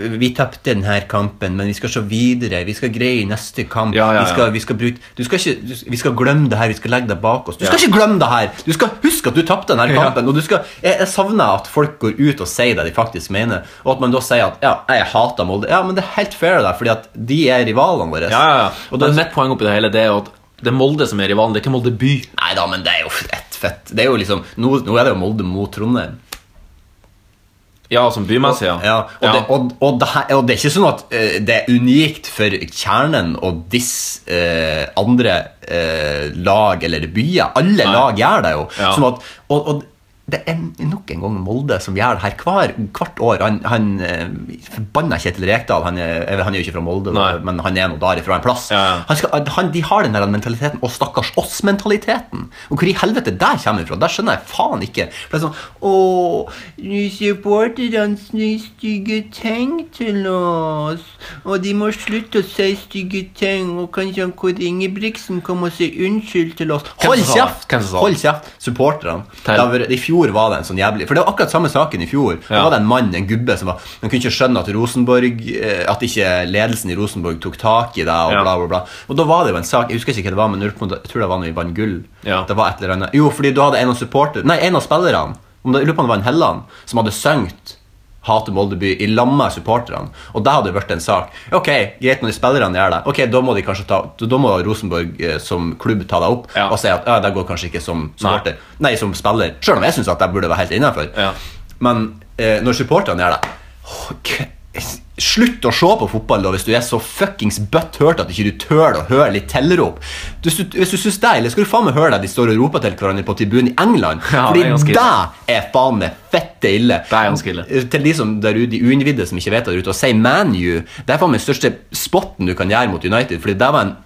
Vi tapte denne kampen, men vi skal se videre. Vi skal greie neste kamp. Ja, ja, ja. Vi, skal, vi, skal bruke, du skal ikke, du, vi skal glemme det her. Vi skal legge det bak oss. Du skal Ja. ikke glemme det her! Du skal huske at du tapte denne Ja. kampen. Og du skal, jeg, jeg savner at folk går ut og sier det de faktisk mener, og at man da sier at ja, jeg hater Molde. Ja, men det er helt fair, det, fordi at de er rivalene våre. Ja, ja, ja. Og Og da, det er mitt poeng oppi det hele det er jo at det er Molde som er rivalen, det er ikke Molde by. nei da, men det er jo ett fett. Det er jo liksom, nå, nå er det jo Molde mot Trondheim. Ja, som bymessig, ja. Ja, og, Det, og, og, det her, og det er ikke sånn at eh, det er unikt for kjernen å disse eh, andre eh, lag eller byer. Alle lag gjør det jo. Ja. Sånn at, og, og det er nok en gang Molde som gjør det her hver, hvert år. Han, han eh, Forbanna Kjetil Rekdal, han er, eller han er jo ikke fra Molde, da, Nei. men han er nå derifra en plass. Han skal, han, de har den der mentaliteten, og stakkars oss-mentaliteten. Og hvor i helvete der kommer det fra? Der skjønner jeg faen ikke. For det er sånn, Åh, nå supporter han sier stygge ting til oss, og de må slutte å si stygge ting, og kanskje han Kåre Ingebrigtsen kommer og sier unnskyld til oss. Hvem Hold som sa det? kjeft! Hvem som sa det? Hold kjeft! Supporterne. Det Tell. har vært- I fjor var det en sånn jævlig For det var akkurat samme saken i fjor. Da Ja. var det en mann, en gubbe, som var Han kunne ikke skjønne at Rosenborg eh, At ikke ledelsen i Rosenborg tok tak i det, og Ja. bla, bla, bla. Og da var det jo en sak Jeg husker ikke hva det var, men jeg lurer på om det- jeg tror det var når vi vant gull. Ja. Det var et eller annet Jo, fordi da hadde en av supporter Nei, en av spillerne, om det, jeg lurer på om det var en Helland, som hadde sunget Hater Moldeby i lag med supporterne. Og det hadde blitt en sak. Ok, Greit når de spillerne gjør det, Ok, da må de kanskje ta Da må Rosenborg eh, som klubb ta deg opp Ja. og si at ja, det går kanskje ikke som supporter. Nei, som spiller. Sjøl om jeg syns det burde være helt innafor. Ja. Men eh, når supporterne gjør det åh, k- Slutt å se på fotball da hvis du er så fuckings butthurt at ikke du tør å høre litt tilrop. Du, hvis du syns det, eller skal du faen meg høre deg de står og roper til hverandre på tribunen i England? Ja, det er ganske Fordi ille. det er faen meg fette ille. Eh, Det er ganske ille. Til de som der ute, de uinnvidde som ikke vet det der ute, å si ManU Det er faen meg den største spotten du kan gjøre mot United, fordi det var en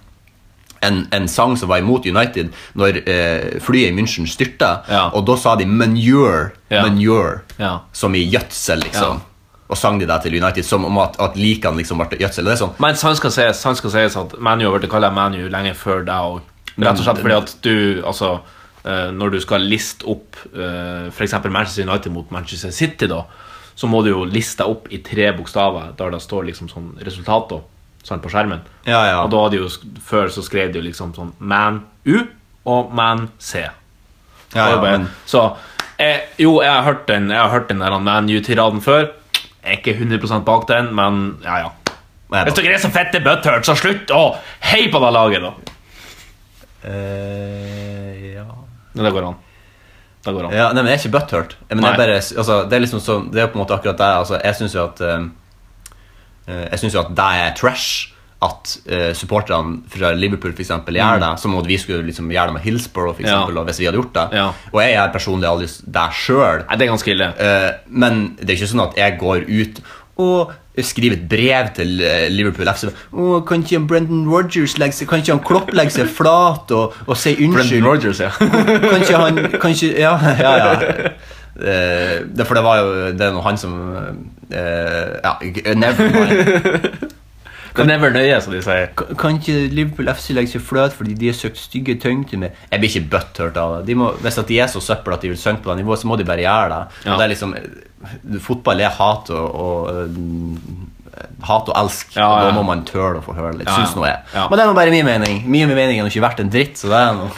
en, en sang som var imot United når eh, flyet i München styrta. Ja. Og da sa de 'manure', Ja. manure Ja. som i gjødsel, liksom. Ja. Og sang de det til United som om at, at likene liksom ble gjødsel. Det er sånn Men sant skal sies, sant skal sies at ManU har blitt kalt ManU lenge før deg òg. Rett og slett fordi at du, altså eh, Når du skal liste opp eh, For f.eks. Manchester United mot Manchester City, da, så må du jo liste deg opp i tre bokstaver der det står liksom sånn resultat da, sant, på skjermen. Ja, ja. Og da hadde jo sk- Før så skrev de jo liksom sånn ManU og ManC. Ja, ja, Og bare- men- Så eh, Jo, jeg har hørt den Jeg har hørt den der ManU-tiraden før. Jeg er ikke 100 bak den, men ja, ja. Nei, da. Hvis dere er så fette butthurt, så slutt å hei på det laget, da. eh, ja. Men det går an. Det går an. ja. Nei, men jeg er ikke butthurt. Men Nei. jeg bare, altså, det er liksom sånn Det er på en måte akkurat det. Altså, jeg syns jo at eh, eh, Jeg synes jo at det er trash. At eh, supporterne fra Liverpool for eksempel, gjør det, som om at vi skulle liksom gjøre det med Hillsborough. For Mm. Ja. eksempel, og hvis vi hadde gjort det Ja. Og jeg er personlig aldri s- der sjøl. Nei, det er ganske ille. Eh, men det er ikke sånn at jeg går ut og skriver et brev til eh, Liverpool FC. Å, kan ikke han Brendan Rodgers legge seg Kan ikke han Klopp legge seg flat og, og si unnskyld? Rodgers, ja. Kan ikke han kan ikke, Ja, ja. ja. Eh, det, for det var jo Det er nå han som eh, Ja, g- never mind. Det never nøye, som de sier. Kan- Kan ikke Liverpool FC legge seg flat fordi de har søkt stygge ting til meg? Jeg blir ikke butthurt av det. De må, hvis at de er så søppel at de vil synge på det nivået, så må de bare gjøre det. Ja. Det er liksom eh, Fotball er hat og, og eh, Hat og elsk. Ja, ja. Og da må man tøle å få høre litt. Ja, ja. Syns nå jeg. Ja. Men det er nå bare min mening. Mye med meningen er jo ikke verdt en dritt, så det er noe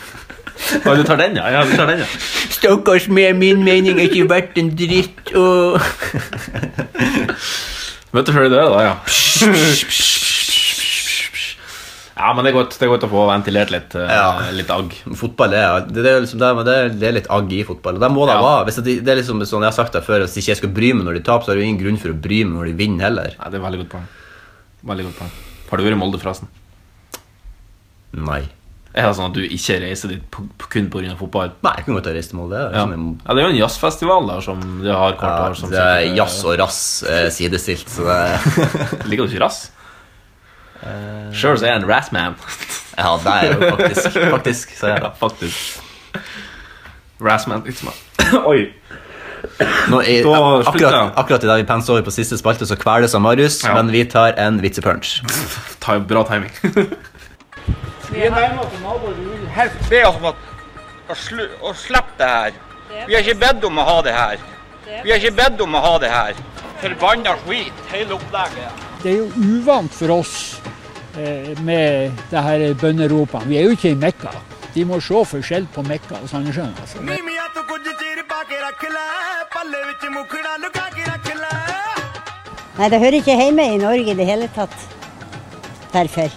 Å, du tar den, ja? ja, du tar den, ja. Stakkars med min mening er ikke verdt en dritt og Vet du sjøl det, da, ja. Ja, men det er godt, det er godt å få ventilert litt, eh, Ja. litt agg. Fotball er det, det er liksom det, men det, er- det er litt agg i fotball. og Det må det Ja. være. Hvis at de, det er liksom sånn jeg har sagt det før, hvis ikke jeg skal bry meg når de taper, så har jeg jo ingen grunn for å bry meg når de vinner heller. Nei, det er veldig godt poeng. Veldig godt poeng. Har du vært i Molde, forresten? Nei. Er det sånn at du ikke reiser dit på, på, kun pga. fotball? Nei, jeg kunne godt ha reist til Molde. det er Ja. liksom en- ja, det er jo en jazzfestival der som de har hvert Ja, år. Som det er sikkert- jazz og rass eh, sidestilt, så det Liker du ikke rass? Sjøl er jeg en rassman. Ja, det er jo faktisk Faktisk, så jeg Ja, faktisk. Rassman liksom. Oi. Nå, i, Da slutter akkurat, jeg. akkurat i det vi penser over på siste spalte, så kveles av Marius, Ja. men vi tar en vitsepunch. Ta, bra timing. Vi er nærmere til naboer. Vi vil helst Be oss om altså at å, slu, å slippe det her. Vi har ikke bedt om å ha det her. Vi har ikke bedt om å ha det her. Forbanna skit, hele opplegget. Det er jo uvant for oss eh, med det her bønneropene. Vi er jo ikke i Mekka. De må se forskjell på Mekka og Sandnessjøen. Altså. Nei, det hører ikke hjemme i Norge i det hele tatt. Derfor.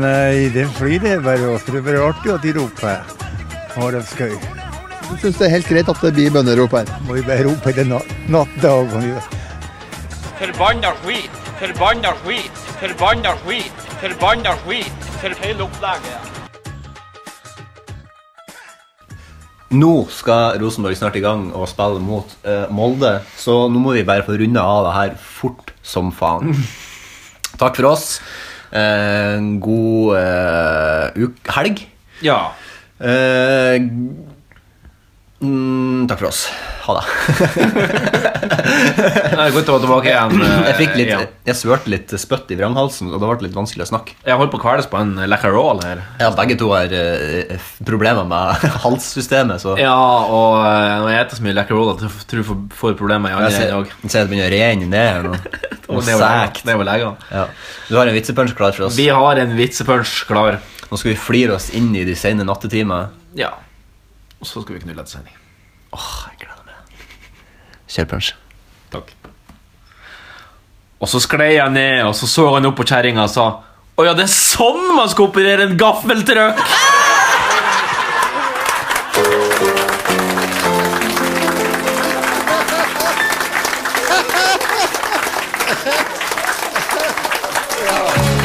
Nei, det flyr det bare oss. Det er bare artig at de roper. Haraldskøy. Du syns det er helt greit at det blir bønnerop her? Må vi bare rope det natt, natt dag og natt. Forbanna skit, forbanna skit, forbanna skit. Forbanna skit. For hele opplegget. Nå skal Rosenborg snart i gang og spille mot eh, Molde, så nå må vi bare få runde av det her fort som faen. Mm. Takk for oss. Eh, god eh, uk helg. Ja. Eh, mm, takk for oss. Ha det. Det er godt å være tilbake igjen. eh, Jeg fikk litt, igjen. jeg svørte litt spytt i vranghalsen, og det ble litt vanskelig å snakke. Jeg holdt på å kveles på en Lacquerol her. Ja, altså, begge to har eh, problemer med halssystemet, så Ja, og eh, når jeg spiser så mye Lacquerol at jeg tror jeg får- får problemer i Jeg andre ser, dag. jeg ser det begynner å rene ned her nå. Noe det er jo sækt. Det er jo legene. Ja. Du har en vitsepunch klar for oss. Vi har en vitsepunch klar. Nå skal vi flire oss inn i de sene nattetimer. Ja. Og så skal vi knulle etter sending. Kjør punch. Takk. Og så sklei jeg ned, og så så han opp på kjerringa og sa Å ja, det er sånn man skal operere en gaffeltrøkk! Ja.